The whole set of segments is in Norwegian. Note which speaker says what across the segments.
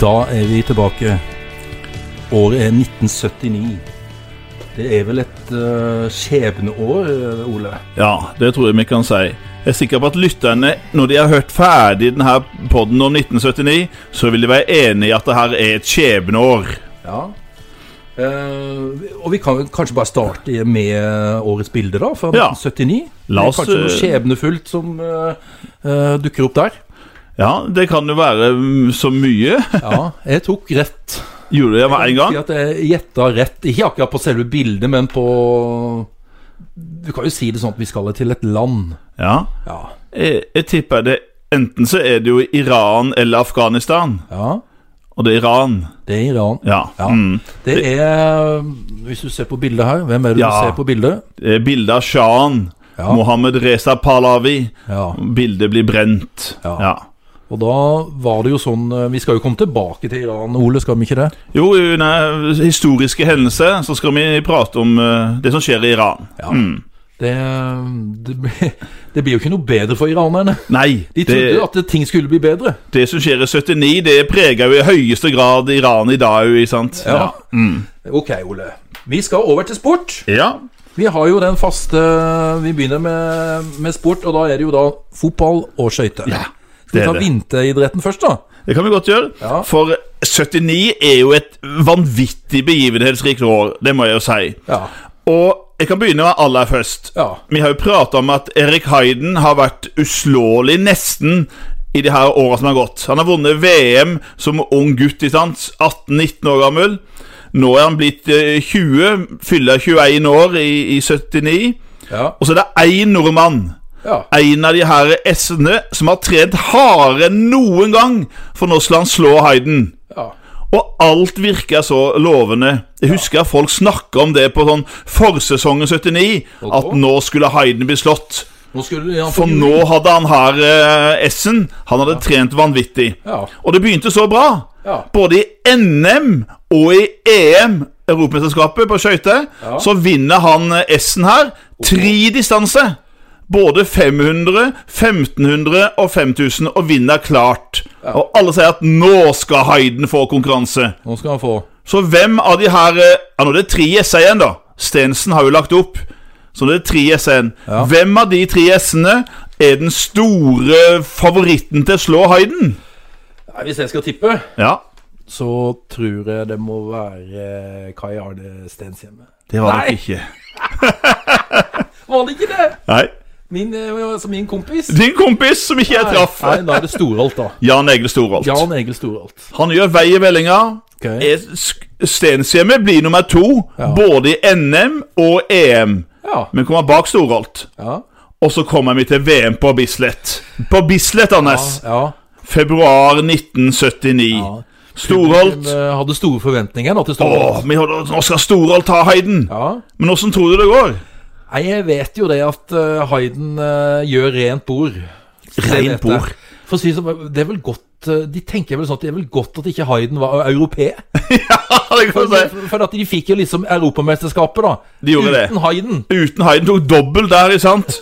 Speaker 1: Da er vi tilbake. Året er 1979. Det er vel et eh, skjebneår, eh, Ole?
Speaker 2: Ja, det tror jeg vi kan si. Jeg er sikker på at lytterne, når de har hørt ferdig denne podden om 1979, så vil de være enig i at det her er et skjebneår.
Speaker 1: Ja. Eh, og vi kan vel kanskje bare starte med eh, årets bilde, da, fra
Speaker 2: Ja.
Speaker 1: 1979.
Speaker 2: La oss,
Speaker 1: det er kanskje noe
Speaker 2: eh,
Speaker 1: skjebnefullt som eh, eh, dukker opp der.
Speaker 2: Ja, det kan jo være mm, så mye.
Speaker 1: Ja, jeg tok rett.
Speaker 2: Gjorde jeg med en gang?
Speaker 1: Si at jeg gjetta rett, ikke akkurat på selve bildet, men på Du kan jo si det sånn at vi skal til et land.
Speaker 2: Ja.
Speaker 1: Ja.
Speaker 2: Jeg, jeg tipper det Enten så er det jo Iran eller Afghanistan.
Speaker 1: ja.
Speaker 2: Og det er Iran.
Speaker 1: Det er Iran.
Speaker 2: Ja.
Speaker 1: Ja.
Speaker 2: Mm.
Speaker 1: Det er eh, Hvis du ser på bildet her, hvem er det
Speaker 2: Ja.
Speaker 1: du ser på bildet?
Speaker 2: Det er Bilde av sjahen.
Speaker 1: Ja.
Speaker 2: Mohammed Reza Pahlavi.
Speaker 1: Ja.
Speaker 2: Bildet blir brent.
Speaker 1: Ja. Og da var det jo sånn eh, Vi skal jo komme tilbake til Iran, Ole, skal vi ikke det?
Speaker 2: Jo, under historiske hendelser så skal vi prate om eh, det som skjer i Iran.
Speaker 1: Ja. Det, det, blir- det blir jo ikke noe bedre for iranerne.
Speaker 2: Nei,
Speaker 1: De
Speaker 2: det,
Speaker 1: trodde at ting skulle bli bedre.
Speaker 2: det som skjer i 79, det preger jo i høyeste grad Iran i dag, jo, ikke sant?
Speaker 1: Ja.
Speaker 2: Mm.
Speaker 1: Ok, Ole. Vi skal over til sport.
Speaker 2: Ja.
Speaker 1: Vi har jo den faste Vi begynner med, med sport, og da er det jo da fotball og skøyter.
Speaker 2: Ja,
Speaker 1: Skal vi
Speaker 2: det er
Speaker 1: ta
Speaker 2: det.
Speaker 1: vinteridretten først, da?
Speaker 2: Det kan vi godt gjøre.
Speaker 1: Ja.
Speaker 2: For 79 er jo et vanvittig begivenhetsrikt år, det må jeg jo si.
Speaker 1: Ja.
Speaker 2: Og jeg kan begynne med aller først.
Speaker 1: Ja.
Speaker 2: Vi har jo prata om at Erik Hayden har vært uslåelig nesten i de her åra som har gått. Han har vunnet VM som ung gutt, ikke sant? 18-19 år gammel. Nå er han blitt eh, 20, fyller 21 år i, i 79.
Speaker 1: Ja.
Speaker 2: Og så er det én nordmann,
Speaker 1: ja.
Speaker 2: en av de her S-ene, som har trent hardere enn noen gang, for nå skal han slå Hayden.
Speaker 1: ja.
Speaker 2: Og alt virker så lovende. Jeg husker folk snakka om det på sånn forsesongen 79.
Speaker 1: Ok.
Speaker 2: At nå skulle Hayden bli slått.
Speaker 1: Nå skulle ja,
Speaker 2: For nå hadde han her eh, S-en. Han hadde trent vanvittig.
Speaker 1: Ja.
Speaker 2: Og det begynte så bra.
Speaker 1: Ja.
Speaker 2: Både i NM og i EM, Europamesterskapet på skøyter,
Speaker 1: Ja.
Speaker 2: så vinner han eh, S-en her. Tre distanser. Både 500, 1500 og 5000, og vinner klart. Og alle sier at nå skal Hayden få konkurranse.
Speaker 1: Nå skal han få
Speaker 2: Så hvem av de her eh, Ja, nå er det tre S-er igjen, da. Stensen har jo lagt opp. Så det er tre S-er igjen.
Speaker 1: Ja.
Speaker 2: Hvem av de tre S-ene er den store favoritten til å slå Hayden?
Speaker 1: Nei, Hvis jeg skal tippe,
Speaker 2: Ja,
Speaker 1: så tror jeg det må være eh, Kai Arne Stenshjemme.
Speaker 2: det var
Speaker 1: Nei.
Speaker 2: det ikke.
Speaker 1: Var det ikke det?
Speaker 2: Nei.
Speaker 1: Min, eh, altså min kompis?
Speaker 2: Din kompis som ikke jeg traff.
Speaker 1: Nei, da er det Storholt, da.
Speaker 2: Jan Egle Storholt.
Speaker 1: Jan Egil Storholt. Eh,
Speaker 2: Han gjør vei i vellinga.
Speaker 1: Ok.
Speaker 2: Er- Sk- Stenshjemmet blir nummer to,
Speaker 1: Ja.
Speaker 2: både i NM og EM.
Speaker 1: Ja.
Speaker 2: Men kommer bak Storholt.
Speaker 1: Ja.
Speaker 2: Og så kommer vi til VM på Bislett. På Bislett, Anders!
Speaker 1: ja.
Speaker 2: Februar 1979.
Speaker 1: Ja.
Speaker 2: Storholt.
Speaker 1: Hun eh, hadde store forventninger da til
Speaker 2: Åh,
Speaker 1: Storholt.
Speaker 2: vi holder, nå skal Storholt ta Heiden!
Speaker 1: Ja.
Speaker 2: Men åssen tror du det går?
Speaker 1: Nei, jeg vet jo det at eh, Hayden eh, gjør rent bord. Så det
Speaker 2: Rent
Speaker 1: vet jeg.
Speaker 2: bord.
Speaker 1: For å si det sånn, det er vel godt eh, De tenker vel sånn at det er vel godt at ikke Hayden var eh, europeer.
Speaker 2: Ja, det kan
Speaker 1: For,
Speaker 2: du si.
Speaker 1: for at de fikk jo liksom Europamesterskapet, da.
Speaker 2: De gjorde det.
Speaker 1: Uten Hayden.
Speaker 2: Uten Heiden tok dobbelt der, ikke sant?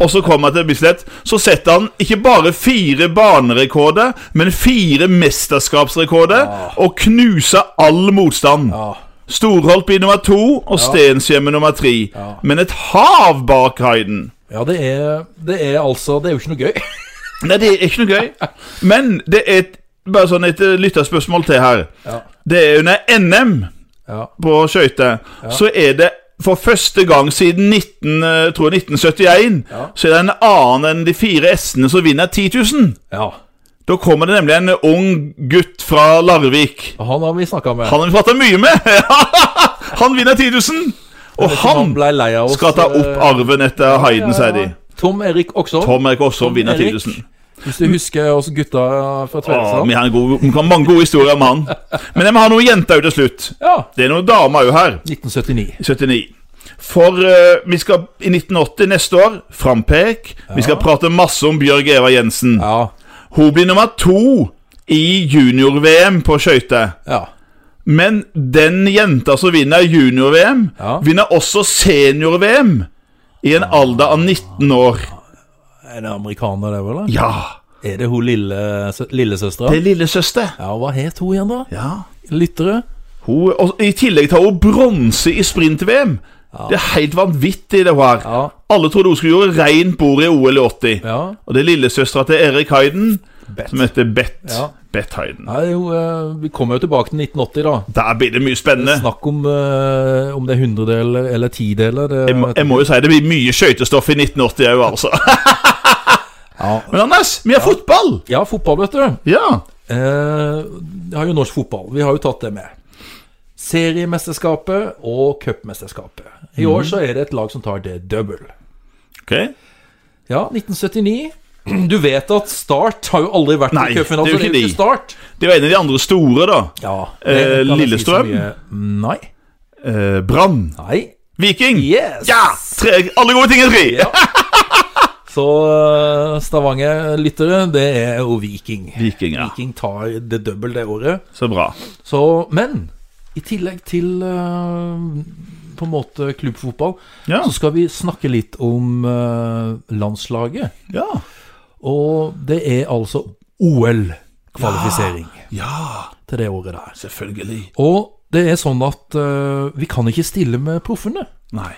Speaker 2: Og så kom han til Bislett. Så setter han ikke bare fire banerekorder, men fire mesterskapsrekorder, og knuser all motstand.
Speaker 1: Ja.
Speaker 2: Storholt blir nummer to, og Stenshjemmet nummer tre.
Speaker 1: Ja.
Speaker 2: Men et hav bak Heiden.
Speaker 1: Ja, det er, det er altså Det er jo ikke noe gøy.
Speaker 2: Nei, det er ikke noe gøy. Men det er et, bare sånn et eh, lytterspørsmål til her.
Speaker 1: Ja.
Speaker 2: Det er under NM
Speaker 1: Ja.
Speaker 2: på skøyter, så er det for første gang siden 19, eh, tror jeg 1971
Speaker 1: Ja.
Speaker 2: så er det en annen enn de fire S-ene som vinner 10 000.
Speaker 1: ja.
Speaker 2: Da kommer det nemlig en ung gutt fra Larvik.
Speaker 1: Og Han har vi snakka med.
Speaker 2: Han har vi prata mye med! han vinner 10 000! Og han
Speaker 1: ble lei av oss.
Speaker 2: skal ta opp
Speaker 1: eh,
Speaker 2: arven etter Hayden, sier de.
Speaker 1: ja. Tom Erik også.
Speaker 2: Tom Erik også vinner
Speaker 1: Erik.
Speaker 2: 10 000.
Speaker 1: Hvis du husker oss gutta eh, fra
Speaker 2: Åh, vi
Speaker 1: Tvedestrand.
Speaker 2: har en god, vi har mange gode historier om han. Men jeg må ha noen jenter ut til slutt.
Speaker 1: Ja.
Speaker 2: Det er noen damer jo her.
Speaker 1: 1979.
Speaker 2: i 79. For eh, vi skal i 1980 neste år, frampek. Vi skal prate masse om Bjørg Eva Jensen.
Speaker 1: Ja.
Speaker 2: Hun blir nummer to i junior-VM på skøyter.
Speaker 1: Ja.
Speaker 2: Men den jenta som vinner junior-VM,
Speaker 1: Ja.
Speaker 2: vinner også senior-VM i en alder av 19 år.
Speaker 1: Er det amerikaner, det, vel? eller?
Speaker 2: Ja!
Speaker 1: Er det hun lille, sø- lillesøstera?
Speaker 2: Det er lillesøster.
Speaker 1: Ja, hva het hun igjen, da?
Speaker 2: Ja.
Speaker 1: Lyttere?
Speaker 2: Hun, og I tillegg tar hun bronse i sprint-VM. Det er helt vanvittig, det hun har.
Speaker 1: Ja.
Speaker 2: Alle trodde hun skulle gjøre rent bord i OL i 80.
Speaker 1: ja.
Speaker 2: Og det er lillesøstera til Erik Heiden, som heter Bet.
Speaker 1: Ja.
Speaker 2: Bet Heiden.
Speaker 1: Nei, jo, eh, vi kommer jo tilbake til 1980, da.
Speaker 2: Der blir det mye spennende.
Speaker 1: Snakk om eh, om det er hundredeler eller tideler. Det,
Speaker 2: Jeg må, jeg må jo si det blir mye skøytestoff i 1980 òg, altså.
Speaker 1: ja.
Speaker 2: Men Anders, vi har fotball!
Speaker 1: ja, fotball, vet du.
Speaker 2: Ja.
Speaker 1: Eh, det har jo norsk fotball. Vi har jo tatt det med. Seriemesterskapet og cupmesterskapet. I år
Speaker 2: Mhm.
Speaker 1: så er det et lag som tar det double.
Speaker 2: Ok.
Speaker 1: Ja, 1979. Du vet at Start har jo aldri vært
Speaker 2: Nei,
Speaker 1: i cupfinalen.
Speaker 2: det er jo
Speaker 1: så
Speaker 2: ikke de.
Speaker 1: Start.
Speaker 2: Det var en av de andre store, da.
Speaker 1: Ja,
Speaker 2: Eh,
Speaker 1: det kan jeg
Speaker 2: Lillestrøm?
Speaker 1: Si så mye. nei.
Speaker 2: Eh, Brann.
Speaker 1: Nei.
Speaker 2: Viking.
Speaker 1: Yes!
Speaker 2: Ja! Tre, alle gode ting er tre!
Speaker 1: Så eh, Stavanger-lyttere, det er jo Viking.
Speaker 2: Viking, ja.
Speaker 1: Viking tar det double det året.
Speaker 2: Så bra.
Speaker 1: Så, men i tillegg til eh, på en måte klubbfotball,
Speaker 2: Ja.
Speaker 1: så skal vi snakke litt om eh, landslaget.
Speaker 2: Ja.
Speaker 1: Og det er altså OL-kvalifisering
Speaker 2: ja.
Speaker 1: til det året der.
Speaker 2: Selvfølgelig.
Speaker 1: Og det er sånn at eh, vi kan ikke stille med proffene.
Speaker 2: Nei.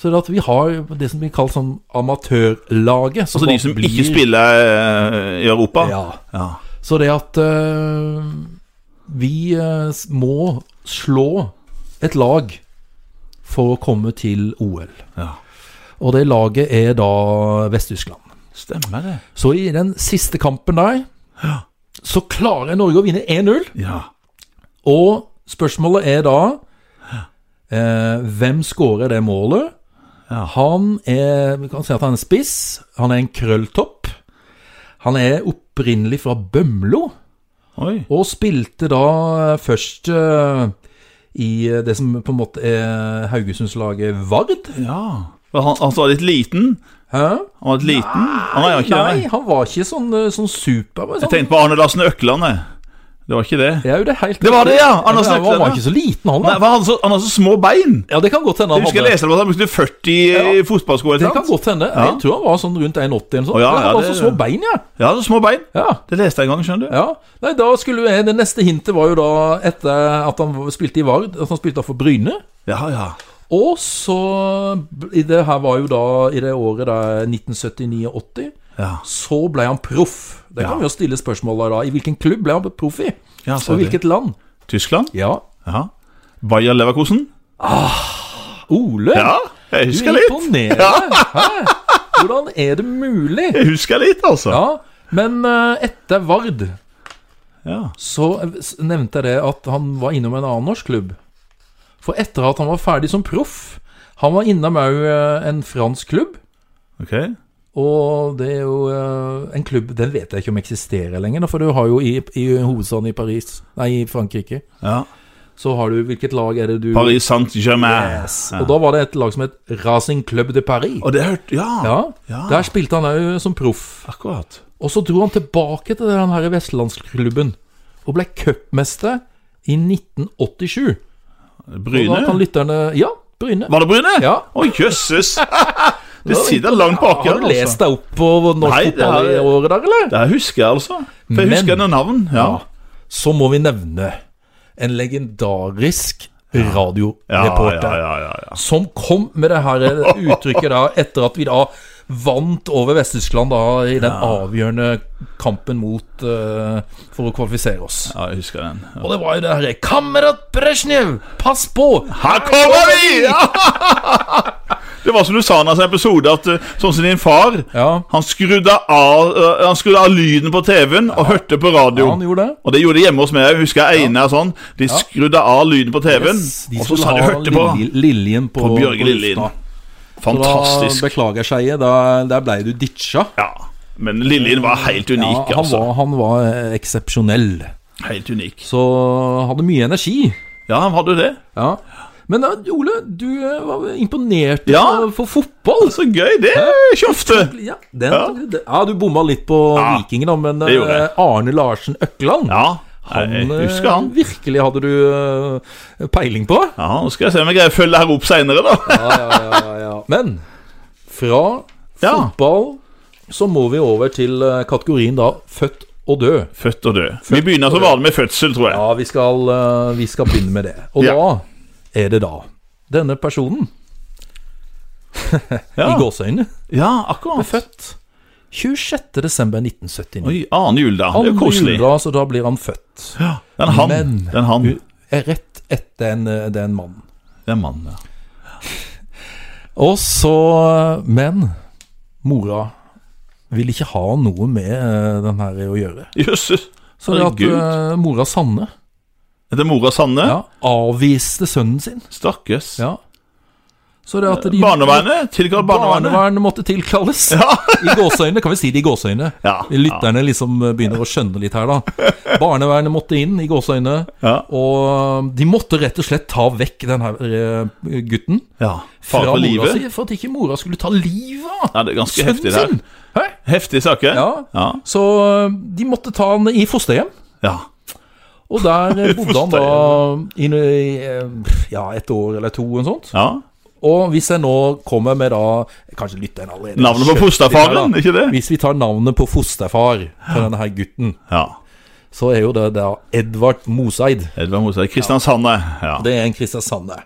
Speaker 1: Så det at vi har det som blir kalt sånn amatørlaget.
Speaker 2: Altså de
Speaker 1: bare
Speaker 2: som
Speaker 1: blir-
Speaker 2: ikke spiller eh, i Europa?
Speaker 1: Ja.
Speaker 2: Ja.
Speaker 1: Så det at eh, vi eh, s- må slå et lag for å komme til OL.
Speaker 2: Ja.
Speaker 1: Og det laget er da Vest-Tyskland.
Speaker 2: Stemmer det.
Speaker 1: Så i den siste kampen der, så klarer Norge å vinne 1-0.
Speaker 2: Ja.
Speaker 1: Og spørsmålet er da eh, Hvem skårer det målet?
Speaker 2: Ja.
Speaker 1: Han er Vi kan si at han er spiss. Han er en krølltopp. Han er opprinnelig fra Bømlo,
Speaker 2: Oi.
Speaker 1: og spilte da eh, først eh, i eh, det som på en måte er Haugesundslaget Vard.
Speaker 2: Ja. Var Han, han som var litt liten?
Speaker 1: Hæ?
Speaker 2: Han var litt liten? Nei, han var ikke
Speaker 1: Nei,
Speaker 2: det. nei.
Speaker 1: han var ikke sånn, eh, sånn super. men
Speaker 2: Jeg
Speaker 1: Sånn.
Speaker 2: tenkte på Arne Larsen Økland, jeg. Det var ikke det.
Speaker 1: Det er jo det helt
Speaker 2: Det var det, ja! Anders
Speaker 1: han var,
Speaker 2: Nøkland, ja.
Speaker 1: ikke så liten, han.
Speaker 2: Nei,
Speaker 1: da.
Speaker 2: var han, så, han har så små bein!
Speaker 1: Ja, det kan godt hende
Speaker 2: Jeg
Speaker 1: han
Speaker 2: husker jeg leste om at han brukte 40
Speaker 1: Ja.
Speaker 2: fotballsko.
Speaker 1: Det
Speaker 2: eller
Speaker 1: kan
Speaker 2: noe.
Speaker 1: godt hende.
Speaker 2: Ja.
Speaker 1: Jeg tror han var sånn rundt 1,80 eller noe sånt.
Speaker 2: Å, ja,
Speaker 1: Men han
Speaker 2: ja,
Speaker 1: hadde
Speaker 2: det-
Speaker 1: så små bein, ja.
Speaker 2: Ja, så små bein.
Speaker 1: ja.
Speaker 2: Det leste jeg en gang, skjønner du.
Speaker 1: Ja, nei, da skulle jeg, Det neste hintet var jo da etter at han spilte i Vard, at han spilte for Bryne.
Speaker 2: Ja, ja.
Speaker 1: Og så i Det her var jo da i det året der 1979-80.
Speaker 2: Ja,
Speaker 1: Så ble han proff. Det kan
Speaker 2: Ja.
Speaker 1: vi jo stille spørsmål da. I hvilken klubb ble han proff i?
Speaker 2: ja så
Speaker 1: Og
Speaker 2: det.
Speaker 1: hvilket land?
Speaker 2: Tyskland?
Speaker 1: Ja.
Speaker 2: Ja. Bayer Leverkusen?
Speaker 1: Ole,
Speaker 2: Ja, jeg
Speaker 1: du
Speaker 2: husker litt.
Speaker 1: imponerer! Hæ? Hvordan er det mulig?
Speaker 2: Jeg husker litt, altså.
Speaker 1: Ja, men eh, etter Vard
Speaker 2: Ja.
Speaker 1: så nevnte jeg det at han var innom en annen norsk klubb. For etter at han var ferdig som proff Han var innom òg en fransk klubb.
Speaker 2: Ok.
Speaker 1: Og det er jo eh, en klubb Den vet jeg ikke om eksisterer lenger, da, for du har jo i, i hovedstaden i Paris Nei, i Frankrike.
Speaker 2: Ja.
Speaker 1: Så har du Hvilket lag er det du
Speaker 2: Paris Ah, Saint-Germain.
Speaker 1: Yes. Og da var det et lag som het Racing Club de Paris.
Speaker 2: Og det hørte Ja,
Speaker 1: Ja,
Speaker 2: Ja.
Speaker 1: Der spilte han òg som proff.
Speaker 2: akkurat.
Speaker 1: Og så dro han tilbake til den her vestlandsklubben og ble cupmester i 1987. Og da kan
Speaker 2: Bryne?
Speaker 1: lytterne Ja, Bryne.
Speaker 2: Var det Bryne?
Speaker 1: Ja.
Speaker 2: Å, jøsses! Du sitter langt baki
Speaker 1: Har
Speaker 2: her,
Speaker 1: du lest
Speaker 2: altså.
Speaker 1: deg opp på norsk
Speaker 2: Nei, det har
Speaker 1: fotball i
Speaker 2: jeg-
Speaker 1: året der, eller?
Speaker 2: Det her husker jeg, altså. For jeg
Speaker 1: Men-
Speaker 2: husker noen navn. Ja.
Speaker 1: Så må vi nevne en legendarisk
Speaker 2: Ja, ja,
Speaker 1: radioreporter
Speaker 2: ja, ja, ja.
Speaker 1: som kom med det her uttrykket da etter at vi da vant over Vest-Tyskland da i den avgjørende kampen mot eh, for å kvalifisere oss.
Speaker 2: ja jeg husker den. Ja.
Speaker 1: Og det var jo det herre Kamerat Brezjnev, pass på!
Speaker 2: Her kommer vi! Ja! Det var som du sa i en episode, at eh, sånn som din far
Speaker 1: Ja.
Speaker 2: han, skrudde av, eh, han skrudde av lyden på TV-en og hørte på radio.
Speaker 1: Ja, han gjorde det.
Speaker 2: Og det gjorde de hjemme hos meg. Jeg husker Einar sånn. De skrudde av lyden på TV-en,
Speaker 1: Yes, de
Speaker 2: og så
Speaker 1: skulle
Speaker 2: sa de
Speaker 1: ha
Speaker 2: hørte på.
Speaker 1: Lilje- Liljen på,
Speaker 2: På Bjørge
Speaker 1: på
Speaker 2: Liljen.
Speaker 1: lufta. Da
Speaker 2: Fantastisk.
Speaker 1: beklager Skeie, da, der blei du ditcha.
Speaker 2: Ja. Men Lillien var helt unik,
Speaker 1: Ja, han,
Speaker 2: altså.
Speaker 1: var, han var eh, eksepsjonell.
Speaker 2: Helt unik.
Speaker 1: Så han hadde mye energi.
Speaker 2: Ja, han hadde det.
Speaker 1: Ja. Men eh, Ole, du eh, var imponert
Speaker 2: Ja.
Speaker 1: for- for fotball.
Speaker 2: Så gøy. Det er ikke ofte.
Speaker 1: Ja, den,
Speaker 2: Ja.
Speaker 1: det- ja, du bomma litt på
Speaker 2: Ja,
Speaker 1: Viking, da, men
Speaker 2: det gjorde
Speaker 1: eh,
Speaker 2: jeg.
Speaker 1: Arne Larsen Økland
Speaker 2: Ja,
Speaker 1: han,
Speaker 2: jeg
Speaker 1: eh,
Speaker 2: husker han.
Speaker 1: Virkelig hadde du eh, peiling på.
Speaker 2: Ja, Nå skal jeg se om jeg greier å følge det her opp seinere, da.
Speaker 1: Men fra
Speaker 2: Ja.
Speaker 1: fotball så må vi over til eh, kategorien da født og død.
Speaker 2: Født og død. Vi begynner som vanlig med fødsel, tror jeg.
Speaker 1: Ja, vi skal, eh, vi skal begynne med det. Og
Speaker 2: Ja.
Speaker 1: da er det da denne personen, i
Speaker 2: Ja,
Speaker 1: gåseøynene,
Speaker 2: ja akkurat.
Speaker 1: født 26. desember 1979.
Speaker 2: Oi, annen jul, da. Det er jo
Speaker 1: Andre
Speaker 2: koselig.
Speaker 1: juledag, så altså, da blir han født.
Speaker 2: Ja, det er en han.
Speaker 1: Men-
Speaker 2: Det er en han.
Speaker 1: Er Rett etter en, eh, det er en mann.
Speaker 2: Det er en mann, ja.
Speaker 1: Og så Men mora vil ikke ha noe med eh, den her å gjøre.
Speaker 2: Jøsses.
Speaker 1: Så det at
Speaker 2: Herregud.
Speaker 1: eh, mora Sanne
Speaker 2: Er det mora Sanne?
Speaker 1: ja, avviste sønnen sin.
Speaker 2: Stakkars.
Speaker 1: Ja. Så det at de
Speaker 2: Barnevernet? Tilkall barnevernet.
Speaker 1: Barnevernet måtte tilkalles. I gåseøyne, kan vi si det i gåseøyne.
Speaker 2: Ja,
Speaker 1: Lytterne liksom begynner å skjønne litt her, da. Barnevernet måtte inn i gåseøyne.
Speaker 2: Ja.
Speaker 1: Og de måtte rett og slett ta vekk den her eh, gutten
Speaker 2: ja. Far
Speaker 1: fra mora
Speaker 2: for livet?
Speaker 1: si, for at ikke mora skulle ta livet av
Speaker 2: Ja, det er ganske
Speaker 1: sønnen
Speaker 2: heftig, det her.
Speaker 1: sin. Hæ?
Speaker 2: Heftige saker.
Speaker 1: Ja.
Speaker 2: Ja.
Speaker 1: Så øh, de måtte ta han i fosterhjem.
Speaker 2: ja.
Speaker 1: Og der øh, bodde han da inn i øh, ja, et år eller to. Og sånt.
Speaker 2: ja.
Speaker 1: Og hvis jeg nå kommer med da Kanskje lytteren allerede
Speaker 2: Navnet på
Speaker 1: skjønte
Speaker 2: fosterfaren,
Speaker 1: det her,
Speaker 2: ikke det?
Speaker 1: da. Hvis vi tar navnet på fosterfar til denne her gutten,
Speaker 2: Ja.
Speaker 1: så er jo det da Edvard Moseid.
Speaker 2: Edvard Mosa. Kristiansand, ja.
Speaker 1: Det er en kristiansander.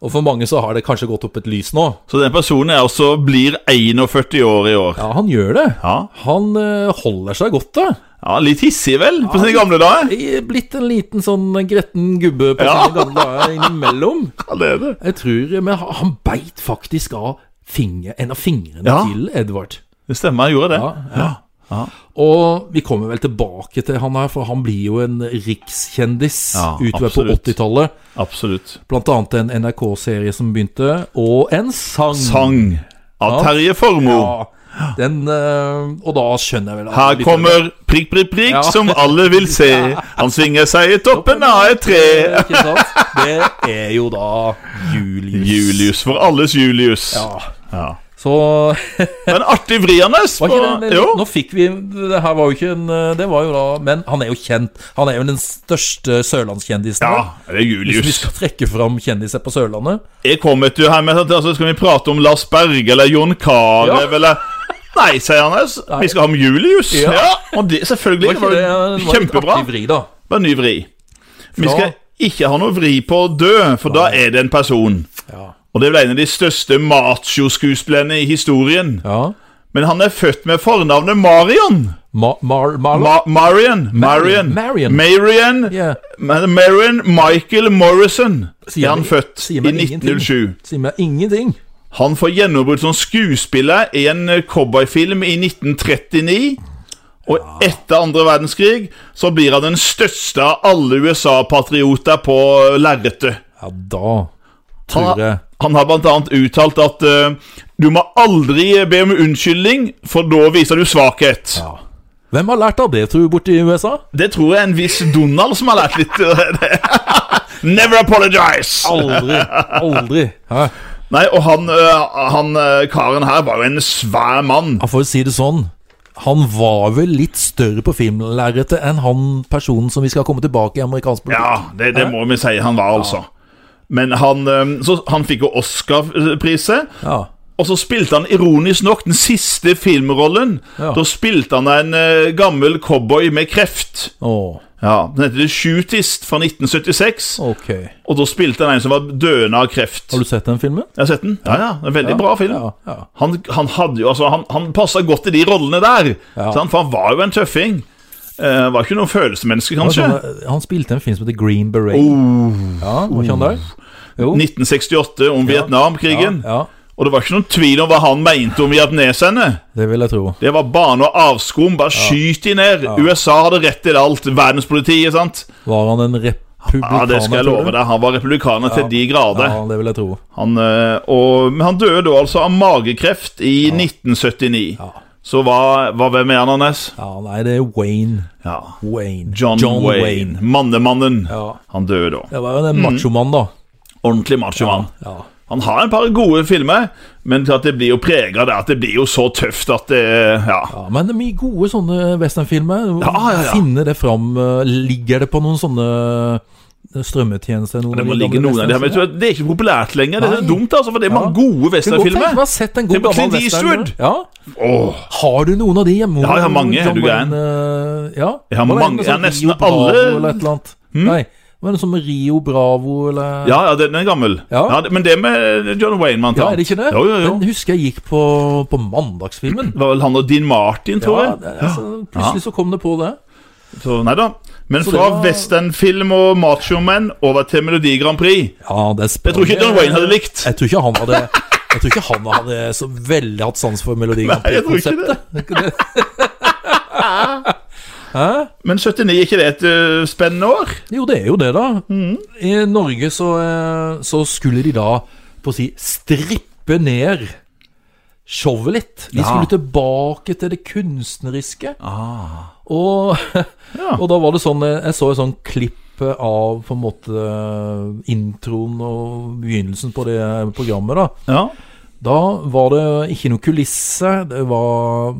Speaker 1: Og for mange så har det kanskje gått opp et lys nå.
Speaker 2: Så den personen er også blir 41 år i år.
Speaker 1: Ja, han gjør det.
Speaker 2: Ja.
Speaker 1: Han øh, holder seg godt, da.
Speaker 2: ja litt hissig, vel, på sine gamle dager?
Speaker 1: Jeg er Blitt en liten sånn gretten gubbe på
Speaker 2: Ja.
Speaker 1: sine gamle dager innimellom.
Speaker 2: Ja, det er det.
Speaker 1: Jeg tror Men han han beit faktisk av finger, en av fingrene
Speaker 2: Ja.
Speaker 1: til Edvard.
Speaker 2: Det stemmer, jeg gjorde det.
Speaker 1: Ja, Og vi kommer vel tilbake til han her, for han blir jo en rikskjendis
Speaker 2: Ja,
Speaker 1: utover på
Speaker 2: absolutt.
Speaker 1: 80-tallet.
Speaker 2: Absolutt.
Speaker 1: Blant annet en NRK-serie som begynte, og en sang.
Speaker 2: Sang av
Speaker 1: Ja.
Speaker 2: Terje Formoe.
Speaker 1: Ja, den, eh, og da skjønner jeg vel at
Speaker 2: Her
Speaker 1: litt-
Speaker 2: kommer prikk, prikk, prikk,
Speaker 1: Ja.
Speaker 2: som alle vil se. Han svinger seg i toppen av et tre.
Speaker 1: Ikke sant? Det er jo da Julius.
Speaker 2: Julius for alles Julius.
Speaker 1: Ja.
Speaker 2: Ja.
Speaker 1: Så
Speaker 2: Men artig vri, Anders.
Speaker 1: Var ikke
Speaker 2: på-
Speaker 1: det,
Speaker 2: jo.
Speaker 1: nå fikk vi Det her var jo ikke en eh, Det var jo da Men han er jo kjent. Han er jo den største sørlandskjendisen.
Speaker 2: Ja,
Speaker 1: da.
Speaker 2: det er
Speaker 1: Hvis vi
Speaker 2: Julius.
Speaker 1: skal trekke fram kjendiser på Sørlandet
Speaker 2: Jeg kommer til her med at altså, skal vi prate om Lars Berge eller Jon Carew
Speaker 1: Ja.
Speaker 2: eller Nei, sier Anders. Vi skal ha med Julius. Ja,
Speaker 1: Ja.
Speaker 2: og det, selvfølgelig. Det
Speaker 1: ikke
Speaker 2: var,
Speaker 1: det- det
Speaker 2: jo
Speaker 1: var litt
Speaker 2: kjempebra.
Speaker 1: artig Vri, da.
Speaker 2: Bare ny vri. Vi
Speaker 1: Fra-
Speaker 2: skal ikke ha noe vri på å dø, for da er det en person.
Speaker 1: Ja.
Speaker 2: Og det er vel en av de største machoskuespillerne i historien.
Speaker 1: ja.
Speaker 2: Men han er født med fornavnet Marion.
Speaker 1: Ma, mar, Marlon?
Speaker 2: Ma Marion. Marion.
Speaker 1: Marion. Marion.
Speaker 2: Marion.
Speaker 1: Ja.
Speaker 2: Men Marion Michael Morrison
Speaker 1: Sier
Speaker 2: er han
Speaker 1: meg-
Speaker 2: født i
Speaker 1: sier meg ingenting.
Speaker 2: 1907.
Speaker 1: Sier meg ingenting.
Speaker 2: Han får gjennombrudd som skuespiller i en eh, cowboyfilm i 1939. Og etter andre verdenskrig så blir han den største av alle USA-patrioter på eh, lerretet.
Speaker 1: Ja, da
Speaker 2: Han,
Speaker 1: tror jeg
Speaker 2: har- han har blant annet uttalt at eh, du må aldri be om unnskyldning, for da viser du svakhet.
Speaker 1: ja. Hvem har lært av det, tror du, borte i USA?
Speaker 2: Det tror jeg er en viss Donald som har lært litt. eh, det. Never apologize!
Speaker 1: Aldri. Aldri. Hæ?
Speaker 2: Nei, og han, eh, han eh, karen her var jo en svær mann.
Speaker 1: Ja, for å si det sånn han var vel litt større på filmlerretet enn han personen som vi skal komme tilbake i amerikansk politikk.
Speaker 2: Ja, det, det må vi si han var, altså. Men han, eh, så han fikk jo Oscar-prise,
Speaker 1: Ja.
Speaker 2: og så spilte han ironisk nok den siste filmrollen.
Speaker 1: Ja.
Speaker 2: Da spilte han en eh, gammel cowboy med kreft.
Speaker 1: Åh,
Speaker 2: Ja, Den heter The Shootist fra 1976,
Speaker 1: ok.
Speaker 2: og da spilte han en som var døende av kreft.
Speaker 1: Har du sett den filmen?
Speaker 2: Jeg har sett den. Ja, ja, en Veldig bra film.
Speaker 1: Ja, ja.
Speaker 2: Han, han hadde jo, altså, han, han passa godt i de rollene der,
Speaker 1: Ja.
Speaker 2: sant? for han var jo en tøffing. Eh, var ikke noe følelsesmenneske,
Speaker 1: Han,
Speaker 2: kanskje. Oh.
Speaker 1: sånn, han spilte en film som heter Green Beret. ja, var ikke han der? Jo.
Speaker 2: 1968, om Vietnamkrigen.
Speaker 1: Ja,
Speaker 2: Og det var ikke noen tvil om hva han mente om vietneserne.
Speaker 1: det vil jeg tro.
Speaker 2: Det var bane og avskum, bare skyt de ned. USA hadde rett til alt. Verdenspolitiet, sant?
Speaker 1: Var han en republikaner?
Speaker 2: Ja, det skal jeg
Speaker 1: tror
Speaker 2: love
Speaker 1: du?
Speaker 2: deg. Han var republikaner til de grader.
Speaker 1: Ja, det vil jeg tro.
Speaker 2: Han, eh, og, men han døde da altså av magekreft i 1979. Så hva, hva hvem er han, Anders?
Speaker 1: Ja, nei, det er Wayne.
Speaker 2: Ja.
Speaker 1: Wayne.
Speaker 2: John, Wayne. Mannemannen.
Speaker 1: Ja.
Speaker 2: Han døde da.
Speaker 1: Det var jo en machomann, da.
Speaker 2: Ordentlig machomann.
Speaker 1: Ja.
Speaker 2: Han har et par gode filmer, men at det blir jo prega av det at det blir jo så tøft at det Ja.
Speaker 1: ja, Men det er mye gode sånne westernfilmer.
Speaker 2: Ja, ja, ja.
Speaker 1: Finner det fram eh, Ligger det på noen sånne strømmetjeneste.
Speaker 2: Det må ligge noen av de her, men vet du hva, det er ikke populært lenger. Det er
Speaker 1: Nei.
Speaker 2: så dumt, altså, for det er
Speaker 1: Ja.
Speaker 2: mange gode
Speaker 1: Kunne godt tenkt meg
Speaker 2: westernfilmer.
Speaker 1: å ha sett en god
Speaker 2: Tenk på
Speaker 1: gammel
Speaker 2: Clint
Speaker 1: western.
Speaker 2: Eastwood.
Speaker 1: Ja.
Speaker 2: Åh,
Speaker 1: Har du noen av de hjemme?
Speaker 2: Ja, jeg har mange, er
Speaker 1: John
Speaker 2: du gæren?
Speaker 1: Wayne, eh, ja.
Speaker 2: Jeg har
Speaker 1: Var det en
Speaker 2: mange,
Speaker 1: med
Speaker 2: jeg har
Speaker 1: sånn
Speaker 2: nesten
Speaker 1: Rio Bravo
Speaker 2: alle- Hmm?
Speaker 1: Eller et eller annet. Nei, var det sånn med Rio Bravo eller
Speaker 2: ja, ja, den er gammel.
Speaker 1: Ja.
Speaker 2: Ja, det- men det med John Wayne, man
Speaker 1: Ja,
Speaker 2: tar.
Speaker 1: er det ikke det?
Speaker 2: Jo, jo, jo.
Speaker 1: Den husker jeg gikk på, på mandagsfilmen.
Speaker 2: Det var vel han og Dean Martin, tror
Speaker 1: Ja,
Speaker 2: jeg.
Speaker 1: det, altså, plutselig så kom det på det.
Speaker 2: Så nei da. Men
Speaker 1: Så det
Speaker 2: fra
Speaker 1: var-
Speaker 2: westernfilm og machoman over til Melodi Grand Prix
Speaker 1: Ja, det
Speaker 2: Jeg tror ikke John Wayne hadde likt.
Speaker 1: Jeg tror ikke han hadde Jeg tror ikke han hadde så veldig hatt sans for Melodi Grand
Speaker 2: Nei, jeg tror ikke det.
Speaker 1: Prix-konseptet.
Speaker 2: Men 79, er ikke det et øh, spennende år?
Speaker 1: Jo, det er jo det, da.
Speaker 2: Mhm.
Speaker 1: I Norge så, eh, så skulle de da, på å si, strippe ned showet litt. De
Speaker 2: Ja.
Speaker 1: skulle tilbake til det kunstneriske.
Speaker 2: Ah.
Speaker 1: Og, og da var det sånn eh, Jeg så et sånn klipp eh, av på en måte eh, introen og begynnelsen på det programmet, da.
Speaker 2: Ja.
Speaker 1: Da var det ikke noe kulisse, det var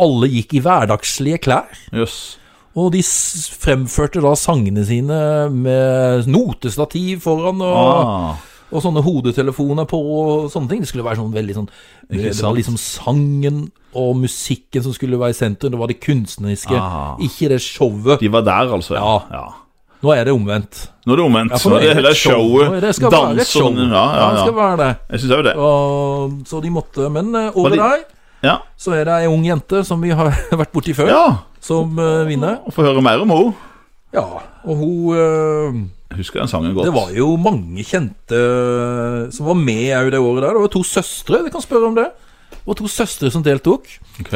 Speaker 1: Alle gikk i hverdagslige klær.
Speaker 2: Jøss.
Speaker 1: Og de s- fremførte da sangene sine med notestativ foran og,
Speaker 2: Ah.
Speaker 1: og sånne hodetelefoner på og sånne ting. Det skulle være sånn veldig sånn Det var
Speaker 2: sant.
Speaker 1: liksom sangen og musikken som skulle være i sentrum. Det var det kunstneriske,
Speaker 2: Ah.
Speaker 1: ikke det showet.
Speaker 2: De var der, altså.
Speaker 1: Ja. Nå er det omvendt.
Speaker 2: Nå er det omvendt.
Speaker 1: Ja, for
Speaker 2: Nå er det
Speaker 1: et
Speaker 2: hele
Speaker 1: show. Nå
Speaker 2: showet.
Speaker 1: er Det skal være et show.
Speaker 2: Danserne Ja, ja,
Speaker 1: det skal
Speaker 2: ja.
Speaker 1: være det.
Speaker 2: Jeg syns òg det.
Speaker 1: Og, så de måtte Men eh, over
Speaker 2: de-
Speaker 1: der
Speaker 2: Ja.
Speaker 1: så er det ei ung jente som vi har vært borti før,
Speaker 2: ja.
Speaker 1: som eh, vinner.
Speaker 2: Få høre mer om henne.
Speaker 1: Ja, og hun eh,
Speaker 2: Jeg Husker den sangen godt.
Speaker 1: Det var jo mange kjente eh, som var med òg det året der. Det var to søstre, vi kan spørre om det. Det var to søstre som deltok.
Speaker 2: Ok.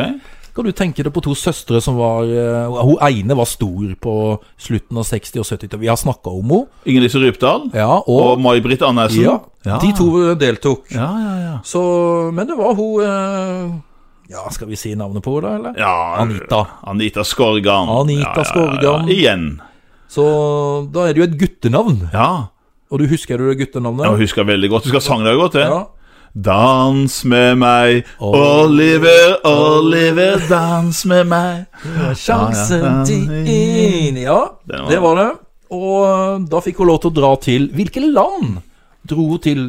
Speaker 1: Kan du tenke deg på to søstre som var eh, Hun ene var stor på slutten av 60- og 70-tallet. Vi har snakka om henne.
Speaker 2: Inger-Lise Rypdal
Speaker 1: Ja,
Speaker 2: og
Speaker 1: og
Speaker 2: May-Britt Andersen.
Speaker 1: ja,
Speaker 2: ja.
Speaker 1: De to eh, deltok.
Speaker 2: Ja, ja, ja.
Speaker 1: Så Men det var hun eh, Ja, skal vi si navnet på henne, da, eller?
Speaker 2: ja
Speaker 1: Anita.
Speaker 2: Anita Skorgan.
Speaker 1: Anita
Speaker 2: Ja, ja, ja, ja.
Speaker 1: Skorgan.
Speaker 2: Igjen.
Speaker 1: Så da er det jo et guttenavn.
Speaker 2: Ja.
Speaker 1: Og du husker du det
Speaker 2: Jeg
Speaker 1: guttenavnet?
Speaker 2: husker veldig godt. Du skal sangen deg godt, det.
Speaker 1: Ja.
Speaker 2: Dans med meg, Oliver, Oliver, dans med meg.
Speaker 1: Sjansen til inn Ja,
Speaker 2: Den var-
Speaker 1: det var det. Og eh, da fikk hun lov til å dra til Hvilke land dro hun til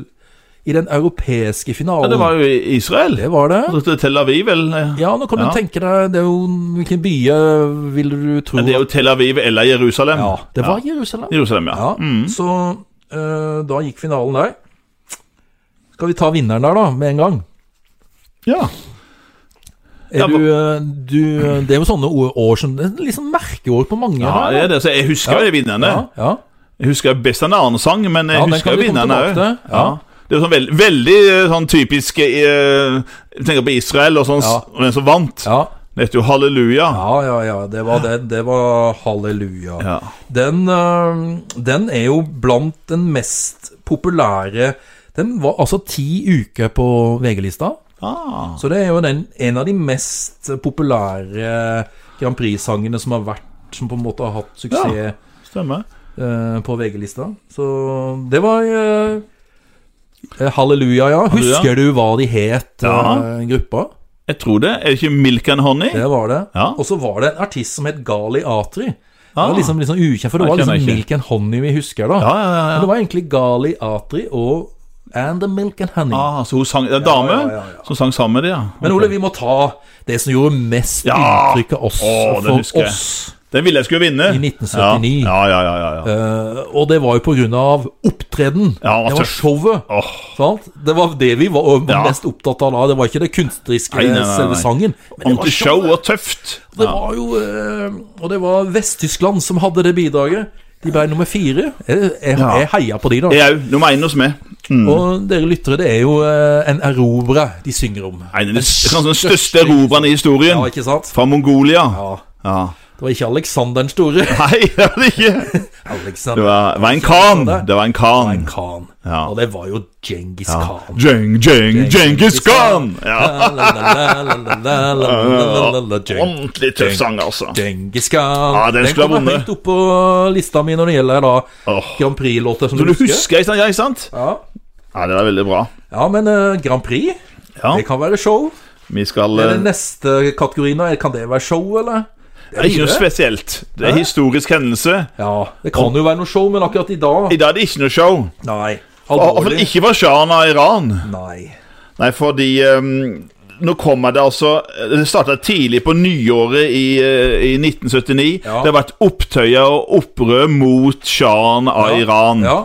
Speaker 1: i den europeiske
Speaker 2: Ja,
Speaker 1: finalen?
Speaker 2: det var jo i Israel.
Speaker 1: det, var det.
Speaker 2: Til Tel Aviv, eller?
Speaker 1: Ja, nå kan
Speaker 2: Ja.
Speaker 1: du tenke deg det er jo, Hvilken by eh, vil du tro
Speaker 2: Ja, Det er jo Tel Aviv eller Jerusalem.
Speaker 1: ja, det var Jerusalem.
Speaker 2: Jerusalem, ja. Mm.
Speaker 1: Ja, Så eh, da gikk finalen der. Skal vi ta vinneren der, da, med en gang?
Speaker 2: ja.
Speaker 1: Er
Speaker 2: Ja,
Speaker 1: du, eh, du, det er jo sånne år- år som Det er liksom merkeår på mange.
Speaker 2: Ja,
Speaker 1: her,
Speaker 2: det er det. Så jeg husker jo vinnerne.
Speaker 1: ja, ja.
Speaker 2: Jeg husker best en annen sang, men jeg
Speaker 1: Ja, den
Speaker 2: husker
Speaker 1: kan
Speaker 2: jo
Speaker 1: vi komme
Speaker 2: vinnerne
Speaker 1: tilbake
Speaker 2: òg.
Speaker 1: til. Ja.
Speaker 2: Det er jo sånn veld, veldig eh, sånn typisk eh, Jeg tenker på Israel og sånn,
Speaker 1: Ja.
Speaker 2: og den som vant.
Speaker 1: ja.
Speaker 2: Det heter jo Halleluja.
Speaker 1: Ja, ja, ja. Det var den. Det var halleluja.
Speaker 2: Ja.
Speaker 1: Den, eh, den er jo blant den mest populære Den var altså ti uker på VG-lista.
Speaker 2: Ah.
Speaker 1: Så det er jo den, en av de mest populære Grand Prix-sangene som har vært Som på en måte har hatt suksess
Speaker 2: Ja. Stemmer.
Speaker 1: eh, på VG-lista. Så det var eh, eh, Halleluja, ja. Husker du hva de het,
Speaker 2: Ja.
Speaker 1: eh, gruppa?
Speaker 2: Jeg tror det. Er det ikke Milk and Honey?
Speaker 1: Det var det.
Speaker 2: Ja.
Speaker 1: Og så var det en artist som het Gali Atri. Det
Speaker 2: Ah.
Speaker 1: var liksom, liksom ukjent, for det
Speaker 2: Jeg
Speaker 1: var
Speaker 2: kjenner
Speaker 1: liksom
Speaker 2: ikke.
Speaker 1: Milk and Honey vi husker da.
Speaker 2: Ja, ja, ja.
Speaker 1: Men
Speaker 2: ja.
Speaker 1: det var egentlig Gali Atri og And the Milk and Honey.
Speaker 2: Ah, så hun sang, det er en dame
Speaker 1: ja, ja, ja.
Speaker 2: som sang sammen med dem, ja.
Speaker 1: Men
Speaker 2: Ok.
Speaker 1: Ole, vi må ta det som gjorde mest
Speaker 2: Ja!
Speaker 1: inntrykk av oss
Speaker 2: Å, det husker
Speaker 1: for
Speaker 2: jeg.
Speaker 1: oss.
Speaker 2: Den ville jeg skulle vinne.
Speaker 1: I 1979.
Speaker 2: Ja, ja, ja. ja, ja.
Speaker 1: Eh, og det var jo på grunn av opptreden.
Speaker 2: Ja,
Speaker 1: det var
Speaker 2: tøft.
Speaker 1: showet.
Speaker 2: Åh,
Speaker 1: Sant? Det var det vi var, var
Speaker 2: Ja.
Speaker 1: mest opptatt av da. Det var ikke det kunstneriske,
Speaker 2: Nei, nei, nei, nei.
Speaker 1: selve sangen. Men det var
Speaker 2: ordentlig show
Speaker 1: showet.
Speaker 2: og tøft.
Speaker 1: Det var jo eh, Og det var Vest-Tyskland som hadde det bidraget. De ble nummer fire. Jeg, jeg,
Speaker 2: Ja.
Speaker 1: jeg heia på de, da.
Speaker 2: Jeg òg. Nummer én hos meg. Mm.
Speaker 1: Og dere lyttere, det er jo eh, en erobra de synger om.
Speaker 2: En av de kanskje den største erobrerne i historien.
Speaker 1: Ja, ikke sant?
Speaker 2: Fra Mongolia.
Speaker 1: Ja.
Speaker 2: Ja.
Speaker 1: Det var ikke Alexander den store.
Speaker 2: Nei, det var det ikke. Det
Speaker 1: Alexander
Speaker 2: var, det var en khan. Det var en
Speaker 1: Ein
Speaker 2: khan.
Speaker 1: Khan.
Speaker 2: Ja.
Speaker 1: Og det var jo Djengis Khan.
Speaker 2: Jeng, jeng, Genghis Khan! Ja.
Speaker 1: Ja.
Speaker 2: Ordentlig tøff sang, altså.
Speaker 1: Djengis Khan.
Speaker 2: Ja, den skulle ha
Speaker 1: kommer
Speaker 2: vunnet.
Speaker 1: høyt opp på lista mi når det gjelder da
Speaker 2: Åh.
Speaker 1: Grand Prix-låter som
Speaker 2: Så du
Speaker 1: du husker.
Speaker 2: husker, ja, ikke sant?
Speaker 1: Ja.
Speaker 2: Ja, det er veldig bra.
Speaker 1: ja, men eh, Grand Prix,
Speaker 2: Ja,
Speaker 1: det kan være show.
Speaker 2: vi skal
Speaker 1: Er det
Speaker 2: eh,
Speaker 1: neste kategorien, da? Kan det være show, eller?
Speaker 2: Det er ikke noe spesielt. Det er en historisk hendelse.
Speaker 1: Ja, Det kan jo være noe show, men akkurat i dag
Speaker 2: I dag er det ikke noe show.
Speaker 1: Nei.
Speaker 2: Og, og
Speaker 1: Alvorlig.
Speaker 2: ikke fra sjahen av Iran.
Speaker 1: Nei.
Speaker 2: Nei, fordi ehm, nå kommer det altså Det starta tidlig på nyåret i, eh, i 1979.
Speaker 1: Ja.
Speaker 2: Det har vært opptøyer og opprør mot sjahen av
Speaker 1: Ja.
Speaker 2: Iran.
Speaker 1: Ja.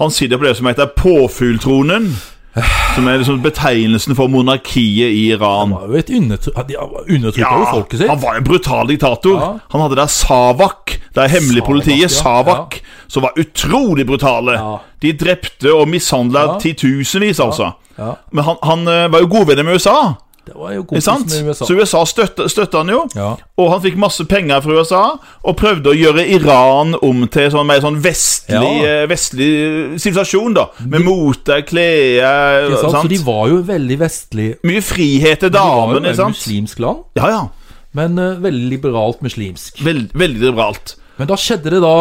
Speaker 2: Han sitter på det som heter påfugltronen. Som er liksom betegnelsen for monarkiet i Iran.
Speaker 1: Han var jo et undertryk... De undertrykte jo folket sitt.
Speaker 2: han var en brutal diktator.
Speaker 1: Ja.
Speaker 2: Han hadde der Savak, det er hemmelig
Speaker 1: Savak, ja.
Speaker 2: politiet, Savak, som var utrolig brutale.
Speaker 1: Ja.
Speaker 2: De drepte og mishandla
Speaker 1: Ja.
Speaker 2: titusenvis, altså.
Speaker 1: Ja.
Speaker 2: Men han, han eh, var jo godvenner med USA,
Speaker 1: Det var jo
Speaker 2: ikke sant?
Speaker 1: kompisen i USA.
Speaker 2: Så USA støtta, støtta han jo.
Speaker 1: Ja.
Speaker 2: Og han fikk masse penger fra USA, og prøvde å gjøre Iran om til sånn mer sånn vestlig,
Speaker 1: Ja.
Speaker 2: eh, vestlig sivilisasjon, da. Med mote, klær
Speaker 1: Ikke sant? Så
Speaker 2: sant?
Speaker 1: de var jo veldig vestlige.
Speaker 2: Mye frihet til
Speaker 1: De var jo
Speaker 2: damene,
Speaker 1: et
Speaker 2: ikke sant?
Speaker 1: muslimsk land,
Speaker 2: Ja, ja.
Speaker 1: men eh, veldig liberalt muslimsk.
Speaker 2: Veld, veldig liberalt.
Speaker 1: Men da skjedde det da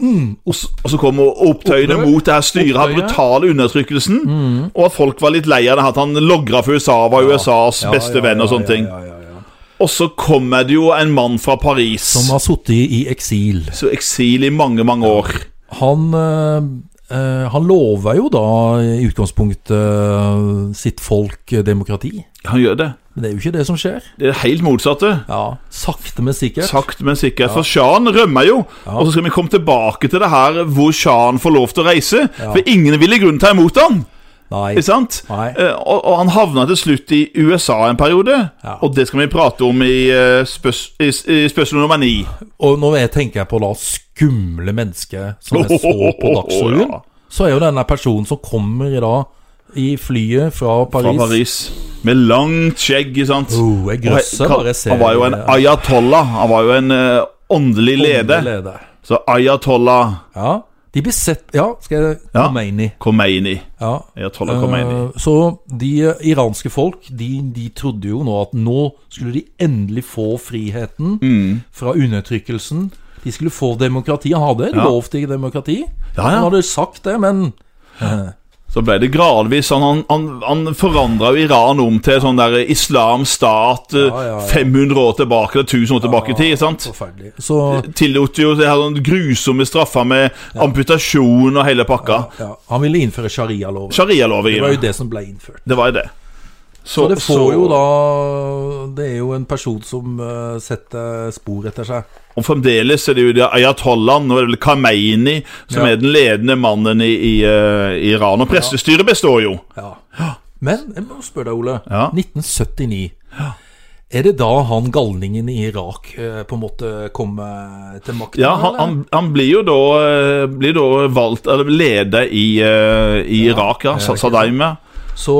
Speaker 2: Og så- og så kom opptøyene
Speaker 1: Opprør.
Speaker 2: mot det her styret av
Speaker 1: Opptøyer.
Speaker 2: brutale undertrykkelsen. Og at folk var litt lei av det, at han logra for USA, var USAs
Speaker 1: Mm. ja,
Speaker 2: beste
Speaker 1: ja,
Speaker 2: venn og
Speaker 1: ja,
Speaker 2: sånne
Speaker 1: ja,
Speaker 2: ting.
Speaker 1: Ja, ja, ja.
Speaker 2: Og så kommer det jo en mann fra Paris.
Speaker 1: Som har sittet i, i eksil.
Speaker 2: Så eksil i mange, mange år.
Speaker 1: Han eh, eh, han lover jo da i utgangspunktet eh, sitt folk eh, demokrati.
Speaker 2: Han gjør det.
Speaker 1: Men det er jo ikke det som skjer.
Speaker 2: Det er det helt motsatte.
Speaker 1: Ja, Sakte, men sikkert.
Speaker 2: Sakte, men sikkert. For sjahen rømmer jo. Og så skal vi komme tilbake til det her hvor sjahen får lov til å reise.
Speaker 1: Ja.
Speaker 2: For ingen vil i grunnen ta imot han.
Speaker 1: Nei.
Speaker 2: Ikke sant?
Speaker 1: Nei.
Speaker 2: Eh, Og, og han havna til slutt i USA en periode.
Speaker 1: Ja.
Speaker 2: Og det skal vi prate om i, eh, spørs, i, i spørsmål nummer ni.
Speaker 1: Og når jeg tenker på da skumle mennesker som jeg så på Dagsrevyen,
Speaker 2: Ja.
Speaker 1: så er jo denne personen som kommer i dag i flyet fra
Speaker 2: Fra
Speaker 1: Paris,
Speaker 2: Paris. Med langt skjegg, ikke sant?
Speaker 1: Oh, jeg grøsser
Speaker 2: Og he-
Speaker 1: bare jeg ser
Speaker 2: Han var jo en ayatollah. Han var jo en eh, åndelig
Speaker 1: Åndelig
Speaker 2: leder.
Speaker 1: leder.
Speaker 2: Så ayatollah
Speaker 1: Ja, de blir sett Ja, skal jeg
Speaker 2: Ja.
Speaker 1: komme inn i.
Speaker 2: Khomeini.
Speaker 1: Ja.
Speaker 2: Ayatollah Khomeini.
Speaker 1: Eh, Så de iranske folk, de, de trodde jo nå at nå skulle de endelig få friheten
Speaker 2: Mm.
Speaker 1: fra undertrykkelsen. De skulle få demokrati. Han hadde lov til demokrati.
Speaker 2: Ja, ja.
Speaker 1: Han hadde sagt det, men
Speaker 2: Så ble det gradvis sånn Han, han, han forandra jo Iran om til sånn der islam stat eh,
Speaker 1: Ja, ja, ja.
Speaker 2: 500 år tilbake eller 1000 år tilbake i tid. ikke sant?
Speaker 1: forferdelig. Så
Speaker 2: Tillot jo det her sånn grusomme straffer med amputasjon og hele pakka.
Speaker 1: Ja, han ville innføre sharialoven.
Speaker 2: Sharialov i
Speaker 1: Det var jo
Speaker 2: Iran.
Speaker 1: det som ble innført.
Speaker 2: Det var jo det.
Speaker 1: Så det får jo da Det er jo en person som eh, setter spor etter seg.
Speaker 2: Og fremdeles er det jo de ayatollahen, nå er det vel Kameini, som
Speaker 1: Ja.
Speaker 2: er den ledende mannen i, i, eh, i Iran. Og prestestyret består jo.
Speaker 1: Ja. Men jeg må spørre deg, Ole.
Speaker 2: Ja.
Speaker 1: 1979. Er det da han galningen i Irak eh, på en måte kommer til makten?
Speaker 2: Ja, han, han, han blir jo da, eh, blir da valgt, eller leder i, eh, i Irak, ja. Sa- Saddam. ja.
Speaker 1: Så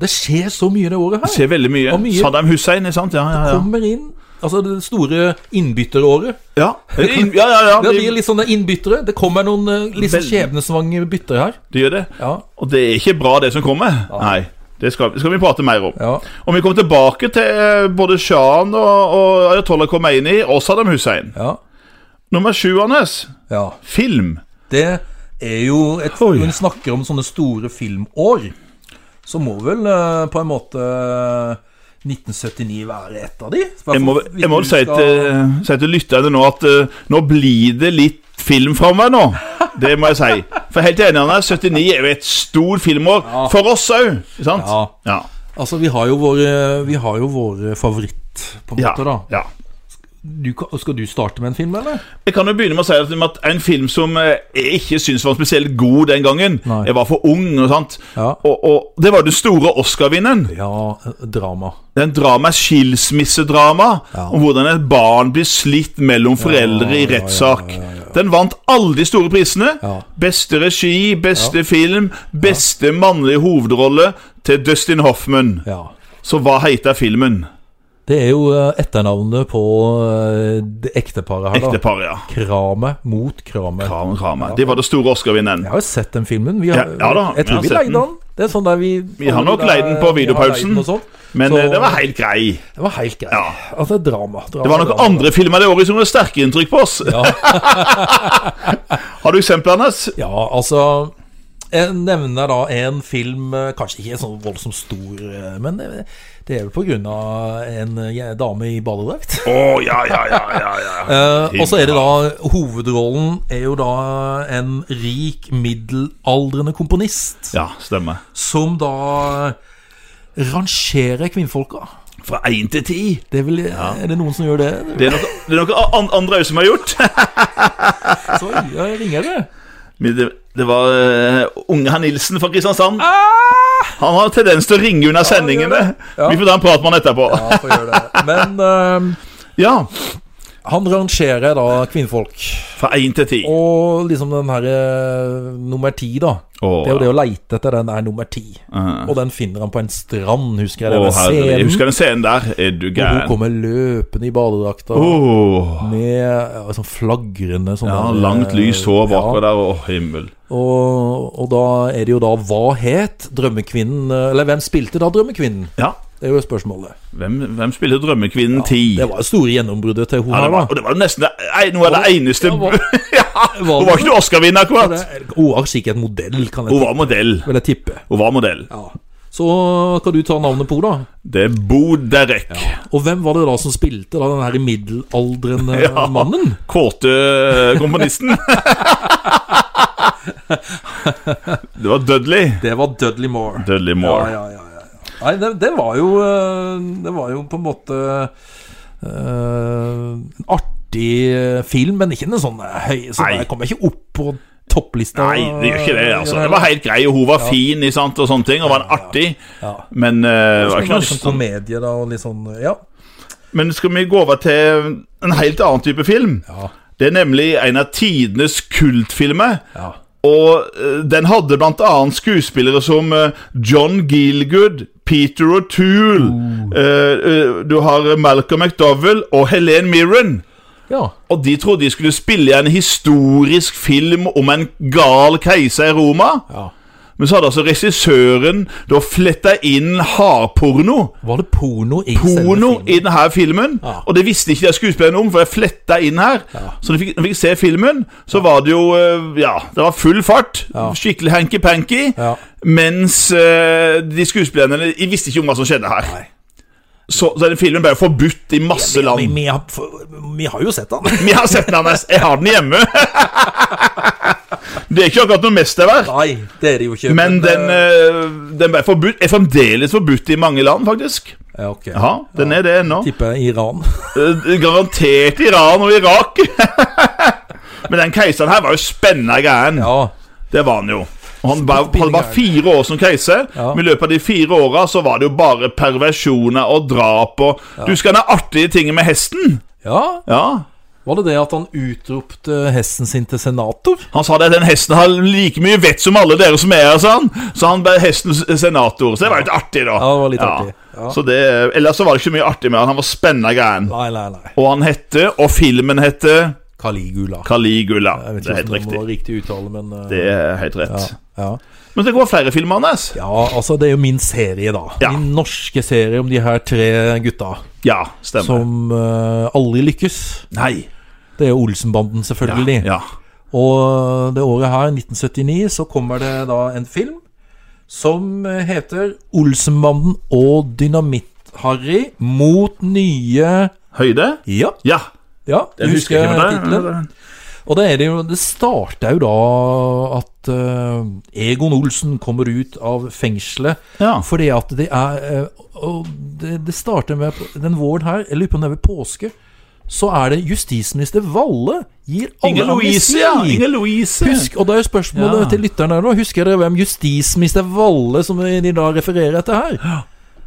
Speaker 1: det skjer så mye det året her.
Speaker 2: Ser veldig mye.
Speaker 1: Og mye-
Speaker 2: Saddam Hussein, ikke sant? Ja, ja, ja.
Speaker 1: Kommer inn Altså det store innbytteråret.
Speaker 2: Ja, In- ja, ja, ja.
Speaker 1: Det blir
Speaker 2: De,
Speaker 1: litt sånne innbyttere. Det kommer noen eh, litt sånn
Speaker 2: Veldig.
Speaker 1: skjebnesvangre byttere her.
Speaker 2: de gjør det.
Speaker 1: Ja,
Speaker 2: Og det er ikke bra, det som kommer. Nei. Det skal, skal vi prate mer om.
Speaker 1: ja.
Speaker 2: Om vi kommer tilbake til eh, både shahen og, og ayatollah Khomeini og Saddam Hussein.
Speaker 1: ja,
Speaker 2: Nummer sju hans
Speaker 1: ja.
Speaker 2: film.
Speaker 1: Det er jo et,
Speaker 2: Oi.
Speaker 1: Når en snakker om sånne store filmår, så må vel eh, på en måte 1979 være et av de.
Speaker 2: Jeg må,
Speaker 1: Hvis
Speaker 2: jeg må
Speaker 1: du
Speaker 2: vel si
Speaker 1: skal-
Speaker 2: til, si til lytterne nå at eh, nå blir det litt film framover nå. Det må jeg si. For helt enig, Anna, 79 er jo et stort filmår. For oss òg, ikke sant?
Speaker 1: Ja,
Speaker 2: Ja.
Speaker 1: altså vi har jo våre, vi har jo våre favoritt, på en
Speaker 2: Ja.
Speaker 1: måte, da.
Speaker 2: ja.
Speaker 1: Du, kan- skal du starte med en film, eller?
Speaker 2: Jeg kan jo begynne med å si at- at en film som eh, jeg ikke syns var spesielt god den gangen
Speaker 1: Nei.
Speaker 2: Jeg var for ung, og sant?
Speaker 1: Ja.
Speaker 2: Og, og det var den store Oscar-vinneren.
Speaker 1: Ja, eh, drama.
Speaker 2: Den drama er skilsmissedrama
Speaker 1: Ja.
Speaker 2: om hvordan et barn blir slitt mellom foreldre i
Speaker 1: ja, ja,
Speaker 2: rettssak. Den vant alle de store prisene.
Speaker 1: Ja.
Speaker 2: Beste regi, beste film, beste mannlige hovedrolle til Dustin Hoffman.
Speaker 1: Ja.
Speaker 2: Så hva heter filmen?
Speaker 1: Det er jo eh, etternavnet på eh, det ekteparet her, da.
Speaker 2: Ekteparet, ja.
Speaker 1: Kramet mot Kramet.
Speaker 2: Kram, kram. Det var det store Oscar-vinneren.
Speaker 1: Jeg har jo sett den filmen. Vi har,
Speaker 2: Ja,
Speaker 1: jeg
Speaker 2: ja da, vi har
Speaker 1: tror vi
Speaker 2: sett
Speaker 1: leide
Speaker 2: den.
Speaker 1: den. Det er sånn der vi
Speaker 2: Vi har nok
Speaker 1: alle
Speaker 2: leid den
Speaker 1: der-
Speaker 2: på
Speaker 1: vi har leid
Speaker 2: videopausen.
Speaker 1: den og sånn.
Speaker 2: Men
Speaker 1: Så-
Speaker 2: eh, det var helt grei.
Speaker 1: Det var helt greit.
Speaker 2: Ja.
Speaker 1: Altså, drama. drama
Speaker 2: Det var noen
Speaker 1: drama.
Speaker 2: andre filmer det året som gjorde sterke inntrykk på oss.
Speaker 1: Ja.
Speaker 2: Har du eksempler, Anders?
Speaker 1: Ja, altså Jeg nevner da en film, eh, kanskje ikke så voldsomt stor, eh, men det, det er vel på grunn av en eh, dame i badedrakt.
Speaker 2: Å, ja, ja, ja, ja, ja.
Speaker 1: Eh, og så er det da Hovedrollen er jo da en rik, middelaldrende komponist
Speaker 2: Ja, stemmer.
Speaker 1: som da rangerer kvinnfolka.
Speaker 2: Fra én til ti.
Speaker 1: Det er, vel, er det noen som gjør det?
Speaker 2: Det er noe, det er noe an andre òg som har gjort.
Speaker 1: Så ja, jeg ringer det.
Speaker 2: Men det, det var eh, unge herr Nilsen fra Kristiansand. Han har tendens til å ringe under sendingene.
Speaker 1: Ja.
Speaker 2: Vi får ta en prat med han etterpå.
Speaker 1: Ja, får gjøre det. Men eh,
Speaker 2: Ja,
Speaker 1: han rangerer da kvinnfolk.
Speaker 2: Fra én til ti.
Speaker 1: Og liksom den her eh, nummer ti, da.
Speaker 2: Å,
Speaker 1: Det er jo
Speaker 2: ja.
Speaker 1: det å leite etter den er nummer ti.
Speaker 2: Ah.
Speaker 1: Og den finner han på en strand, husker jeg.
Speaker 2: Å,
Speaker 1: Denne
Speaker 2: herre, jeg
Speaker 1: scenen.
Speaker 2: husker den scenen der. Er du
Speaker 1: hvor hun
Speaker 2: gæren?
Speaker 1: kommer løpende i badedrakta.
Speaker 2: Åh,
Speaker 1: Med ja, sånn flagrende sånn
Speaker 2: ja,
Speaker 1: der,
Speaker 2: langt
Speaker 1: eh,
Speaker 2: lyst hår
Speaker 1: ja.
Speaker 2: bakover der. Å, himmel.
Speaker 1: Og, og da er det jo da Hva het drømmekvinnen eh, Eller hvem spilte da drømmekvinnen?
Speaker 2: Ja.
Speaker 1: Det er jo spørsmålet.
Speaker 2: Hvem, hvem spiller Drømmekvinnen 10?
Speaker 1: Det var jo store gjennombruddet til hun
Speaker 2: Ja, det
Speaker 1: her,
Speaker 2: var, og
Speaker 1: da.
Speaker 2: det var jo nesten det, ei- noe av det eneste
Speaker 1: Ja, var-
Speaker 2: Ja, Hun var ikke noe Oscar-vinner, akkurat.
Speaker 1: Det- Hun var sikkert en modell, kan jeg
Speaker 2: Hun
Speaker 1: tippe.
Speaker 2: var modell.
Speaker 1: Vil jeg tippe.
Speaker 2: Hun var modell.
Speaker 1: Ja. Så eh, kan du ta navnet på henne, da.
Speaker 2: Det er Bo Derek.
Speaker 1: Og hvem var det da som spilte da den her middelaldrende
Speaker 2: Ja.
Speaker 1: mannen?
Speaker 2: Kåte komponisten. det var Dudley.
Speaker 1: Det var Dudley Moore.
Speaker 2: Dudley Moore.
Speaker 1: Ja, ja, ja, ja, ja. Nei, det, det var jo eh, Det var jo på en måte eh, En artig eh, film, men ikke en sånn eh, høy Så
Speaker 2: Nei.
Speaker 1: jeg kommer ikke opp på topplista.
Speaker 2: Nei, det gjør ikke det. altså Det var helt grei, og hun var fin ikke sant, og sånne ting, og var en artig.
Speaker 1: Ja.
Speaker 2: Men eh, det var
Speaker 1: Det
Speaker 2: ikke
Speaker 1: var
Speaker 2: noe
Speaker 1: litt sånn
Speaker 2: sånn
Speaker 1: komedie, da, og litt sånn Ja.
Speaker 2: Men skal vi gå over til en helt annen type film?
Speaker 1: Ja.
Speaker 2: Det er nemlig en av tidenes kultfilmer.
Speaker 1: ja.
Speaker 2: Og eh, den hadde blant annet skuespillere som eh, John Gilgood, Peter O'Toole
Speaker 1: Uh.
Speaker 2: eh, eh, Du har Malcolm McDowell og Helene Mirren.
Speaker 1: ja.
Speaker 2: Og de trodde de skulle spille en historisk film om en gal keiser i Roma.
Speaker 1: ja.
Speaker 2: Men så hadde altså regissøren da fletta inn hardporno.
Speaker 1: Var det porno i
Speaker 2: Porno
Speaker 1: selve
Speaker 2: i
Speaker 1: filmen?
Speaker 2: denne filmen,
Speaker 1: Ja.
Speaker 2: og det visste ikke de skuespillerne om, for jeg fletta inn her. Så når de fikk, når de fikk se filmen, så var det jo eh, Ja, det var full fart.
Speaker 1: Ja.
Speaker 2: Skikkelig hanky-panky.
Speaker 1: Ja.
Speaker 2: Mens eh, de skuespillerne de visste ikke om hva som skjedde her.
Speaker 1: Nei.
Speaker 2: Så, så den filmen ble forbudt i masse
Speaker 1: Vi,
Speaker 2: land.
Speaker 1: vi, har, for- vi har jo sett den.
Speaker 2: Vi har sett den, Anders. Jeg har den hjemme. Det er ikke akkurat noe mesterverk.
Speaker 1: Nei, det er det jo ikke.
Speaker 2: Men den,
Speaker 1: eh,
Speaker 2: eh, den ble forbudt, er fremdeles forbudt i mange land, faktisk.
Speaker 1: Ja, ok.
Speaker 2: Ja, den er det ennå.
Speaker 1: Tipper Iran.
Speaker 2: Eh, Garantert Iran og Irak. Men den keiseren her var jo spennende gæren.
Speaker 1: Ja.
Speaker 2: Det var han jo. Og Han var, han var fire år som keiser.
Speaker 1: Ja.
Speaker 2: Men i løpet av de fire åra så var det jo bare perversjoner og drap og Du skal ha artige ting med hesten.
Speaker 1: ja.
Speaker 2: Ja.
Speaker 1: Var det det at han utropte hesten sin til senator?
Speaker 2: Han sa det at den hesten har like mye vett som alle dere som er her, sa han. Så han ble hestens senator. Så det var jo litt artig, da.
Speaker 1: Ja, det var litt artig. Ja.
Speaker 2: Så det, ellers så var det ikke mye artig med han. Han var spennende gæren.
Speaker 1: Nei, nei, nei.
Speaker 2: Og han hette, og filmen hette
Speaker 1: Caligula.
Speaker 2: Caligula.
Speaker 1: Jeg vet
Speaker 2: Det
Speaker 1: ikke
Speaker 2: er helt
Speaker 1: om det
Speaker 2: riktig.
Speaker 1: var riktig uttale, men eh,
Speaker 2: Det er helt rett.
Speaker 1: ja.
Speaker 2: Men det går flere filmer, Anders.
Speaker 1: ja, altså, det er jo min serie, da.
Speaker 2: Ja.
Speaker 1: Min norske serie om de her tre gutta
Speaker 2: Ja, stemmer.
Speaker 1: som eh, aldri lykkes.
Speaker 2: Nei.
Speaker 1: Det er jo Olsenbanden, selvfølgelig.
Speaker 2: Ja.
Speaker 1: Og det året her, 1979, så kommer det da en film som heter 'Olsenbanden og Dynamitt-Harry mot nye
Speaker 2: Høyde?
Speaker 1: Ja,
Speaker 2: Ja.
Speaker 1: ja du
Speaker 2: Jeg husker
Speaker 1: husker
Speaker 2: ikke med
Speaker 1: tittelen?
Speaker 2: det.
Speaker 1: Og da er det jo Det starta jo da at eh, Egon Olsen kommer ut av fengselet.
Speaker 2: Ja.
Speaker 1: Fordi at det er eh, Og det, det starter med at Den våren her, jeg lurer på om det er ved påske, så er det justisminister Valle gir alle
Speaker 2: Inger Louise, ja.
Speaker 1: amnesti.
Speaker 2: Inger Louise.
Speaker 1: Husk, og da er spørsmålet
Speaker 2: Ja.
Speaker 1: til lytterne her nå Husker dere hvem justisminister Valle som de da refererer etter her?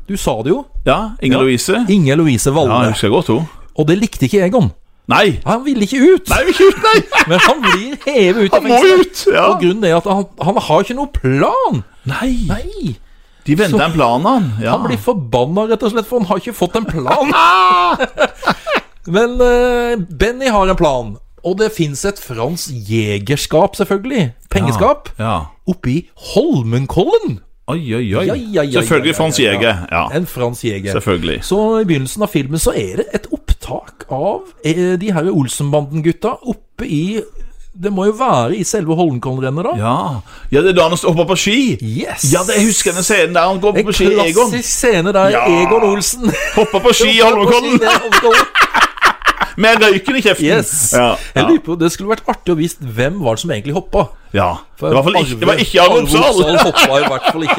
Speaker 1: Du sa det jo.
Speaker 2: Ja, Inger Louise.
Speaker 1: Inger Louise
Speaker 2: Ja,
Speaker 1: Valle.
Speaker 2: jeg husker godt hun.
Speaker 1: og det likte ikke Egon.
Speaker 2: Nei.
Speaker 1: Han ville ikke ut.
Speaker 2: Nei, vi kutt, nei!
Speaker 1: Men han blir hevet ut av
Speaker 2: Han må
Speaker 1: fengselet.
Speaker 2: ut! Ja.
Speaker 1: Og grunnen er at han, han har ikke noe plan.
Speaker 2: Nei.
Speaker 1: Nei.
Speaker 2: De venter en plan, han. Ja.
Speaker 1: Han blir forbanna, rett og slett, for han har ikke fått en plan.
Speaker 2: Ah!
Speaker 1: Men eh, Benny har en plan. Og det fins et fransk jegerskap, selvfølgelig. Pengeskap.
Speaker 2: Ja.
Speaker 1: Oppi Holmenkollen.
Speaker 2: Oi, oi, oi.
Speaker 1: Ja, ja, ja,
Speaker 2: Selvfølgelig
Speaker 1: ja, ja,
Speaker 2: Frans
Speaker 1: ja, ja.
Speaker 2: Jæger. Ja.
Speaker 1: En fransk jeger.
Speaker 2: Selvfølgelig.
Speaker 1: Så i begynnelsen av filmen så er det et opptak av eh, de her Olsenbanden-gutta oppe i Det må jo være i selve Holmenkollen-rennet, da.
Speaker 2: Ja. ja, det er da han hopper på ski.
Speaker 1: Yes!
Speaker 2: Ja, det, jeg husker den scenen der han går
Speaker 1: En
Speaker 2: på ski, Egon.
Speaker 1: klassisk scene der
Speaker 2: Ja.
Speaker 1: Egon Olsen
Speaker 2: Hopper på ski i Holmenkollen
Speaker 1: Det er Holmenkollen.
Speaker 2: med røyken i kjeften.
Speaker 1: Yes.
Speaker 2: Ja,
Speaker 1: Jeg
Speaker 2: ja.
Speaker 1: lurer på, Det skulle vært artig å vise hvem var det som egentlig hoppa.
Speaker 2: ja. Det var i hvert fall ikke, det var ikke Arve Oppsal.
Speaker 1: Arve hoppa i hvert fall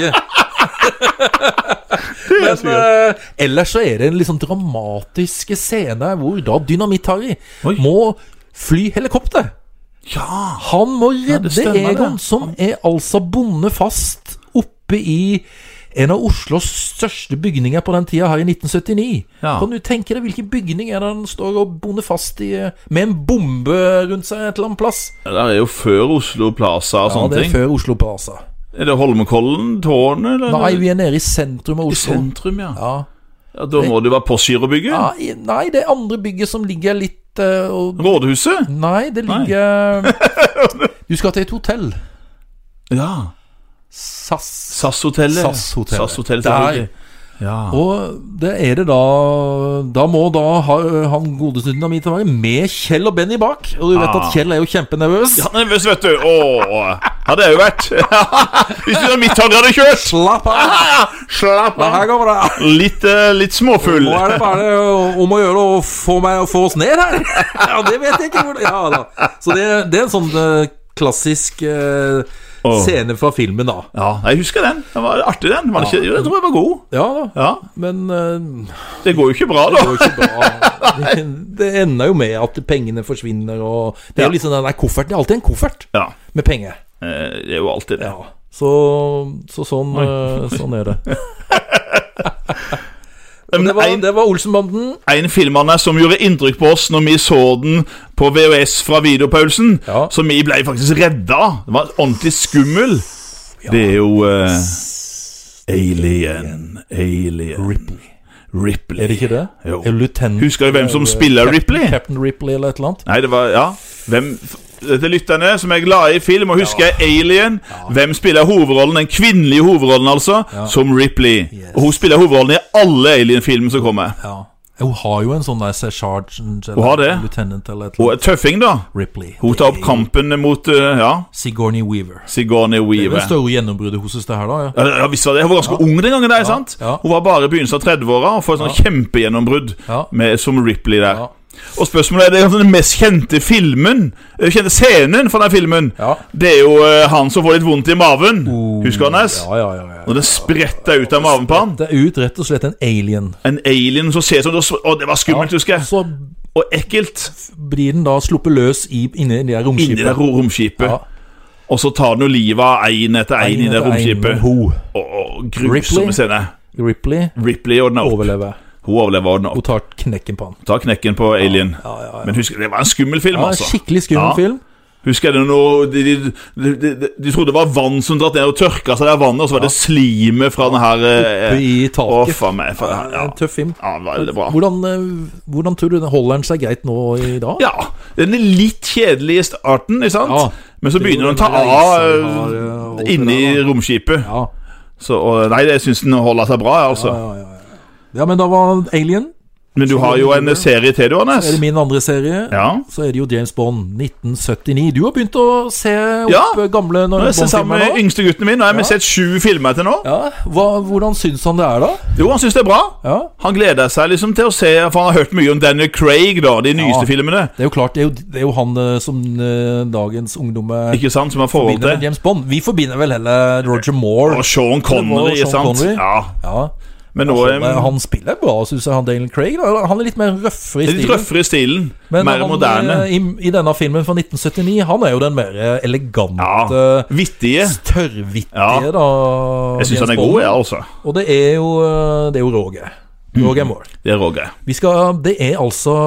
Speaker 1: ikke. Men eh, ellers så er det en litt sånn dramatiske scene hvor da Dynamitt-Harry
Speaker 2: Oi.
Speaker 1: må fly helikopter.
Speaker 2: Ja.
Speaker 1: Han må redde
Speaker 2: stemmer, det.
Speaker 1: Egon, som er altså bonde fast oppe i en av Oslos største bygninger på den tida her i 1979.
Speaker 2: Ja.
Speaker 1: Kan du tenke deg hvilken bygning er det han står og bonde fast i eh, med en bombe rundt seg et eller annet plass?
Speaker 2: Det er jo før Oslo Plaza
Speaker 1: Ja,
Speaker 2: og sånne
Speaker 1: det er
Speaker 2: ting.
Speaker 1: før Oslo altså. Plaza.
Speaker 2: Er det Holmenkollen, tårnet, eller?
Speaker 1: Nei, vi er nede i sentrum av Oslo.
Speaker 2: Sentrum, ja.
Speaker 1: Ja.
Speaker 2: ja. Da må det være Postgirobygget.
Speaker 1: Ja, i- nei, det andre bygget som ligger litt eh, og,
Speaker 2: Rådhuset.
Speaker 1: Nei, det ligger Du skal til et hotell.
Speaker 2: Ja.
Speaker 1: SAS.
Speaker 2: SAS-hotellet.
Speaker 1: SAS-hotellet.
Speaker 2: SAS-hotellet.
Speaker 1: Der.
Speaker 2: selvfølgelig. Ja.
Speaker 1: Og det er det da Da må da ha, han godeste dynamitt være med Kjell og Benny bak. Og du vet
Speaker 2: Ah.
Speaker 1: at Kjell er jo kjempenervøs.
Speaker 2: Han er nervøs, vet du. Åh, hadde jeg jo vært. Hvis du var mitt hadde hadde kjørt.
Speaker 1: Slapp av!
Speaker 2: Slapp
Speaker 1: Det her
Speaker 2: av.
Speaker 1: går bra.
Speaker 2: Litt, eh, litt småfull.
Speaker 1: Nå er det bare eh, om å gjøre å få, meg, å få oss ned her. Ja, det vet jeg ikke hvor det- ja, da. Så det, det er en sånn eh, klassisk eh,
Speaker 2: Åh.
Speaker 1: scene fra filmen, da.
Speaker 2: Ja, jeg husker den. Den var artig, den. Var det ikke? Jo, Jeg tror jeg var god.
Speaker 1: Ja da.
Speaker 2: Ja,
Speaker 1: Men eh,
Speaker 2: Det går jo ikke bra,
Speaker 1: det
Speaker 2: da.
Speaker 1: går jo ikke bra. Det, det ender jo med at pengene forsvinner, og Det er jo liksom den der kofferten. Det er alltid en koffert
Speaker 2: Ja,
Speaker 1: med penger.
Speaker 2: eh, det er jo alltid det.
Speaker 1: Ja. Så, så sånn, eh, sånn er det.
Speaker 2: Men
Speaker 1: Det var,
Speaker 2: en-
Speaker 1: det var Olsenbanden.
Speaker 2: en filmene som gjorde inntrykk på oss når vi så den på VHS fra videopausen,
Speaker 1: Ja.
Speaker 2: så vi ble faktisk redda. Den var ordentlig skummel. Det er jo eh, Alien. Alien. Ripley.
Speaker 1: Er det ikke det?
Speaker 2: Jo.
Speaker 1: Er det Lieutenant
Speaker 2: Husker du hvem som spiller Ripley?
Speaker 1: Captain Ripley eller et eller annet?
Speaker 2: Nei, det var Ja. Hvem Dette er lytterne som er glade i film og husker Alien. Hvem spiller hovedrollen? Den kvinnelige hovedrollen, altså, som Ripley. Og hun spiller hovedrollen i alle Alien-filmer som kommer.
Speaker 1: Ja. Hun har jo en sånn der se, sergeant eller
Speaker 2: har det.
Speaker 1: lieutenant eller et
Speaker 2: Hun
Speaker 1: eller
Speaker 2: er tøffing, da.
Speaker 1: annet. Ripley.
Speaker 2: Hun tar opp kampen mot eh, Ja.
Speaker 1: Sigourney Weaver.
Speaker 2: Sigourney
Speaker 1: Det er
Speaker 2: Weaver.
Speaker 1: det store gjennombruddet hos oss, det her, da. Ja.
Speaker 2: Ja, ja, visst var det. Hun var ganske ung den gangen. der, sant?
Speaker 1: ja.
Speaker 2: Hun var bare i begynnelsen av 30-åra og får et sånt kjempegjennombrudd
Speaker 1: Ja.
Speaker 2: med- som Ripley der.
Speaker 1: Ja.
Speaker 2: Og spørsmålet er, det er kanskje den mest kjente filmen eh, Kjente scenen fra den filmen.
Speaker 1: Ja. Oh,
Speaker 2: Det er jo eh, han som får litt vondt i maven. Husker du hans?
Speaker 1: Ja, ja, ja, ja.
Speaker 2: Når det spretter ut av maven på han.
Speaker 1: Det er ut rett og slett en alien.
Speaker 2: En alien som ser sånn Å, det var skummelt, husker jeg.
Speaker 1: Så
Speaker 2: Og ekkelt.
Speaker 1: blir den da sluppet løs i, inni det der
Speaker 2: Inni det
Speaker 1: romskipet.
Speaker 2: ro- romskipet.
Speaker 1: Ja.
Speaker 2: Og så tar den jo livet av én etter én i det
Speaker 1: etter en
Speaker 2: romskipet.
Speaker 1: ho.
Speaker 2: Å, å, grusomme
Speaker 1: Ripley.
Speaker 2: scene.
Speaker 1: Ripley
Speaker 2: Ripley ordna opp.
Speaker 1: overlever.
Speaker 2: Hun overlever og ordna opp.
Speaker 1: Hun tar knekken på han.
Speaker 2: Ta knekken på Alien.
Speaker 1: Ja, ja, ja.
Speaker 2: Men husk, det var en skummel film,
Speaker 1: Ja,
Speaker 2: altså.
Speaker 1: skikkelig skummel
Speaker 2: Ja.
Speaker 1: film.
Speaker 2: Husker jeg det noe de, de, de, de, de trodde det var vann som dratt ned og tørka seg der vannet, og så var det slimet fra den her eh,
Speaker 1: I
Speaker 2: Å,
Speaker 1: taket.
Speaker 2: faen meg. For,
Speaker 1: Det
Speaker 2: ja.
Speaker 1: er en tøff film.
Speaker 2: ja, det var veldig bra.
Speaker 1: Hvordan, eh, hvordan tror du den holder den seg greit nå i dag?
Speaker 2: Ja, den er litt kjedelig i starten, ikke sant?
Speaker 1: Ja.
Speaker 2: Men så
Speaker 1: Det er jo
Speaker 2: begynner den å ta
Speaker 1: den der isen
Speaker 2: av
Speaker 1: vi
Speaker 2: eh,
Speaker 1: har, eh, holdt
Speaker 2: inni
Speaker 1: det der, da.
Speaker 2: romskipet.
Speaker 1: Ja.
Speaker 2: Så, og, nei, jeg syns den holder seg bra, altså.
Speaker 1: Ja, ja, ja. ja, men da var Alien.
Speaker 2: Men du har jo en serie til, du, Anders.
Speaker 1: Er det min andre serie?
Speaker 2: Ja.
Speaker 1: Så er det jo James Bond 1979. Du har begynt å se opp
Speaker 2: Ja.
Speaker 1: eh, gamle
Speaker 2: Nå er jeg sammen
Speaker 1: Bond-filmer
Speaker 2: med
Speaker 1: nå?
Speaker 2: yngste gutten min, og jeg har vi sett sju filmer til nå.
Speaker 1: Ja. Hva, hvordan syns han det er, da?
Speaker 2: Jo, han syns det er bra.
Speaker 1: Ja.
Speaker 2: Han gleder seg liksom til å se For han har hørt mye om Daniel Craig, da, de nyeste
Speaker 1: Ja.
Speaker 2: filmene.
Speaker 1: Det er jo klart, det er jo, det er jo han eh, som eh, dagens ungdommer
Speaker 2: Ikke sant, som har forhold
Speaker 1: forbinder med
Speaker 2: til.
Speaker 1: James Bond. Vi forbinder vel heller Roger Moore.
Speaker 2: Og Sean Connery,
Speaker 1: Det var Sean
Speaker 2: ikke sant.
Speaker 1: Connery.
Speaker 2: Ja,
Speaker 1: Ja.
Speaker 2: Men nå er
Speaker 1: Han, han spiller bra, syns jeg, han Dalen Craig. Da. Han er litt mer røffere i
Speaker 2: litt
Speaker 1: stilen.
Speaker 2: røffere i stilen.
Speaker 1: Men
Speaker 2: Mer
Speaker 1: han,
Speaker 2: moderne.
Speaker 1: eh, i, I denne filmen fra 1979, han er jo den mer eh, elegante,
Speaker 2: Ja. Vittige.
Speaker 1: tørrvittige,
Speaker 2: Ja.
Speaker 1: da.
Speaker 2: Jeg
Speaker 1: Jens
Speaker 2: syns han er
Speaker 1: Bond.
Speaker 2: god, jeg, altså.
Speaker 1: Og det er jo eh, Det er jo Roger. Roger Moore.
Speaker 2: Det er Roger.
Speaker 1: Vi skal Det er altså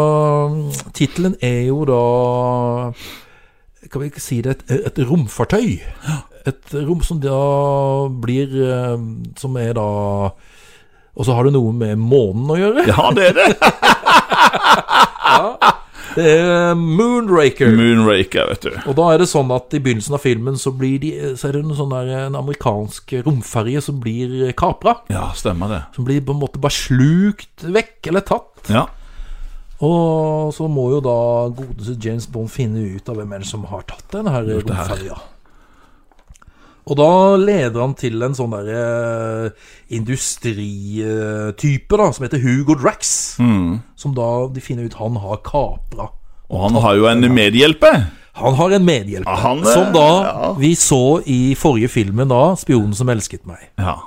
Speaker 1: Tittelen er jo da Kan vi ikke si det? Et, et romfartøy. Et rom som da blir eh, Som er da Og så har det noe med månen å gjøre.
Speaker 2: Ja, det er det.
Speaker 1: Det er eh, Moonraker.
Speaker 2: Moonraker, vet du.
Speaker 1: Og da er det sånn at i begynnelsen av filmen så, blir de, så er det en, sånn der, en amerikansk romferje som blir kapra.
Speaker 2: Ja, stemmer det.
Speaker 1: Som blir på en måte bare slukt vekk, eller tatt.
Speaker 2: Ja.
Speaker 1: Og så må jo da godeste James Bond finne ut av hvem er det som har tatt den her
Speaker 2: Gjort det her.
Speaker 1: romferja. Og da leder han til en sånn derre industritype, da, som heter Hugo Drax.
Speaker 2: Mm.
Speaker 1: Som da de finner ut han har kapra.
Speaker 2: Og han har jo en medhjelper.
Speaker 1: Han har en medhjelper,
Speaker 2: Ja, han, eh,
Speaker 1: som da
Speaker 2: ja.
Speaker 1: vi så i forrige filmen, da 'Spionen som elsket meg'.
Speaker 2: Ja.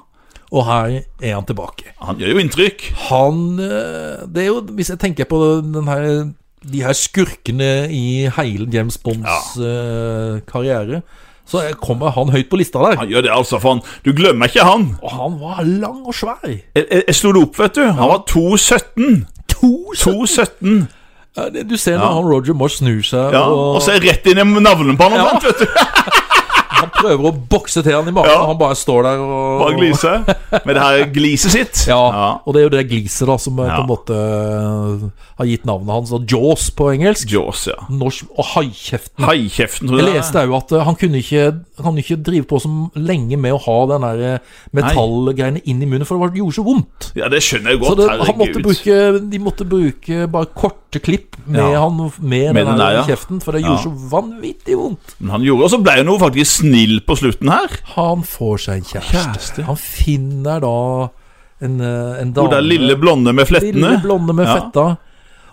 Speaker 1: Og her er han tilbake.
Speaker 2: Han gjør jo inntrykk.
Speaker 1: Han eh, Det er jo Hvis jeg tenker på den her de her skurkene i hele James Bonds eh, karriere, så er- kommer han høyt på lista der.
Speaker 2: Han gjør det, altså, for han Du glemmer ikke han.
Speaker 1: Og han var lang og svær.
Speaker 2: Jeg, jeg, jeg slo det opp, vet du. Han var 2,17.
Speaker 1: To, sø-
Speaker 2: 2,17.
Speaker 1: Ja, det- Du ser når han Roger Moore snur seg
Speaker 2: Ja,
Speaker 1: og,
Speaker 2: og så er jeg rett inn i navlen på han omtrent, vet du.
Speaker 1: han prøver å bokse til han i magen,
Speaker 2: Ja.
Speaker 1: og han bare står der og
Speaker 2: Bare glise. Med det her gliset sitt.
Speaker 1: Ja,
Speaker 2: Ja.
Speaker 1: og det er jo det gliset da som eh,
Speaker 2: Ja.
Speaker 1: på en måte eh, har gitt navnet hans. Og Jaws på engelsk.
Speaker 2: Jaws, ja.
Speaker 1: Norsk og haikjeften.
Speaker 2: Haikjeften, tror
Speaker 1: Jeg
Speaker 2: jeg. det er.
Speaker 1: leste jo at eh, han kunne ikke, han kunne ikke drive på så lenge med å ha den der eh, metallgreiene inn i munnen, for det var- det gjorde så vondt.
Speaker 2: Ja, det skjønner jeg
Speaker 1: Så
Speaker 2: godt.
Speaker 1: det, han måtte
Speaker 2: Herregud.
Speaker 1: bruke, de måtte bruke bare korte klipp med,
Speaker 2: Ja.
Speaker 1: han, med,
Speaker 2: Med
Speaker 1: den,
Speaker 2: den der,
Speaker 1: der
Speaker 2: ja.
Speaker 1: kjeften, for det gjorde
Speaker 2: Ja.
Speaker 1: så vanvittig vondt.
Speaker 2: Men han gjorde, og så ble han jo faktisk snill på slutten her.
Speaker 1: Han får seg en kjæreste.
Speaker 2: Kjæreste.
Speaker 1: Han finner da en, eh, en
Speaker 2: Hun
Speaker 1: dame
Speaker 2: der lille blonde med flettene.
Speaker 1: Lille blonde med
Speaker 2: Ja.
Speaker 1: fetta.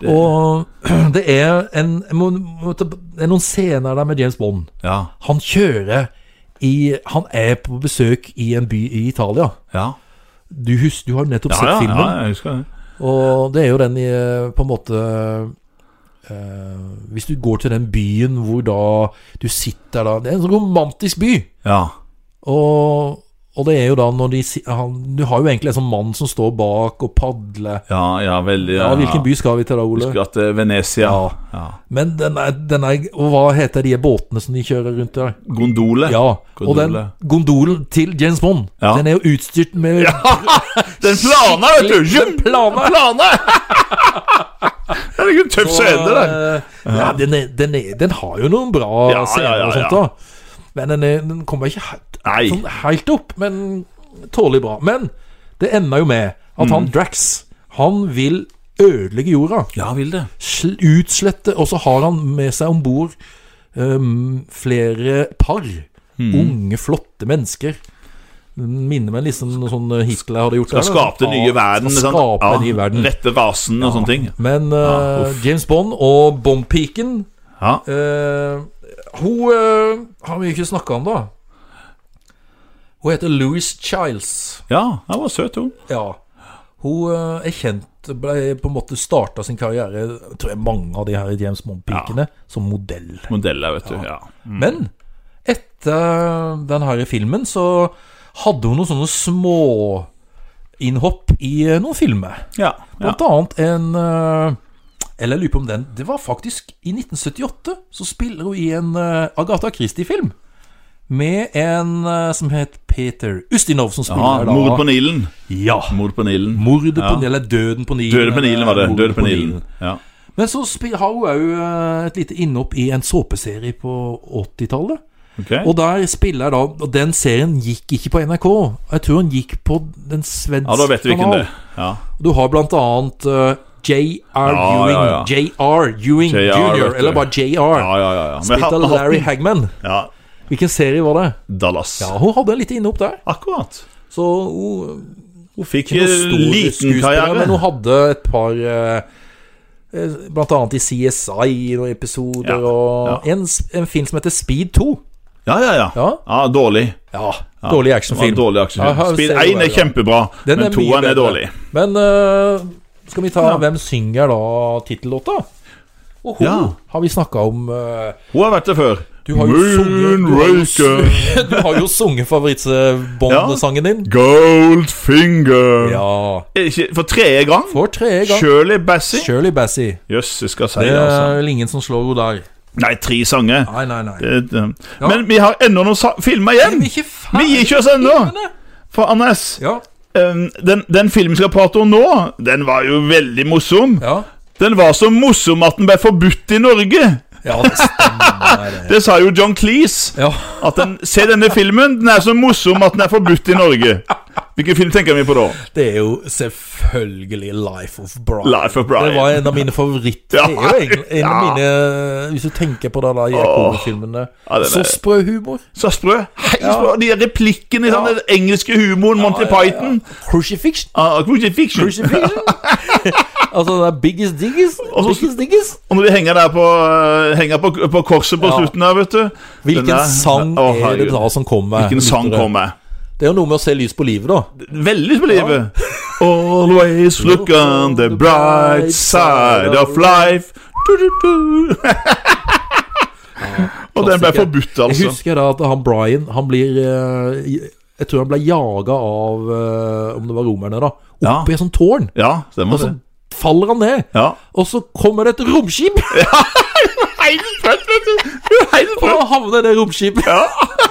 Speaker 1: Og det er, en, jeg må, må ta- det er noen scener der med James Bond.
Speaker 2: Ja,
Speaker 1: Han kjører i Han er på besøk i en by i Italia.
Speaker 2: ja.
Speaker 1: Du, hus- du har jo nettopp
Speaker 2: Ja,
Speaker 1: sett
Speaker 2: ja, ja,
Speaker 1: filmen.
Speaker 2: jeg husker det.
Speaker 1: Og det er jo den i eh, på en måte eh, Hvis du går til den byen hvor da du sitter da Det er en sånn romantisk by.
Speaker 2: Ja.
Speaker 1: Og, og det er jo da når de si- han, Du har jo egentlig en sånn mann som står bak og padler.
Speaker 2: Ja, ja, veldig
Speaker 1: Ja, hvilken by skal vi til da, Ole?
Speaker 2: Husker at det er Venezia.
Speaker 1: Ja.
Speaker 2: Ja.
Speaker 1: Men den er, den er Og hva heter de båtene som de kjører rundt der?
Speaker 2: Gondole.
Speaker 1: Ja, og den
Speaker 2: Gondole.
Speaker 1: gondolen til James Bond,
Speaker 2: Ja.
Speaker 1: den er jo utstyrt med
Speaker 2: Den plana, vet du! Jum!
Speaker 1: Den planer!
Speaker 2: Plana! Herregud, tøff scene, den.
Speaker 1: eh, Ja, den, er, den, er, den har jo noen bra
Speaker 2: Ja, ja,
Speaker 1: scener
Speaker 2: ja,
Speaker 1: og
Speaker 2: ja.
Speaker 1: sånt, da. Men den, er, den kommer ikke helt,
Speaker 2: Nei.
Speaker 1: sånn helt opp, men tålelig bra. Men det ender jo med at han Drax, han vil ødelegge jorda.
Speaker 2: Mm. Ja, vil det.
Speaker 1: sl- utslette Og så har han med seg om bord ehm, flere par.
Speaker 2: Mm.
Speaker 1: Unge, flotte mennesker. Minner meg liksom noe sånn Hitler hadde gjort.
Speaker 2: Skal
Speaker 1: der,
Speaker 2: skape den
Speaker 1: da.
Speaker 2: nye verden.
Speaker 1: Skal
Speaker 2: sant?
Speaker 1: skape den nye verden.
Speaker 2: Rette rasen og sånne ting.
Speaker 1: Men eh,
Speaker 2: uff.
Speaker 1: James Bond og bombpiken
Speaker 2: Ja.
Speaker 1: eh, Hun eh, har vi ikke snakka om, da. Hun heter Louis Childs.
Speaker 2: ja, den var søt, hun.
Speaker 1: Ja. Hun eh, er kjent ble på en måte starta sin karriere, tror jeg mange av de her James Bond-pikene, som modell.
Speaker 2: Modella, vet du. Ja.
Speaker 1: Men etter den her filmen så hadde hun noen sånne små innhopp i eh, noen filmer.
Speaker 2: Ja. ja.
Speaker 1: Blant annet en eh, Eller jeg lurer på om den Det var faktisk i 1978 så spiller hun i en eh, Agatha Christie-film. Med en eh, som het Peter Ustinov, som
Speaker 2: ja
Speaker 1: spiller da
Speaker 2: Mord på Nilen.
Speaker 1: Ja.
Speaker 2: Mord på Nilen.
Speaker 1: Mordet på
Speaker 2: Ja.
Speaker 1: Nilen, eller Døden på Nilen.
Speaker 2: Døde på Nilen, var det.
Speaker 1: eller
Speaker 2: Døde
Speaker 1: Mordet
Speaker 2: på Nilen. Ja.
Speaker 1: Men så spi- har hun òg et lite innhopp i en såpeserie på 80-tallet.
Speaker 2: Ok.
Speaker 1: Og der spiller da Og den serien gikk ikke på NRK. Jeg tror den gikk på den svenske
Speaker 2: Ja, da vet vi hvem det
Speaker 1: kanal.
Speaker 2: er. Ja.
Speaker 1: Du har blant annet eh, J.R.
Speaker 2: Ja,
Speaker 1: Ewing.
Speaker 2: ja, ja.
Speaker 1: J.R. Ewing
Speaker 2: J.R., vet
Speaker 1: jr.
Speaker 2: du.
Speaker 1: Eller bare J.R.
Speaker 2: Ja, ja, ja, ja. Med
Speaker 1: Spilt
Speaker 2: hatten
Speaker 1: av
Speaker 2: og hatten.
Speaker 1: Larry Hagman.
Speaker 2: Ja.
Speaker 1: Hvilken serie var det?
Speaker 2: Dallas.
Speaker 1: Ja, Hun hadde litt inne opp der.
Speaker 2: Akkurat.
Speaker 1: Så hun
Speaker 2: Hun fikk
Speaker 1: ikke
Speaker 2: eh,
Speaker 1: noe stor
Speaker 2: liten
Speaker 1: skuespiller,
Speaker 2: karriere.
Speaker 1: Men hun hadde et par eh, eh, Blant annet i CSI noen episoder,
Speaker 2: Ja,
Speaker 1: og En, s- en film som heter Speed 2.
Speaker 2: Ja, ja, ja.
Speaker 1: Ja.
Speaker 2: ja dårlig.
Speaker 1: Ja, dårlig
Speaker 2: Det var en
Speaker 1: actionfilm.
Speaker 2: Dårlig
Speaker 1: Ja, her
Speaker 2: actionfilm. Speed
Speaker 1: ser du
Speaker 2: 1
Speaker 1: det,
Speaker 2: er
Speaker 1: ja.
Speaker 2: kjempebra,
Speaker 1: Den
Speaker 2: men
Speaker 1: er mye
Speaker 2: 2 er
Speaker 1: bedre.
Speaker 2: dårlig.
Speaker 1: Men eh, skal vi ta
Speaker 2: Ja.
Speaker 1: Hvem synger da tittellåta? Og hun
Speaker 2: Ja.
Speaker 1: har vi snakka om eh,
Speaker 2: Hun har vært der før.
Speaker 1: Du har jo sunget du har jo
Speaker 2: Moonraker,
Speaker 1: sunget- Du har jo sunget favoritt-Bond-sangen din.
Speaker 2: Goldfinger
Speaker 1: Ja.
Speaker 2: Er det ikke- For tredje gang?
Speaker 1: For tredje gang.
Speaker 2: Shirley Bassey?
Speaker 1: Shirley Bassey.
Speaker 2: Jøss, jeg skal si
Speaker 1: Det
Speaker 2: altså.
Speaker 1: er vel ingen som slår henne der.
Speaker 2: Nei, tre sanger.
Speaker 1: Nei, nei, nei.
Speaker 2: Det- det- Men vi har ennå noen sa- filmer igjen!
Speaker 1: Vi er ikke
Speaker 2: Vi gir ikke oss ennå! For Anders,
Speaker 1: Ja,
Speaker 2: em, den, den filmen vi skal prate om nå, den var jo veldig morsom.
Speaker 1: ja.
Speaker 2: Den var så morsom at den ble forbudt i Norge!
Speaker 1: Ja, det stemmer. det.
Speaker 2: Det sa jo John Cleese.
Speaker 1: Ja.
Speaker 2: At den, Se denne filmen, den er så morsom at den er forbudt i Norge. Hvilken film tenker vi på da?
Speaker 1: Det er jo selvfølgelig Life of Brian.
Speaker 2: Life of Brian.
Speaker 1: Det var en av mine favoritter.
Speaker 2: Ja.
Speaker 1: Det er jo egentlig en av
Speaker 2: Ja.
Speaker 1: mine Hvis du tenker på det da Jakob-filmene.
Speaker 2: Ja, den er-
Speaker 1: Så sprø humor.
Speaker 2: Så sprø. Hei, sprø. De replikkene i sånn,
Speaker 1: Ja.
Speaker 2: den engelske humoren, Monty Python.
Speaker 1: Crucifixion.
Speaker 2: Ah, crucifixion.
Speaker 1: Crucifixion. altså det er biggest diggest.
Speaker 2: så-
Speaker 1: Biggest diggest.
Speaker 2: Og når de henger der på, eh, henger på, på korset på
Speaker 1: Ja.
Speaker 2: slutten der, vet du Den
Speaker 1: Hvilken
Speaker 2: er-
Speaker 1: sang
Speaker 2: Å,
Speaker 1: er det
Speaker 2: herregud.
Speaker 1: da som kommer?
Speaker 2: Hvilken sang
Speaker 1: lyttere?
Speaker 2: kommer?
Speaker 1: Det er jo noe med å se lys på livet, da.
Speaker 2: Veldig på livet. Always look on the bright side of life. Du, du, du. Og den ble
Speaker 1: Klassiker.
Speaker 2: forbudt,
Speaker 1: Jeg
Speaker 2: altså.
Speaker 1: husker da at han Brian, han blir eh, Jeg tror han ble jaga av eh, Om det var romerne, da. Opp
Speaker 2: Ja.
Speaker 1: i et sånt tårn.
Speaker 2: Ja, stemmer
Speaker 1: Og så
Speaker 2: det.
Speaker 1: faller han ned.
Speaker 2: Ja.
Speaker 1: Og så kommer det et romskip, og han havner i det romskipet.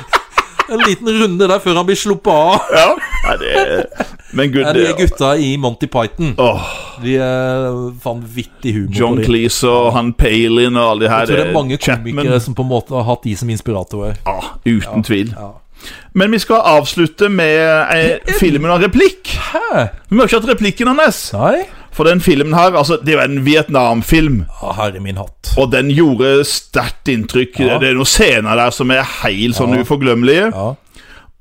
Speaker 1: en liten runde der før han blir sluppet av.
Speaker 2: Ja. Nei, det er... Men gud,
Speaker 1: Det er
Speaker 2: det
Speaker 1: de gutta i Monty Python.
Speaker 2: Åh,
Speaker 1: De er vanvittig humor.
Speaker 2: John
Speaker 1: på de.
Speaker 2: Cleese og han Palin og alle de her eh,
Speaker 1: Jeg tror det er mange
Speaker 2: Chapman.
Speaker 1: komikere som på en måte har hatt de som inspiratorer.
Speaker 2: Ja, uten tvil.
Speaker 1: ja.
Speaker 2: Men vi skal avslutte med eh, filmen og en replikk.
Speaker 1: Hæ?
Speaker 2: Vi har ikke hatt replikken hans.
Speaker 1: Nei?
Speaker 2: For den filmen her, altså, det er jo en Vietnamfilm.
Speaker 1: Ja, Ah, herre min hatt.
Speaker 2: Og den gjorde sterkt inntrykk.
Speaker 1: Ja.
Speaker 2: Det er noen scener der som er helt sånn uforglemmelige.
Speaker 1: Ja.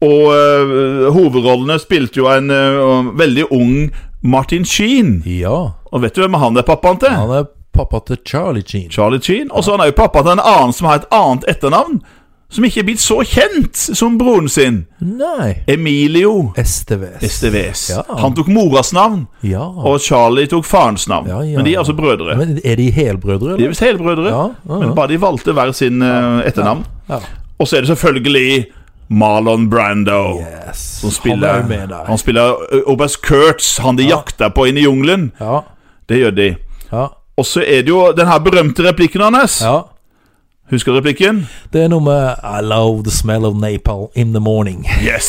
Speaker 2: Og øh, hovedrollene spilte jo en øh, veldig ung Martin Sheen.
Speaker 1: ja.
Speaker 2: Og vet du hvem han er pappaen til?
Speaker 1: Han er pappa til Charlie Jean.
Speaker 2: Charlie Sheen. Og så er han jo pappa til en annen som har et annet etternavn. Som ikke er blitt så kjent som broren sin.
Speaker 1: Nei.
Speaker 2: Emilio
Speaker 1: STVS.
Speaker 2: Esteves.
Speaker 1: Ja.
Speaker 2: Han tok moras navn,
Speaker 1: Ja.
Speaker 2: og Charlie tok farens navn.
Speaker 1: Ja, ja.
Speaker 2: Men de er altså brødre.
Speaker 1: Men er de helbrødre,
Speaker 2: De er
Speaker 1: eller?
Speaker 2: visst helbrødre,
Speaker 1: Ja, ja, ja.
Speaker 2: men bare de valgte hver sin øh, etternavn.
Speaker 1: Ja.
Speaker 2: Og så er det selvfølgelig Marlon Brando.
Speaker 1: Yes.
Speaker 2: Som spiller,
Speaker 1: Han er jo med der.
Speaker 2: han spiller ø, Oberst Kurtz, han de jakter på inne i jungelen.
Speaker 1: Ja.
Speaker 2: Det gjør de.
Speaker 1: Ja.
Speaker 2: Og så er det jo den her berømte replikken hans.
Speaker 1: ja.
Speaker 2: Husker du replikken?
Speaker 1: Det er noe med I love the smell of napalm in the morning.
Speaker 2: Yes!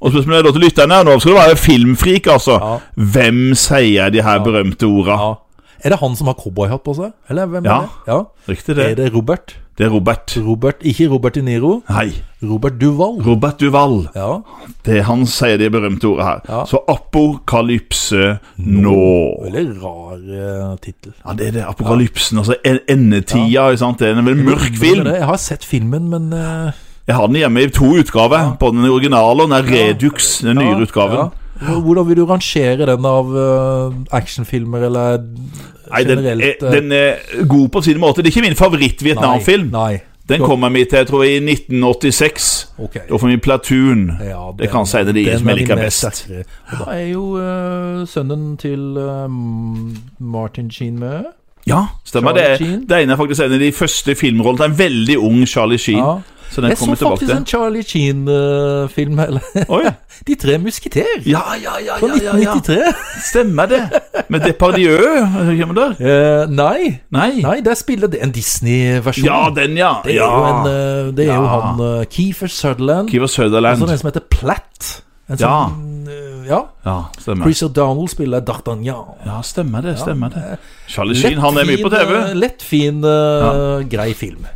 Speaker 2: Og spørsmålet er da til lytterne, nå skal du være filmfrik, altså.
Speaker 1: Ja.
Speaker 2: Hvem sier de her berømte orda?
Speaker 1: Ja. Er det han som har cowboyhatt på seg? Eller hvem
Speaker 2: Ja.
Speaker 1: er det? Ja.
Speaker 2: Riktig det.
Speaker 1: Er det Robert?
Speaker 2: Det er Robert.
Speaker 1: Robert, Ikke Robert De Niro.
Speaker 2: Nei,
Speaker 1: Robert Duval.
Speaker 2: Robert Duval.
Speaker 1: Ja.
Speaker 2: Det er han sier de berømte orda her.
Speaker 1: Ja.
Speaker 2: Så apokalypse nå.
Speaker 1: Veldig rar uh, tittel.
Speaker 2: Ja, det er det. Apokalypsen, altså en- endetida. ikke Sant? Det er en veldig mørk film.
Speaker 1: Jeg har sett filmen, men eh,
Speaker 2: Jeg har den hjemme i to utgaver. På den originale og den er Redux, den nyere utgaven.
Speaker 1: ja. Hvordan vil du rangere den av eh, actionfilmer eller
Speaker 2: Nei, den, er,
Speaker 1: generelt eh,
Speaker 2: den er god på sin måte. Det er ikke min favoritt-Vietnamfilm.
Speaker 1: Nei.
Speaker 2: Den kommer vi til, jeg tror jeg, i 1986.
Speaker 1: Ok.
Speaker 2: Da får vi Platoon.
Speaker 1: Ja,
Speaker 2: Det kan si det er de
Speaker 1: den
Speaker 2: som jeg
Speaker 1: er de
Speaker 2: liker
Speaker 1: mest
Speaker 2: best.
Speaker 1: sterkere. Og Da er jo eh, sønnen til eh, Martin Sheen med.
Speaker 2: Ja, stemmer
Speaker 1: Charlie
Speaker 2: det.
Speaker 1: Sheen.
Speaker 2: Det ene er faktisk en av de første filmrollene til en veldig ung Charlie Sheen.
Speaker 1: Ja.
Speaker 2: Så den
Speaker 1: jeg så
Speaker 2: kommer tilbake
Speaker 1: faktisk
Speaker 2: til.
Speaker 1: en Charlie Sheen-film.
Speaker 2: Oi.
Speaker 1: De tre musketer.
Speaker 2: Ja, ja, ja,
Speaker 1: Fra
Speaker 2: ja, ja, ja.
Speaker 1: 1993.
Speaker 2: Stemmer det. Med Depardieu. Hvem er det der?
Speaker 1: Eh, nei.
Speaker 2: Nei.
Speaker 1: nei, der spiller det en Disney-versjon.
Speaker 2: Ja, den, ja.
Speaker 1: det er
Speaker 2: ja.
Speaker 1: jo, en, eh, det er jo
Speaker 2: Ja.
Speaker 1: han eh, Kiefer Sutherland.
Speaker 2: Kiefer
Speaker 1: Og
Speaker 2: Sutherland.
Speaker 1: så den som heter Platt. En
Speaker 2: Ja.
Speaker 1: sånn, eh, ja.
Speaker 2: Ja, stemmer.
Speaker 1: Chris O'Donnell spiller D'Artagnan.
Speaker 2: Ja, stemmer det. stemmer det Charlie Sheen han er mye på TV.
Speaker 1: eh, Lett, fin, eh, grei film.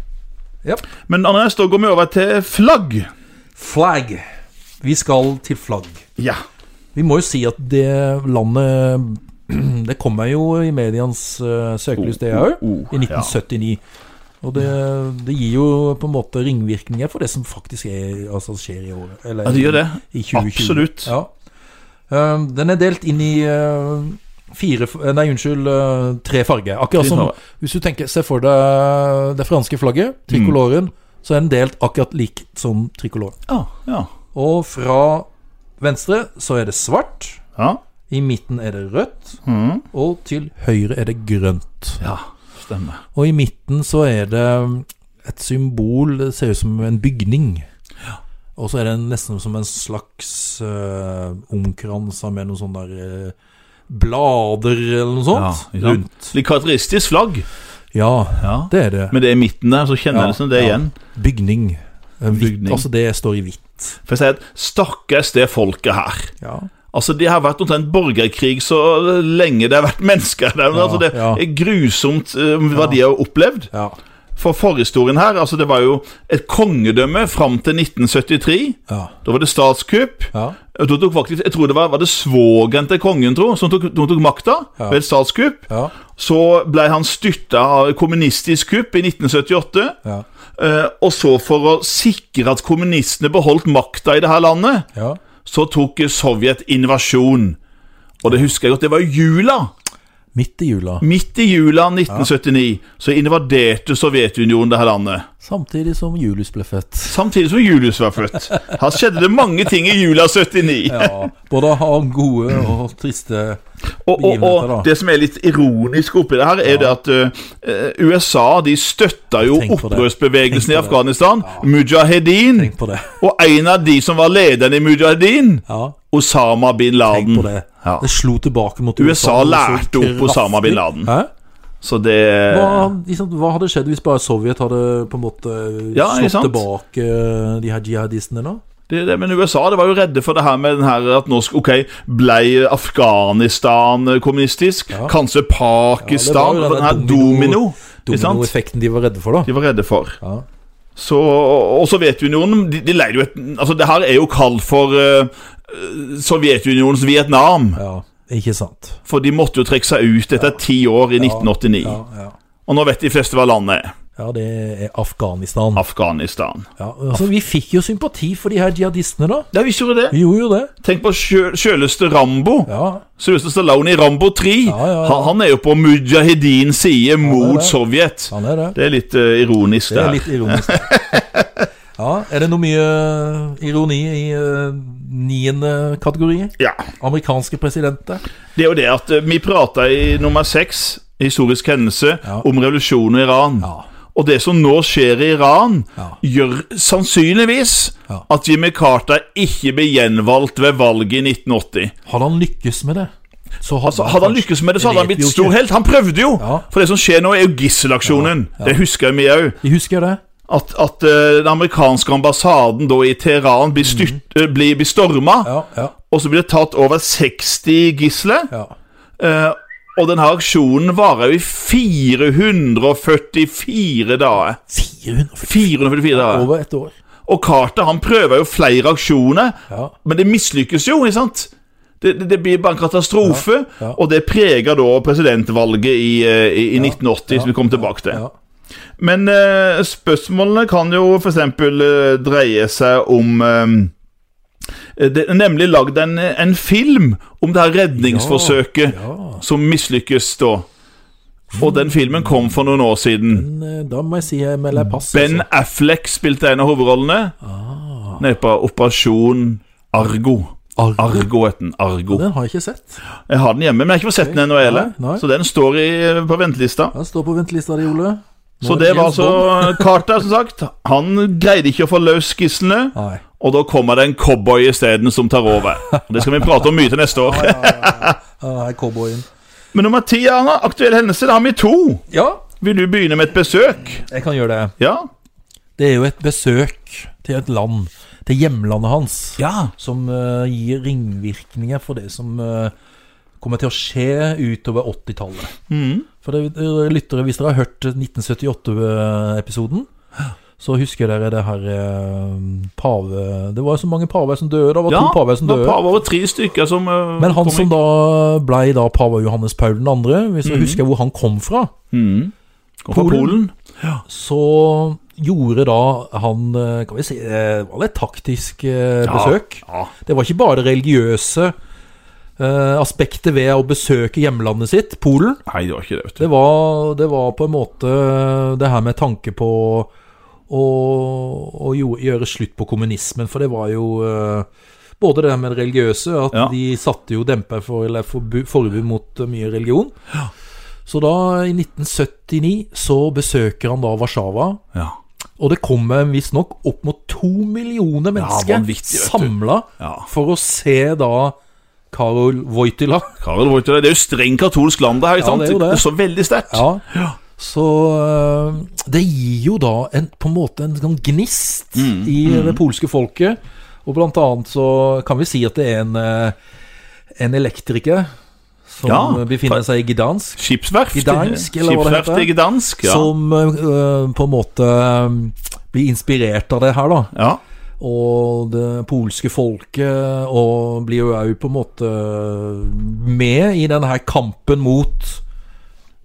Speaker 2: Men Andreas, da går vi over til flagg.
Speaker 1: Flagg. Vi skal til flagg.
Speaker 2: Ja.
Speaker 1: Vi må jo si at det landet Det kommer jo i medias eh, søkelys, det òg,
Speaker 2: Oh, oh,
Speaker 1: i 1979. Og det, det gir jo på en måte ringvirkninger for det som faktisk er, altså, skjer i året. Eller,
Speaker 2: Ja, det gjør det.
Speaker 1: I 2020.
Speaker 2: Absolutt.
Speaker 1: Ja. Eh, den er delt inn i eh, fire f- eh, Nei, unnskyld, eh, tre farger. Akkurat
Speaker 2: Tre
Speaker 1: som
Speaker 2: farger. Mm.
Speaker 1: Hvis du tenker Se for deg det franske flagget, trikoloren, så er den delt akkurat lik som trikoloren.
Speaker 2: Ja. ja.
Speaker 1: Og fra venstre så er det svart.
Speaker 2: ja.
Speaker 1: I midten er det rødt,
Speaker 2: Mhm.
Speaker 1: og til høyre er det grønt.
Speaker 2: ja. Stemmer.
Speaker 1: Og i midten så er det et symbol, det ser ut som en bygning. Og så er det nesten som en slags uh, omkransa med noen sånne der eh, blader eller noe
Speaker 2: Ja,
Speaker 1: sånt
Speaker 2: ikke sant?
Speaker 1: rundt.
Speaker 2: Litt karakteristisk flagg.
Speaker 1: Ja,
Speaker 2: Ja.
Speaker 1: det er det.
Speaker 2: Med det i midten der, så kjenner
Speaker 1: Ja,
Speaker 2: jeg liksom det
Speaker 1: ja.
Speaker 2: igjen.
Speaker 1: Bygning. En Hvitt,
Speaker 2: Bygning.
Speaker 1: Altså, det står i hvitt.
Speaker 2: For jeg sier at stakkars det folket her.
Speaker 1: Ja.
Speaker 2: Altså, Det har vært omtrent borgerkrig så lenge det har vært mennesker der. altså, det
Speaker 1: ja.
Speaker 2: er grusomt eh, hva de har opplevd.
Speaker 1: ja.
Speaker 2: for forhistorien her Altså, det var jo et kongedømme fram til 1973.
Speaker 1: Ja.
Speaker 2: Da var det statskupp.
Speaker 1: Ja.
Speaker 2: Da tok faktisk, jeg tror det var, var det svogeren til kongen, tro, som tok, som tok makta ved et statskupp.
Speaker 1: Ja.
Speaker 2: Så ble han styrta av et kommunistisk kupp i 1978.
Speaker 1: Ja.
Speaker 2: Eh, og så, for å sikre at kommunistene beholdt makta i det her landet,
Speaker 1: ja.
Speaker 2: så tok Sovjet invasjon. Og det husker jeg godt, det var i jula.
Speaker 1: Midt i jula.
Speaker 2: Midt i jula 1979 så invaderte Sovjetunionen det her landet.
Speaker 1: Samtidig som Julius ble født.
Speaker 2: Samtidig som Julius var født. Her skjedde det mange ting i jula 79.
Speaker 1: Ja, både av gode og triste
Speaker 2: Og, og,
Speaker 1: begivenheter, da.
Speaker 2: og det som er litt ironisk oppi det her, er det at eh, USA de støtta jo
Speaker 1: Tenk på det. Tenk
Speaker 2: opprørsbevegelsen i
Speaker 1: på det.
Speaker 2: Afghanistan, mujahedin,
Speaker 1: Tenk på det.
Speaker 2: og en av de som var lederen i mujahedin,
Speaker 1: Ja,
Speaker 2: Osama bin
Speaker 1: tenk
Speaker 2: Laden.
Speaker 1: på det.
Speaker 2: Ja.
Speaker 1: Det slo tilbake mot
Speaker 2: USA
Speaker 1: og så
Speaker 2: lærte opp Osama bin
Speaker 1: kraftig.
Speaker 2: Laden.
Speaker 1: Hæ?
Speaker 2: Så det
Speaker 1: Hva, liksom, hva hadde skjedd hvis bare Sovjet hadde på en måte
Speaker 2: Ja, ikke
Speaker 1: slått
Speaker 2: sant?
Speaker 1: tilbake eh, de her jihadistene nå?
Speaker 2: Det, er det, men USA det var jo redde for det her med den her at norsk Ok, blei Afghanistan kommunistisk? Kanskje Pakistan?
Speaker 1: Ja, det var jo
Speaker 2: for den
Speaker 1: den
Speaker 2: her
Speaker 1: der
Speaker 2: domino,
Speaker 1: domino-
Speaker 2: ikke sant?
Speaker 1: Dominoeffekten de var redde for, da.
Speaker 2: De var redde for.
Speaker 1: Ja.
Speaker 2: Så, og Sovjetunionen de, de leide jo et Altså, det her er jo kalt for eh, Sovjetunionens Vietnam.
Speaker 1: ja, ikke sant.
Speaker 2: For de måtte jo trekke seg ut etter ti år i 1989.
Speaker 1: Ja, ja.
Speaker 2: Og nå vet de fleste hva landet er.
Speaker 1: ja det er Afghanistan.
Speaker 2: Afghanistan.
Speaker 1: Ja, altså, vi fikk jo sympati for de her jihadistene, da.
Speaker 2: Ja, visst gjorde det.
Speaker 1: Vi gjorde jo det.
Speaker 2: Tenk på sjø- sjøleste Rambo.
Speaker 1: Ja,
Speaker 2: Sylvester Stallone i Rambo 3.
Speaker 1: Ja, ja, ja.
Speaker 2: Han, han er jo på mujahedins side mot
Speaker 1: det.
Speaker 2: Sovjet.
Speaker 1: han er det.
Speaker 2: Det er litt eh, ironisk,
Speaker 1: Det
Speaker 2: det
Speaker 1: er
Speaker 2: her.
Speaker 1: litt ironisk. Ja, Er det noe mye ironi i eh, niende kategori?
Speaker 2: Ja.
Speaker 1: Amerikanske presidenter?
Speaker 2: Det er jo det at eh, vi prata i nummer seks, historisk hendelse, om revolusjonen i Iran.
Speaker 1: Ja.
Speaker 2: Og det som nå skjer i Iran,
Speaker 1: Ja.
Speaker 2: gjør sannsynligvis
Speaker 1: Ja.
Speaker 2: at Jimmy Carter ikke blir gjenvalgt ved valget i 1980.
Speaker 1: Hadde han lykkes med det, så hadde,
Speaker 2: Så Altså, hadde han
Speaker 1: kanskje-
Speaker 2: lykkes med det, så
Speaker 1: Jeg
Speaker 2: hadde han
Speaker 1: vet
Speaker 2: blitt
Speaker 1: jo
Speaker 2: stor
Speaker 1: ikke.
Speaker 2: helt. Han prøvde jo!
Speaker 1: Ja.
Speaker 2: For det som skjer nå, er jo gisselaksjonen. Det husker vi òg.
Speaker 1: Vi husker det.
Speaker 2: At, at eh, den amerikanske ambassaden da i Teheran blir, styrt, eh, blir, blir storma,
Speaker 1: Mm. Ja, ja,
Speaker 2: og så blir det tatt over 60 gisler.
Speaker 1: ja.
Speaker 2: eh, og denne aksjonen varer jo i 444 dager.
Speaker 1: 400
Speaker 2: 444 dager.
Speaker 1: Over et år.
Speaker 2: Og Carter han prøver jo flere aksjoner,
Speaker 1: Ja.
Speaker 2: men det mislykkes jo, ikke sant? Det, det, det blir bare en katastrofe,
Speaker 1: Ja, ja.
Speaker 2: og det preger da presidentvalget i, eh, i, i 1980, som vi kommer tilbake til.
Speaker 1: ja.
Speaker 2: Men eh, spørsmålene kan jo f.eks. Eh, dreie seg om eh, det er nemlig lagd en, en film om det her redningsforsøket
Speaker 1: Ja,
Speaker 2: som mislykkes da. Og den filmen kom for noen år siden.
Speaker 1: men eh, da må jeg si jeg melder pass.
Speaker 2: Ben
Speaker 1: altså.
Speaker 2: Affleck spilte en av hovedrollene.
Speaker 1: Ah.
Speaker 2: Nede på Operasjon Argo.
Speaker 1: Argo.
Speaker 2: Argo het den. Argo.
Speaker 1: Den har jeg ikke sett.
Speaker 2: Jeg har den hjemme, men jeg har ikke fått sett den ennå heller.
Speaker 1: Nei, nei.
Speaker 2: Så den står i, på ventelista.
Speaker 1: Den står på ventelista di, Ole. Nå
Speaker 2: Så
Speaker 1: er
Speaker 2: det var
Speaker 1: James
Speaker 2: altså
Speaker 1: Bond.
Speaker 2: Carter, som sagt. Han greide ikke å få løs gislene.
Speaker 1: Nei.
Speaker 2: Og da kommer det en cowboy isteden som tar over. Det skal vi prate om mye til neste år.
Speaker 1: Ja, Ah, her er cowboyen.
Speaker 2: Men nummer ti, Arne. Aktuell hendelse. Da har vi to.
Speaker 1: Ja,
Speaker 2: Vil du begynne med et besøk?
Speaker 1: jeg kan gjøre det.
Speaker 2: Ja.
Speaker 1: Det er jo et besøk til et land, til hjemlandet hans,
Speaker 2: Ja.
Speaker 1: som eh, gir ringvirkninger for det som eh, kommer til å skje utover 80-tallet.
Speaker 2: Mm.
Speaker 1: For det, dere lyttere, hvis dere har hørt 1978-episoden, så husker dere det her eh, pave... Det var jo så mange paver som døde. Det var
Speaker 2: ja.
Speaker 1: to paver som
Speaker 2: det var
Speaker 1: døde.
Speaker 2: pave over tre stykker som eh,
Speaker 1: Men han
Speaker 2: kom
Speaker 1: som
Speaker 2: i-
Speaker 1: da blei da pave Johannes Paul 2., hvis
Speaker 2: Mm.
Speaker 1: dere husker hvor han kom fra,
Speaker 2: Mhm. Kom fra Polen.
Speaker 1: Polen. så gjorde da han eh, Kan vi si eh, var det et taktisk eh, besøk?
Speaker 2: Ja.
Speaker 1: Det var ikke bare det religiøse eh, aspektet ved å besøke hjemlandet sitt, Polen.
Speaker 2: Nei, det var ikke det, vet du.
Speaker 1: Det var, det var på en måte det her med tanke på å, å jo, gjøre slutt på kommunismen, for det var jo eh, både det med det religiøse, at
Speaker 2: Ja.
Speaker 1: de satte jo demper for, eller forbu, forbud mot eh, mye religion. Så da, i 1979, så besøker han da Warszawa.
Speaker 2: Ja.
Speaker 1: Og det kommer visstnok opp mot to millioner mennesker
Speaker 2: vanvittig, vet du.
Speaker 1: samla
Speaker 2: Ja.
Speaker 1: for å se da Karol Wojtyla.
Speaker 2: Karel Wojtyla, det er jo strengt katolsk land, det her. ikke
Speaker 1: Ja,
Speaker 2: sant?
Speaker 1: det er jo det.
Speaker 2: så veldig sterkt.
Speaker 1: Så øh, det gir jo da en, på en måte en sånn gnist
Speaker 2: Mm.
Speaker 1: i det polske folket. Og blant annet så kan vi si at det er en, øh, en eh, elektriker som
Speaker 2: Ja.
Speaker 1: befinner seg i Gdansk.
Speaker 2: Skipsverft.
Speaker 1: Gdansk, eller hva det
Speaker 2: Skipsverft
Speaker 1: heter.
Speaker 2: i Gdansk, ja.
Speaker 1: Som eh, på en måte eh, blir inspirert av det her, da.
Speaker 2: ja.
Speaker 1: Og det polske folket og blir jo òg på en måte med i denne her kampen mot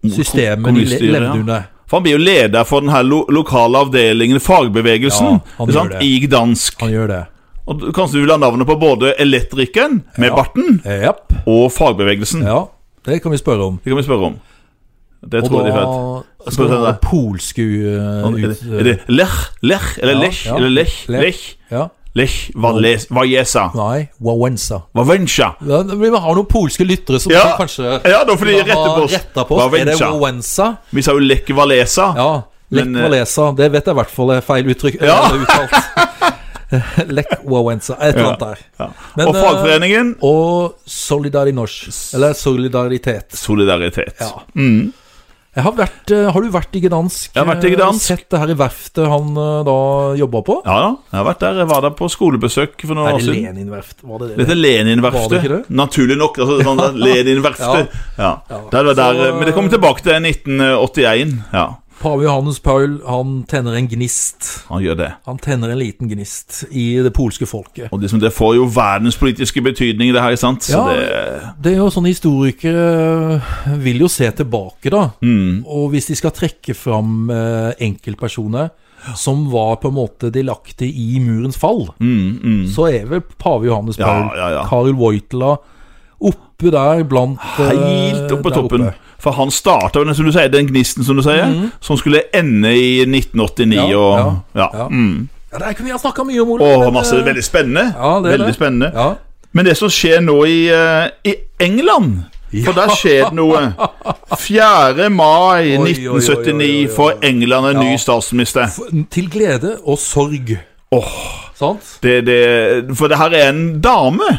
Speaker 1: systemet de le-
Speaker 2: kommuniststyret, ja.
Speaker 1: levde under.
Speaker 2: For han blir jo leder for den her lo lokale avdelingen, fagbevegelsen,
Speaker 1: Ja, han
Speaker 2: ikke sant?
Speaker 1: gjør det.
Speaker 2: i Gdansk.
Speaker 1: Han gjør det.
Speaker 2: Og du- kanskje du vil ha navnet på både elektrikeren med barten
Speaker 1: Eh, Japp.
Speaker 2: og fagbevegelsen.
Speaker 1: Ja, det kan vi spørre om.
Speaker 2: Det kan vi spørre om. Det
Speaker 1: Og
Speaker 2: tror jeg de vet.
Speaker 1: da skal
Speaker 2: Spørre
Speaker 1: det være
Speaker 2: det.
Speaker 1: polske uh,
Speaker 2: Er
Speaker 1: ut...
Speaker 2: det, er det Lech, Lech, eller
Speaker 1: Ja,
Speaker 2: Lech,
Speaker 1: ja.
Speaker 2: eller Lech,
Speaker 1: Lech.
Speaker 2: Lech,
Speaker 1: Ja.
Speaker 2: Lech, Vales- Vajesa,
Speaker 1: Nei, Wawenza.
Speaker 2: Vavencha.
Speaker 1: Ja, vi har noen polske lyttere som
Speaker 2: Ja.
Speaker 1: kanskje
Speaker 2: Ja, da får de rette på oss.
Speaker 1: retta på oss. Er det
Speaker 2: Wawenza.
Speaker 1: Wawenza?
Speaker 2: Vi sa jo Lech Walesa.
Speaker 1: Ja. Lech
Speaker 2: Men, eh,
Speaker 1: Walesa. Det vet jeg i hvert fall er feil uttrykk.
Speaker 2: Ja.
Speaker 1: eller uttalt. Lech Wawenza. Et eller annet der.
Speaker 2: Ja.
Speaker 1: Men,
Speaker 2: og
Speaker 1: eh,
Speaker 2: fagforeningen
Speaker 1: Og Solidarinosh. Eller Solidaritet.
Speaker 2: Solidaritet.
Speaker 1: Ja. Jeg har, vært, eh, har du vært i Gdansk?
Speaker 2: Jeg har vært i
Speaker 1: eh,
Speaker 2: Gdansk.
Speaker 1: Sett det her i verftet han eh, da jobba på?
Speaker 2: Ja da, jeg har vært der. Jeg var der på skolebesøk for noen
Speaker 1: Er
Speaker 2: år
Speaker 1: det
Speaker 2: siden.
Speaker 1: Lenin-verft? Var det det?
Speaker 2: Dette
Speaker 1: Var
Speaker 2: er
Speaker 1: det
Speaker 2: Lenin-verftet.
Speaker 1: ikke det?
Speaker 2: Naturlig nok. altså sånn der, Lenin-verftet. Ja. Det var der,
Speaker 1: Så, eh,
Speaker 2: men det kom tilbake til 1981. Ja,
Speaker 1: Pave Johannes Paul han tenner en gnist.
Speaker 2: han gjør det.
Speaker 1: Han tenner en liten gnist i det polske folket.
Speaker 2: Og liksom, det får jo verdenspolitiske betydning, det her, ikke sant? Så
Speaker 1: Ja.
Speaker 2: det
Speaker 1: Det er jo sånn Historikere eh, vil jo se tilbake, da.
Speaker 2: Mm.
Speaker 1: Og hvis de skal trekke fram eh, enkeltpersoner som var på en måte delaktige i murens fall, så er vel pave Johannes
Speaker 2: Mm. Ja,
Speaker 1: Paul,
Speaker 2: ja, ja.
Speaker 1: Karl Voitela oppe der blant eh,
Speaker 2: Helt opp på
Speaker 1: der
Speaker 2: toppen. For han starta jo den, som du sier, den gnisten, som du sier, som skulle ende i 1989
Speaker 1: Mhm. Ja,
Speaker 2: og Ja.
Speaker 1: ja, ja.
Speaker 2: Mm.
Speaker 1: Ja, det her kunne vi ha snakka mye om, Ole.
Speaker 2: Og
Speaker 1: men,
Speaker 2: masse
Speaker 1: eh,
Speaker 2: veldig spennende.
Speaker 1: Ja, det er
Speaker 2: veldig
Speaker 1: det.
Speaker 2: spennende.
Speaker 1: ja.
Speaker 2: Men det som skjer nå i, eh, i England For der skjer det noe. 4. mai
Speaker 1: oi, oi, oi,
Speaker 2: 1979
Speaker 1: oi.
Speaker 2: får England en ny
Speaker 1: Ja.
Speaker 2: statsminister.
Speaker 1: F- Til glede og sorg.
Speaker 2: Åh,
Speaker 1: Sant?
Speaker 2: det, det, for det her er en dame.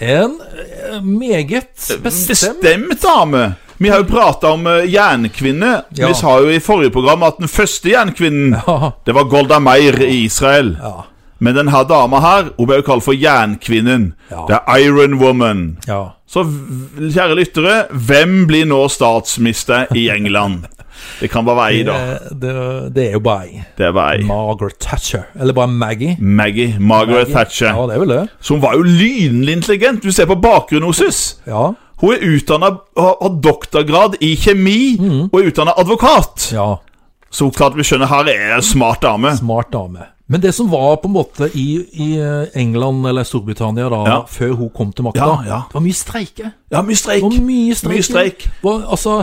Speaker 1: En eh, meget bestemt
Speaker 2: Bestemt Mm, dame. Vi har jo prata om eh, jernkvinne.
Speaker 1: Ja.
Speaker 2: Vi sa jo i forrige program at den første jernkvinnen,
Speaker 1: Ja.
Speaker 2: det var Golda Meir i Israel.
Speaker 1: Ja.
Speaker 2: Men denne dama her, hun ble jo kalt for Jernkvinnen.
Speaker 1: Ja.
Speaker 2: The Iron Woman.
Speaker 1: ja.
Speaker 2: Så v- kjære lyttere, hvem blir nå statsminister i England? Det kan bare være ei, da.
Speaker 1: Eh, Det, det er jo bare ei.
Speaker 2: Det er bare ei.
Speaker 1: Margaret Thatcher. Eller bare Maggie.
Speaker 2: Maggie Margaret Thatcher,
Speaker 1: Ja, det er vel det.
Speaker 2: som var jo lynende intelligent. Du ser på bakgrunnen hennes.
Speaker 1: Ja,
Speaker 2: Hun er utdanna har doktorgrad i kjemi
Speaker 1: Mhm.
Speaker 2: og er utdanna advokat.
Speaker 1: ja
Speaker 2: Så klart vi skjønner, her er en smart dame.
Speaker 1: smart dame. Men det som var på en måte i, i eh, England eller Storbritannia da,
Speaker 2: Ja.
Speaker 1: før hun kom til makta,
Speaker 2: Ja, ja.
Speaker 1: det var mye streike.
Speaker 2: Ja, mye
Speaker 1: Det
Speaker 2: streik.
Speaker 1: var mye streik.
Speaker 2: Mye streik.
Speaker 1: Var, altså,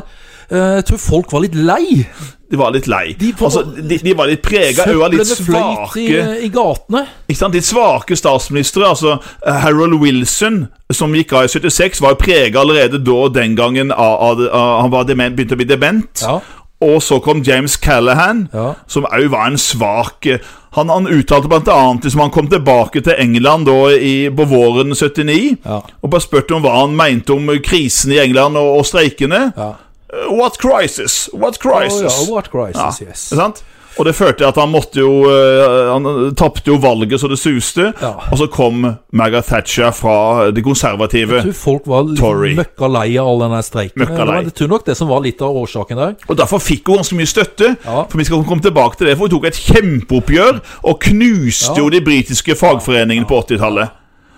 Speaker 1: eh, jeg tror folk var litt lei.
Speaker 2: De var litt lei. De,
Speaker 1: De var-
Speaker 2: altså, de, de var litt prega av litt svake
Speaker 1: i, eh, i gatene.
Speaker 2: Ikke sant? De svake statsministre, altså eh, Harold Wilson, som gikk av i 76, var jo prega allerede da og den gangen av, av, av han var dement, begynte å bli dement.
Speaker 1: Ja.
Speaker 2: Og så kom James Callahan,
Speaker 1: Ja.
Speaker 2: som òg var en svak eh, Han, han uttalte bl.a. liksom han kom tilbake til England da i, på våren 79
Speaker 1: Ja.
Speaker 2: og bare spurte om hva han mente om krisen i England og, og streikene.
Speaker 1: Ja.
Speaker 2: Eh, What crisis? What
Speaker 1: Oh,
Speaker 2: crisis?
Speaker 1: ja, what crisis,
Speaker 2: Ja,
Speaker 1: yes.
Speaker 2: ikke sant? Og det førte til at han måtte jo eh, Han tapte jo valget så det suste.
Speaker 1: Ja.
Speaker 2: Og så kom Margaret Thatcher fra det konservative.
Speaker 1: Jeg tror folk var litt
Speaker 2: Tory.
Speaker 1: møkka lei av all den streiken.
Speaker 2: Møkka
Speaker 1: Det var-
Speaker 2: lei.
Speaker 1: Jeg tror nok det som var litt av årsaken der.
Speaker 2: Og derfor fikk hun ganske mye støtte.
Speaker 1: Ja.
Speaker 2: For vi skal komme tilbake til det For hun tok et kjempeoppgjør og knuste
Speaker 1: Ja.
Speaker 2: jo de britiske fagforeningene på 80-tallet.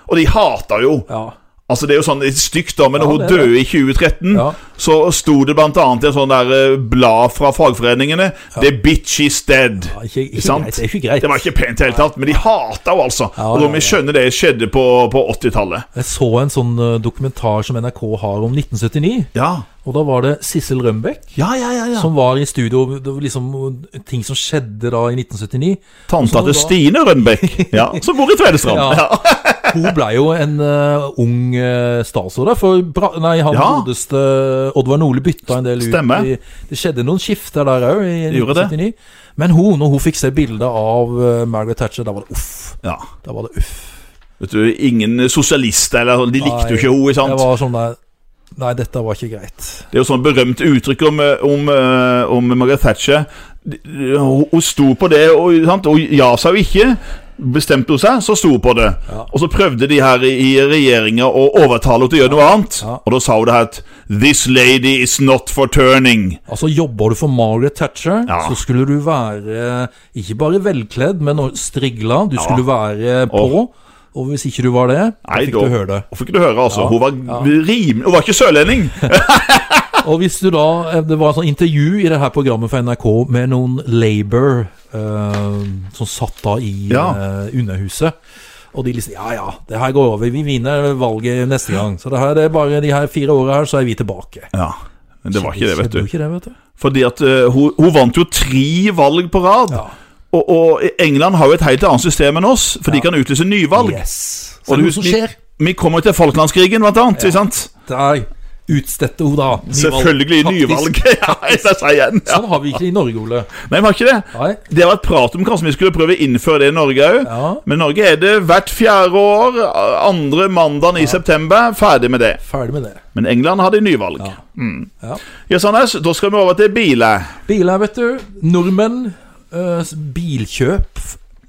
Speaker 2: Og de hata jo.
Speaker 1: Ja.
Speaker 2: Altså Det er jo sånn litt stygt, da, men da hun
Speaker 1: det er det.
Speaker 2: døde i 2013,
Speaker 1: Ja.
Speaker 2: så sto det blant annet i en sånn der eh, blad fra fagforeningene The bitch is dead.
Speaker 1: Ja, ikke, ikke
Speaker 2: Sant?
Speaker 1: greit, det er ikke greit.
Speaker 2: Det var ikke pent i det hele tatt, men de hata henne, altså.
Speaker 1: Ja,
Speaker 2: og da
Speaker 1: ja,
Speaker 2: må vi
Speaker 1: ja.
Speaker 2: skjønne det skjedde på, på 80-tallet.
Speaker 1: Jeg så en sånn eh, dokumentar som NRK har om 1979.
Speaker 2: Ja.
Speaker 1: Og da var det Sissel Rønbeck
Speaker 2: Ja, ja, ja, ja.
Speaker 1: som var i studio. Det var liksom eh, ting som skjedde da i 1979.
Speaker 2: Tanta
Speaker 1: som
Speaker 2: til
Speaker 1: da-
Speaker 2: Stine Rønbeck, ja, som bor i Tvedestrand.
Speaker 1: Ja.
Speaker 2: Ja.
Speaker 1: Hun ble jo en eh, ung eh, statsråd der, for bra, nei, han
Speaker 2: Ja.
Speaker 1: godeste Oddvar Nordli bytta en del ut.
Speaker 2: Stemmer.
Speaker 1: i- det skjedde noen skifter der òg, i
Speaker 2: Gjorde det?
Speaker 1: 1979. Men hun, når hun fikk se bildet av eh, Margaret Thatcher, da var det uff.
Speaker 2: Ja.
Speaker 1: Da var det uff.
Speaker 2: Vet du, ingen sosialister eller sånn, de likte jo ikke henne, ikke
Speaker 1: Det
Speaker 2: sant?
Speaker 1: var sånn der Nei, dette var ikke greit.
Speaker 2: Det er jo sånn berømt uttrykk om, eh, om, eh, om Margaret Thatcher. De- de- Hun hun sto på det, og, sant? og ja sa hun ikke. bestemte hun seg, så sto hun på det. Og så prøvde de her i, i regjeringa å overtale henne til å gjøre noe annet.
Speaker 1: Ja.
Speaker 2: Og da sa hun det her at This lady is not for turning.
Speaker 1: Altså Jobber du for Margaret Thatcher,
Speaker 2: Ja.
Speaker 1: så skulle du være ikke bare velkledd, men også strigla. Du skulle være på. Og hvis ikke du var det, da
Speaker 2: Nei,
Speaker 1: fikk du høre det.
Speaker 2: Og fikk du høre, altså.
Speaker 1: Ja.
Speaker 2: Hun var rim... Hun var ikke sørlending!
Speaker 1: Og hvis du da eh, Det var et sånt intervju i det her programmet for NRK med noen Labour eh, som satt da i
Speaker 2: Ja.
Speaker 1: eh, Underhuset. Og de liksom Ja ja, det her går over. Vi vinner valget neste gang. Så det her det er bare de her fire åra her, så er vi tilbake.
Speaker 2: Ja, Men det var ikke det, vet
Speaker 1: Skjedde jo
Speaker 2: du.
Speaker 1: Ikke det, vet du.
Speaker 2: Fordi at eh, hun, hun vant jo tre valg på rad.
Speaker 1: Ja.
Speaker 2: Og, og England har jo et helt annet system enn oss, for de kan utlyse nyvalg.
Speaker 1: Yes. Så
Speaker 2: Og
Speaker 1: er det
Speaker 2: du-
Speaker 1: noe som skjer.
Speaker 2: Vi kommer til Falklandskrigen, blant annet. ikke sant?
Speaker 1: Der utstedte hun da nyvalg.
Speaker 2: Selvfølgelig nyvalg.
Speaker 1: Faktisk.
Speaker 2: ja, jeg sa seg igjen. Ja.
Speaker 1: Sånn har vi ikke i Norge, Ole.
Speaker 2: Nei, vi har ikke det.
Speaker 1: Nei.
Speaker 2: Det har vært prat om kanskje vi skulle prøve å innføre det i Norge òg.
Speaker 1: Ja.
Speaker 2: Men i Norge er det hvert fjerde år, andre mandagen i september, ferdig med det.
Speaker 1: Ferdig med det.
Speaker 2: Men England hadde nyvalg. Ja. Mm.
Speaker 1: Ja.
Speaker 2: Yes, Anders, da skal vi over til biler.
Speaker 1: Biler, vet du. Nordmenn. eh, s- bilkjøp.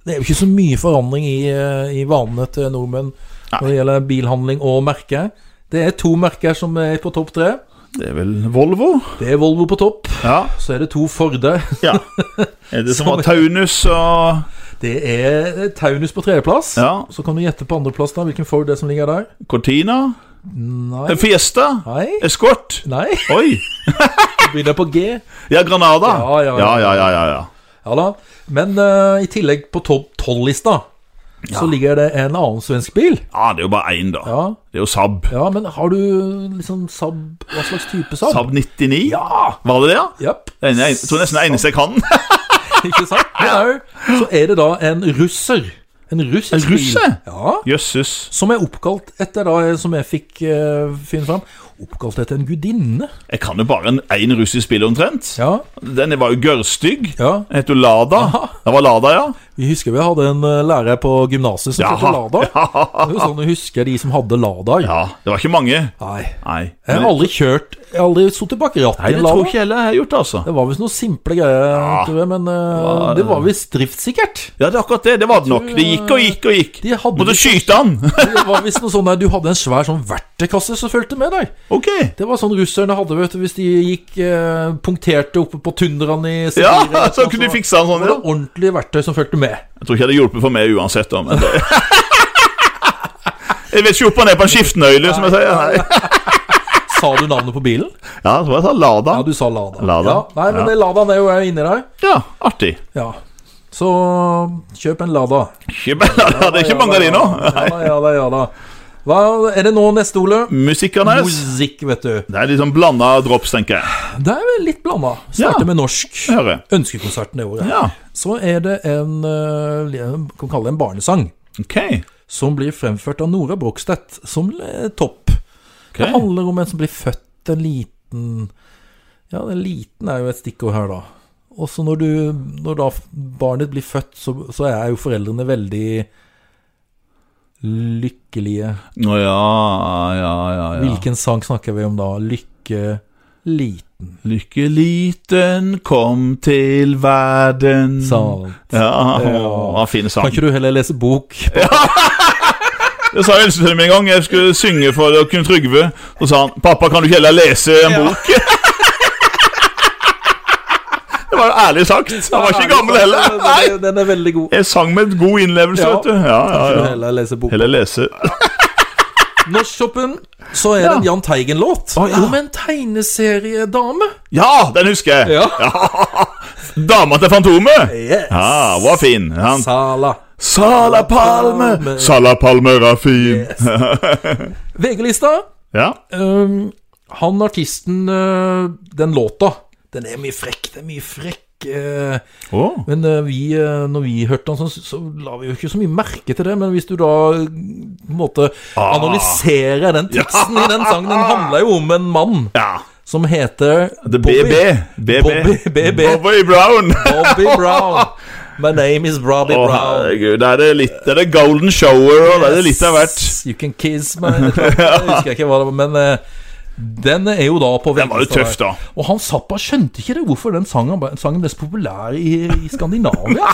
Speaker 1: Det er jo ikke så mye forandring i, eh, i vanene til nordmenn når det gjelder bilhandling og merke. Det er to merker som er på topp tre.
Speaker 2: Det er vel Volvo?
Speaker 1: Det er Volvo på topp.
Speaker 2: Ja.
Speaker 1: Så er det to Forde.
Speaker 2: ja. Er det som var Taunus og
Speaker 1: Det er eh, Taunus på tredjeplass.
Speaker 2: Ja.
Speaker 1: Så kan du gjette på andreplass da hvilken Ford det er som ligger der.
Speaker 2: Cortina?
Speaker 1: Nei.
Speaker 2: Fiesta?
Speaker 1: Nei.
Speaker 2: Eskort?
Speaker 1: Nei.
Speaker 2: Oi!
Speaker 1: Det begynner på G.
Speaker 2: Ja, Granada.
Speaker 1: Ja, ja,
Speaker 2: ja.
Speaker 1: ja.
Speaker 2: ja, ja, ja, ja.
Speaker 1: Ja da. Men eh, i tillegg på topp tolv-lista så ligger det en annen svensk bil.
Speaker 2: Ja, det er jo bare én, da.
Speaker 1: Ja,
Speaker 2: Det er jo Saab.
Speaker 1: ja men har du liksom Saab Hva slags type Saab?
Speaker 2: Saab 99?
Speaker 1: Ja!
Speaker 2: Var det det, ja?
Speaker 1: Japp.
Speaker 2: Det er en- Jeg tror nesten det er eneste jeg kan.
Speaker 1: Ikke sant? Men au, så er det da en russer. En russisk
Speaker 2: En russer?
Speaker 1: bil. Ja.
Speaker 2: Jøsses.
Speaker 1: Som er oppkalt etter, da, som jeg fikk eh, finne fram, oppkalt etter en gudinne.
Speaker 2: Jeg kan jo bare en- én russisk spill omtrent.
Speaker 1: Ja.
Speaker 2: Den var jo gørrstygg.
Speaker 1: ja.
Speaker 2: Den het jo Lada. Det var Lada, ja.
Speaker 1: Vi husker vi hadde en eh, lærer på gymnaset som het
Speaker 2: Jaha.
Speaker 1: Lada. Det er jo sånn du husker de som hadde Lada.
Speaker 2: Ja, Det var ikke mange.
Speaker 1: Nei.
Speaker 2: Nei.
Speaker 1: Jeg har Eh, aldri kjørt Jeg har aldri sittet bak rattet
Speaker 2: Nei,
Speaker 1: i
Speaker 2: det
Speaker 1: en
Speaker 2: tror
Speaker 1: Lada.
Speaker 2: ikke jeg heller jeg har gjort, altså.
Speaker 1: Det var visst noen simple greier, tror jeg, men eh,
Speaker 2: var-
Speaker 1: det var visst driftssikkert.
Speaker 2: Ja, det er akkurat det. Det var det nok.
Speaker 1: tror,
Speaker 2: Det gikk og gikk og gikk.
Speaker 1: De hadde
Speaker 2: Måtte
Speaker 1: visst-
Speaker 2: skyte han.
Speaker 1: Det var visst noe sånn der, Du hadde en svær sånn verktøykasse som fulgte med deg.
Speaker 2: ok.
Speaker 1: Det var sånn russerne hadde vet du, hvis de gikk eh, punkterte oppe på tundraen i
Speaker 2: Ja,
Speaker 1: Sibir eller
Speaker 2: så
Speaker 1: noe
Speaker 2: kunne de
Speaker 1: sånt.
Speaker 2: fikse han sånn.
Speaker 1: Det
Speaker 2: Ja.
Speaker 1: var ordentlige verktøy som fulgte med.
Speaker 2: Jeg tror ikke det hadde hjulpet for meg uansett. Da, men det. Jeg vet ikke opp og ned på en skiftenøyle, som jeg sier. Nei.
Speaker 1: Sa du navnet på bilen?
Speaker 2: Ja, så var det sånn Lada.
Speaker 1: Ja, du sa Lada.
Speaker 2: Lada.
Speaker 1: Ja, nei, men
Speaker 2: Ja.
Speaker 1: det Ladaen er jo her inni deg.
Speaker 2: Ja, artig.
Speaker 1: Ja. Så kjøp en Lada.
Speaker 2: Ikke, det er ikke mange av de nå.
Speaker 1: Ja da, ja da, ja da. Hva er det nå neste, Ole?
Speaker 2: Musikkernes.
Speaker 1: Musikk, vet du.
Speaker 2: Det er litt sånn blanda drops, tenker jeg.
Speaker 1: Det er vel litt blanda.
Speaker 2: Ja.
Speaker 1: Starter med norsk.
Speaker 2: Jeg Hører.
Speaker 1: Ønskekonserten det året.
Speaker 2: Ja,
Speaker 1: Så er det en eh, jeg kan kalle det en barnesang,
Speaker 2: ok.
Speaker 1: som blir fremført av Nora Brogstedt som eh, topp.
Speaker 2: Ok.
Speaker 1: Det handler om en som blir født en liten Ja, den liten er jo et stikkord her, da. Og så når, du- når da barnet blir født, så, så er jo foreldrene veldig lykkelige.
Speaker 2: Å ja, ja, ja. ja.
Speaker 1: Hvilken sang snakker vi om da? Lykke liten.
Speaker 2: Lykke liten kom til verden.
Speaker 1: Sant.
Speaker 2: Ja, å, fin sang.
Speaker 1: Kan ikke du heller lese bok?
Speaker 2: Det sa Else til meg en gang jeg skulle synge for Knut Trygve. Så sa han 'Pappa, kan du ikke heller lese en bok?' det var jo ærlig sagt. Han var ikke gammel heller.
Speaker 1: Den-
Speaker 2: Nei.
Speaker 1: Den, den er veldig god.
Speaker 2: Jeg sang med god innlevelse,
Speaker 1: Ja.
Speaker 2: vet du. Ja,
Speaker 1: Kan
Speaker 2: ja,
Speaker 1: du
Speaker 2: ja.
Speaker 1: heller lese bok?
Speaker 2: Heller lese.
Speaker 1: Norsktoppen, så er det en Jahn Teigen-låt.
Speaker 2: Å, ja.
Speaker 1: Om en tegneseriedame.
Speaker 2: Ja, den husker jeg!
Speaker 1: Ja.
Speaker 2: Dama til Fantomet.
Speaker 1: Yes.
Speaker 2: Ja, hun var fin. Han,
Speaker 1: Sala.
Speaker 2: Sala Palme, Sala Palme er fin.
Speaker 1: VG-lista.
Speaker 2: Ja.
Speaker 1: Um, han artisten, uh, den låta, den er mye frekk. Det er mye frekk. eh,
Speaker 2: Å.
Speaker 1: Men eh, vi, eh, når vi hørte han, så, så la vi jo ikke så mye merke til det. Men hvis du da eh, på en måte
Speaker 2: Ah.
Speaker 1: analyserer den teksten i den sangen Den handler jo om en mann
Speaker 2: ja.
Speaker 1: som heter
Speaker 2: The
Speaker 1: Bobby.
Speaker 2: BB. BB.
Speaker 1: Bobby, BB.
Speaker 2: Bobby Brown.
Speaker 1: Bobby Brown. My name is Bobby
Speaker 2: Å,
Speaker 1: Brown.
Speaker 2: herregud. Da er det litt Da er det golden shower, og da er det litt av hvert.
Speaker 1: Yes, You can kiss me Jeg husker ikke hva det var, men eh, den er jo da på
Speaker 2: Den var jo
Speaker 1: veldig-
Speaker 2: tøff, da.
Speaker 1: Og han Zappa skjønte ikke det hvorfor den sangen, sangen ble så populær i, i Skandinavia.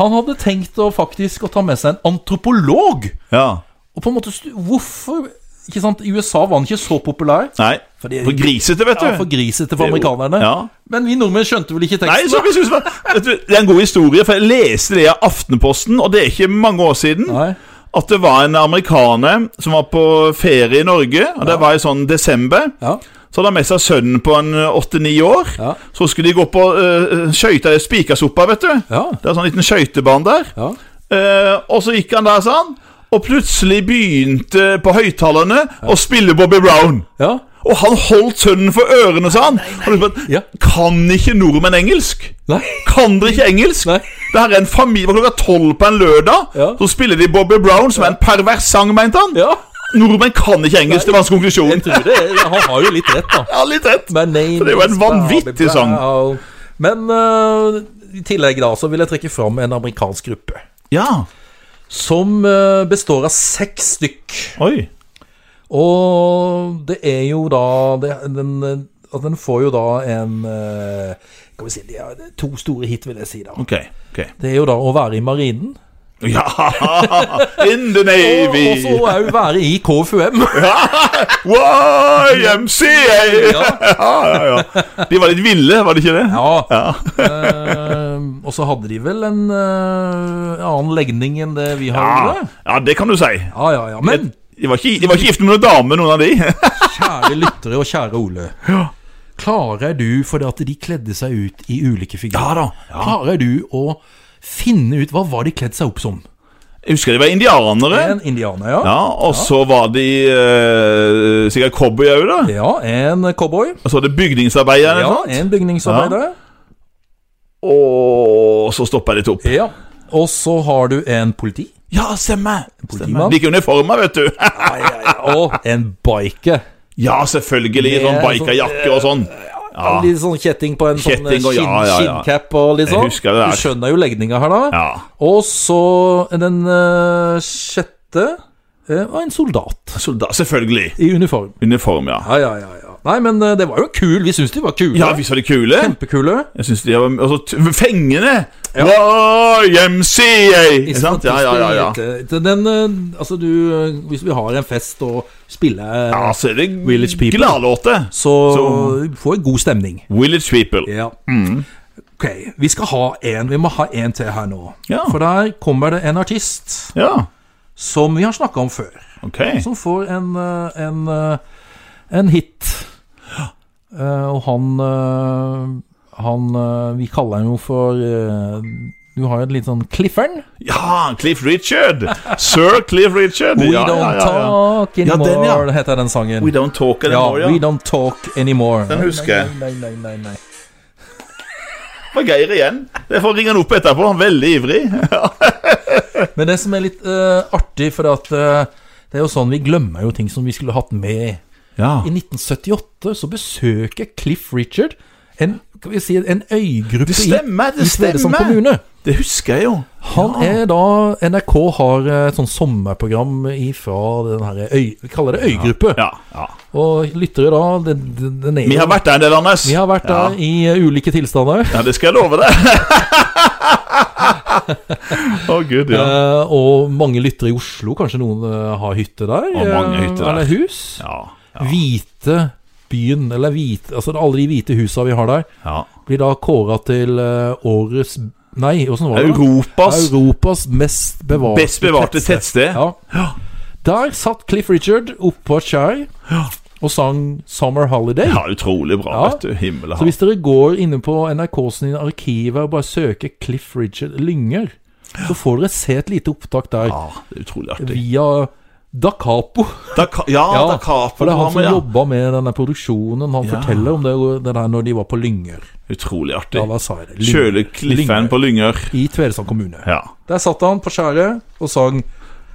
Speaker 1: Han hadde tenkt å faktisk å ta med seg en antropolog.
Speaker 2: Ja.
Speaker 1: Og på en måte stu- Hvorfor? Ikke sant? I USA var han ikke så populær.
Speaker 2: Nei.
Speaker 1: Fordi-
Speaker 2: For grisete, vet du.
Speaker 1: Ja, for grisete for
Speaker 2: Det er jo-
Speaker 1: amerikanerne.
Speaker 2: ja.
Speaker 1: Men vi nordmenn skjønte vel ikke
Speaker 2: Nei,
Speaker 1: teksten?
Speaker 2: så vi synes det var- vet du, Det er en god historie, for jeg leste det i Aftenposten, og det er ikke mange år siden.
Speaker 1: Nei.
Speaker 2: At det var en amerikaner som var på ferie i Norge, og det var i sånn desember.
Speaker 1: Ja.
Speaker 2: Så hadde han med seg sønnen på en eh, åtte-ni år.
Speaker 1: Ja.
Speaker 2: Så skulle de gå på uh, skøyter, det er Spikersoppa, vet du.
Speaker 1: Ja.
Speaker 2: Det er sånn liten skøytebane der.
Speaker 1: Ja.
Speaker 2: Eh, og så gikk han der, sa han. Og plutselig begynte på høyttalerne å spille Bobby Brown.
Speaker 1: ja.
Speaker 2: Og han holdt sønnen for ørene, sa han. Og du bare,
Speaker 1: Ja.
Speaker 2: Kan ikke nordmenn engelsk?
Speaker 1: Nei.
Speaker 2: Kan dere ikke engelsk?
Speaker 1: Nei.
Speaker 2: Det her er en familie hvor klokka tolv på en lørdag.
Speaker 1: Ja.
Speaker 2: Så spiller de Bobby Brown, som er en pervers sang, mente han.
Speaker 1: Ja.
Speaker 2: Nordmenn kan ikke engelsk, det var hans konklusjon.
Speaker 1: Jeg tror det. Han har jo litt rett, da.
Speaker 2: Ja, litt rett.
Speaker 1: My name
Speaker 2: Så det er jo en
Speaker 1: is
Speaker 2: vanvittig
Speaker 1: Bobby
Speaker 2: sang.
Speaker 1: Brown. Men eh, i tillegg da, så vil jeg trekke fram en amerikansk gruppe.
Speaker 2: Ja.
Speaker 1: Som eh, består av seks stykk.
Speaker 2: Oi.
Speaker 1: Og det er jo da det, den, eh, At den får jo da en eh, Skal vi si de har to store hit, vil jeg si. da
Speaker 2: Ok. ok
Speaker 1: Det er jo da å være i marinen.
Speaker 2: Ja! In the
Speaker 1: Og og så
Speaker 2: Navy!
Speaker 1: òg være i KFUM.
Speaker 2: YMCA!
Speaker 1: Ja.
Speaker 2: Ja, ja, ja. De var litt ville, var de ikke det?
Speaker 1: Ja. Eh, og så hadde de vel en eh, annen legning enn det vi har.
Speaker 2: Ja,
Speaker 1: gjorde.
Speaker 2: ja det kan du si.
Speaker 1: Ja, ja, ja. Men
Speaker 2: De var ikke, de var ikke gift med noen dame, noen av de.
Speaker 1: kjære lyttere og kjære Ole. Klarer du, fordi at de kledde seg ut i ulike figurer Klarer du å finne ut hva var de kledde seg opp som?
Speaker 2: Jeg husker de var indianere.
Speaker 1: En indianer, ja.
Speaker 2: Ja, Og så var de eh, sikkert cowboy òg, da.
Speaker 1: Ja, en cowboy.
Speaker 2: Og så var det bygningsarbeidere. sånn.
Speaker 1: Ja,
Speaker 2: ikke sant?
Speaker 1: en bygningsarbeider.
Speaker 2: Og så stoppa de litt opp.
Speaker 1: Ja. Og så har du en politi.
Speaker 2: Ja, stemmer. stemmer.
Speaker 1: Politimann.
Speaker 2: De gikk i uniformer, vet du.
Speaker 1: Ja, ja, ja. Og en biker.
Speaker 2: Ja, selvfølgelig.
Speaker 1: Med
Speaker 2: Sånn
Speaker 1: sånn-
Speaker 2: bikerjakke og sånn.
Speaker 1: Ja. Litt sånn kjetting på en sånn
Speaker 2: Kjetting og-
Speaker 1: skinn,
Speaker 2: ja, ja, ja.
Speaker 1: skinncapp og litt sånn.
Speaker 2: husker det der.
Speaker 1: Du skjønner jo legninga her, da.
Speaker 2: Ja.
Speaker 1: Og så den eh, sjette eh, var en soldat
Speaker 2: Soldat, selvfølgelig.
Speaker 1: i uniform.
Speaker 2: Uniform, ja.
Speaker 1: Ja, ja, ja, ja. Nei, men eh, det var jo kul. Vi syns de var kule.
Speaker 2: Ja, visst var de kjempekule.
Speaker 1: Kjempekule.
Speaker 2: Jeg synes de var altså, t- Fengende! YMCA! Ikke sant? Ja, ja, ja. ja.
Speaker 1: Den, eh, altså, du eh, Hvis vi har en fest og spiller eh,
Speaker 2: Ja, så er det
Speaker 1: Village People.
Speaker 2: gladlåter.
Speaker 1: Så,
Speaker 2: Så-
Speaker 1: får vi god stemning.
Speaker 2: Village People.
Speaker 1: Ja. Ok, vi skal ha en. Vi må ha en til her nå.
Speaker 2: Ja.
Speaker 1: For der kommer det en artist
Speaker 2: Ja,
Speaker 1: som vi har snakka om før.
Speaker 2: ok.
Speaker 1: Som får en, eh, en, eh, en hit. Eh, Og han eh, Han eh, Vi kaller han jo for eh, Du har jo et litt sånn Cliffern.
Speaker 2: Ja, Cliff Richard! Sir Cliff Richard.
Speaker 1: We
Speaker 2: ja,
Speaker 1: don't
Speaker 2: ja, ja, ja.
Speaker 1: talk
Speaker 2: Ja, den,
Speaker 1: anymore,
Speaker 2: ja.
Speaker 1: heter den sangen.
Speaker 2: We don't talk
Speaker 1: ja,
Speaker 2: anymore, ja.
Speaker 1: We don't talk anymore.
Speaker 2: Den husker jeg.
Speaker 1: Nei, nei, nei, nei, nei.
Speaker 2: Det var Geir igjen. Jeg får ringe han opp etterpå. Han er veldig ivrig.
Speaker 1: Men det som er litt eh, artig, for at, eh, det er jo sånn vi glemmer jo ting som vi skulle hatt med.
Speaker 2: Ja.
Speaker 1: I 1978 så besøker Cliff Richard en, skal vi si, en øygruppe
Speaker 2: Det stemmer,
Speaker 1: i,
Speaker 2: det
Speaker 1: i Stedesand
Speaker 2: stemmer.
Speaker 1: kommune.
Speaker 2: Det husker jeg jo.
Speaker 1: Han er da NRK har et sånn sommerprogram fra den her øy... Vi kaller det øygruppe.
Speaker 2: Ja, ja.
Speaker 1: Og lyttere da den, den, den er,
Speaker 2: Vi har vært der en del, Anders.
Speaker 1: vi har vært der i eh, ulike tilstander.
Speaker 2: Ja, det skal jeg love deg. Å, gud, ja.
Speaker 1: Eh, og mange lyttere i Oslo, kanskje noen eh, har hytte der?
Speaker 2: Og mange
Speaker 1: eh,
Speaker 2: hytter der.
Speaker 1: Eller hus?
Speaker 2: Ja,
Speaker 1: Hvite byen, eller hvite Altså alle de hvite husa vi har der,
Speaker 2: ja.
Speaker 1: blir da kåra til eh, årets Nei, åssen var det? da?
Speaker 2: Europas
Speaker 1: Europas mest bevarte,
Speaker 2: best bevarte tettsted.
Speaker 1: Ja. Der satt Cliff Richard oppå et skjær og sang 'Summer Holiday'.
Speaker 2: Ja, utrolig bra,
Speaker 1: Ja.
Speaker 2: vet du. Himmel og
Speaker 1: Så
Speaker 2: hav.
Speaker 1: hvis dere går inne på NRK sine arkiver og bare søker Cliff Richard Lynger, så får dere se et lite opptak der
Speaker 2: Ja, det er utrolig artig.
Speaker 1: via Da Capo.
Speaker 2: Da, ka- ja,
Speaker 1: Ja,
Speaker 2: da Capo
Speaker 1: For det er han
Speaker 2: var
Speaker 1: som
Speaker 2: med, ja.
Speaker 1: jobba med denne produksjonen. Han
Speaker 2: Ja.
Speaker 1: forteller om det, det der når de var på Lynger.
Speaker 2: Utrolig artig.
Speaker 1: Ja, da sa jeg det. Lynger.
Speaker 2: Kjøle Cliffen på Lyngør.
Speaker 1: I Tvedestrand kommune.
Speaker 2: Ja.
Speaker 1: Der satt han på skjæret og sang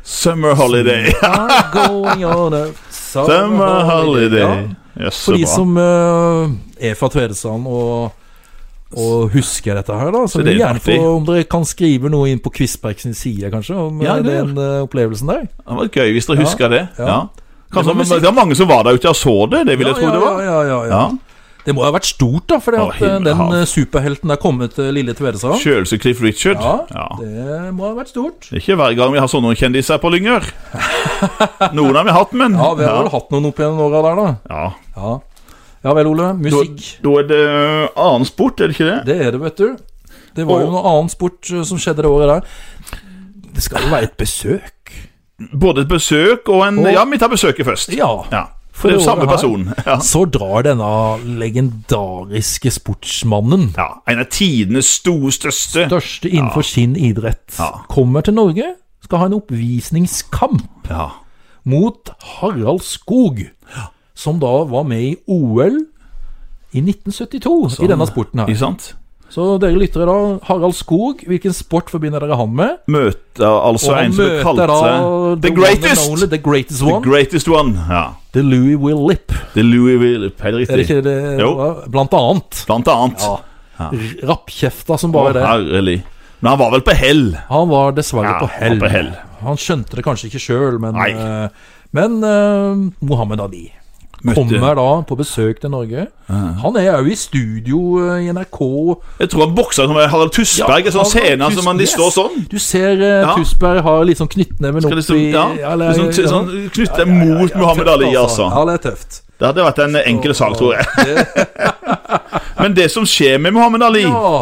Speaker 2: Summer holiday.
Speaker 1: I'm going on a summer,
Speaker 2: Summer holiday.
Speaker 1: Ja.
Speaker 2: Yes, så
Speaker 1: For de
Speaker 2: bra.
Speaker 1: som eh, er fra Tvedestrand og, og husker dette her, da. Så,
Speaker 2: Så
Speaker 1: vil
Speaker 2: det er
Speaker 1: vi gjerne få
Speaker 2: artig.
Speaker 1: om dere kan skrive noe inn på Quizberg sin side, kanskje, om
Speaker 2: Ja,
Speaker 1: eh,
Speaker 2: det
Speaker 1: den eh, opplevelsen der.
Speaker 2: Det var gøy hvis dere
Speaker 1: Ja,
Speaker 2: husker det.
Speaker 1: ja.
Speaker 2: Ja.
Speaker 1: Det var
Speaker 2: Kanskje, det,
Speaker 1: musikk.
Speaker 2: var mange som var der ute og så det. Det vil jeg
Speaker 1: ja,
Speaker 2: tro det var.
Speaker 1: Ja, ja, ja, ja.
Speaker 2: Ja.
Speaker 1: Det må ha vært stort, da, for
Speaker 2: Å, himmel,
Speaker 1: den
Speaker 2: hav.
Speaker 1: eh, superhelten er kommet til lille Tvedestrand.
Speaker 2: Sjølse Cliff Richard.
Speaker 1: Ja,
Speaker 2: Ja.
Speaker 1: det må ha vært stort.
Speaker 2: Det er ikke hver gang vi har sånne kjendiser på Lyngør. Noen har vi hatt, men
Speaker 1: Ja, vi har vel
Speaker 2: ja.
Speaker 1: hatt noen opp gjennom åra der, da.
Speaker 2: Ja.
Speaker 1: Ja. ja vel, Ole.
Speaker 2: Da,
Speaker 1: Musikk,
Speaker 2: da er det eh, annen sport, er det ikke det?
Speaker 1: det er det, vet du. Det var jo
Speaker 2: Og-
Speaker 1: noe annen sport eh, som skjedde det året der. Det skal jo være et besøk.
Speaker 2: Både et besøk og en
Speaker 1: Og-
Speaker 2: Ja, vi tar besøket først.
Speaker 1: Ja.
Speaker 2: Ja.
Speaker 1: For
Speaker 2: det er
Speaker 1: det
Speaker 2: jo samme
Speaker 1: året her.
Speaker 2: person. Ja.
Speaker 1: Så drar denne legendariske sportsmannen,
Speaker 2: ja. En av tidenes sto- største.
Speaker 1: største innenfor sin idrett,
Speaker 2: Ja.
Speaker 1: kommer til Norge, skal ha en oppvisningskamp.
Speaker 2: Ja.
Speaker 1: mot Harald Skog, som da var med i OL i 1972
Speaker 2: Sånn,
Speaker 1: i denne sporten her.
Speaker 2: Ikke sant?
Speaker 1: Så dere lyttere da, Harald Skog, hvilken sport forbinder dere han med?
Speaker 2: Møter altså
Speaker 1: Og han
Speaker 2: en som
Speaker 1: møter
Speaker 2: kalte
Speaker 1: da
Speaker 2: seg The
Speaker 1: one and Only,
Speaker 2: Greatest.
Speaker 1: the greatest
Speaker 2: The
Speaker 1: one.
Speaker 2: Greatest One. Ja.
Speaker 1: The Louis Will Lip.
Speaker 2: The Louis Willip. Helt
Speaker 1: Er det
Speaker 2: riktig.
Speaker 1: ikke det?
Speaker 2: Jo.
Speaker 1: Blant annet.
Speaker 2: Blant annet.
Speaker 1: Ja. Rappkjefta som
Speaker 2: Å,
Speaker 1: bare det.
Speaker 2: herlig. Men han var vel på hell.
Speaker 1: Han var dessverre
Speaker 2: Ja,
Speaker 1: på,
Speaker 2: han
Speaker 1: hell.
Speaker 2: var på hell.
Speaker 1: Han skjønte det kanskje ikke sjøl, men,
Speaker 2: Nei.
Speaker 1: eh, men eh, Mohammed Ali kommer da på besøk til Norge. Han er òg i studio eh, i NRK.
Speaker 2: Jeg tror han bokser som Harald Tusberg. en sånn scene som han de står sånn.
Speaker 1: Du ser eh,
Speaker 2: Ja.
Speaker 1: Tusberg har litt sånn knyttneven
Speaker 2: Skal
Speaker 1: opp
Speaker 2: liksom,
Speaker 1: i
Speaker 2: ja,
Speaker 1: eller-
Speaker 2: liksom t- sånn, knytte mot
Speaker 1: Ja,
Speaker 2: Muhammed
Speaker 1: tøft,
Speaker 2: Ali, altså.
Speaker 1: Ja, det er tøft.
Speaker 2: Det hadde vært en enkel sak, tror jeg.
Speaker 1: Det,
Speaker 2: Men det som skjer med Muhammed Ali
Speaker 1: ja.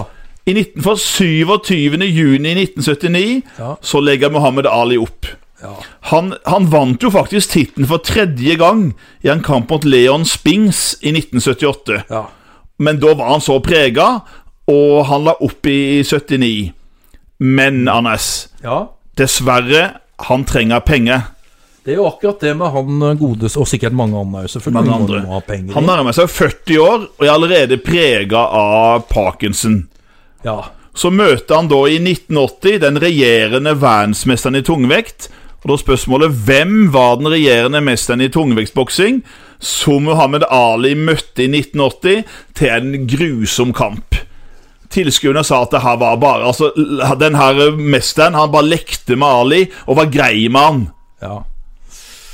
Speaker 2: i 19, For 27. juni 1979
Speaker 1: Ja.
Speaker 2: så legger Muhammed Ali opp.
Speaker 1: Ja.
Speaker 2: Han, han vant jo faktisk tittelen for tredje gang i en kamp mot Leon Spings i 1978.
Speaker 1: ja.
Speaker 2: Men da var han så prega, og han la opp i 79. Men, Anders,
Speaker 1: ja.
Speaker 2: dessverre, han trenger penger.
Speaker 1: Det er jo akkurat det med han eh, godes, og sikkert mange andre også, for
Speaker 2: Mange
Speaker 1: mange andre.
Speaker 2: andre.
Speaker 1: må ha penger.
Speaker 2: Han nærmer seg 40 år og er allerede prega av Parkinson.
Speaker 1: Ja.
Speaker 2: Så møter han da i 1980 den regjerende verdensmesteren i tungvekt. Og da er spørsmålet hvem var den regjerende mesteren i tungvektsboksing som Muhammed Ali møtte i 1980 til en grusom kamp? Tilskuerne sa at det her var bare Altså, den her mesteren han bare lekte med Ali og var grei med han.
Speaker 1: ja.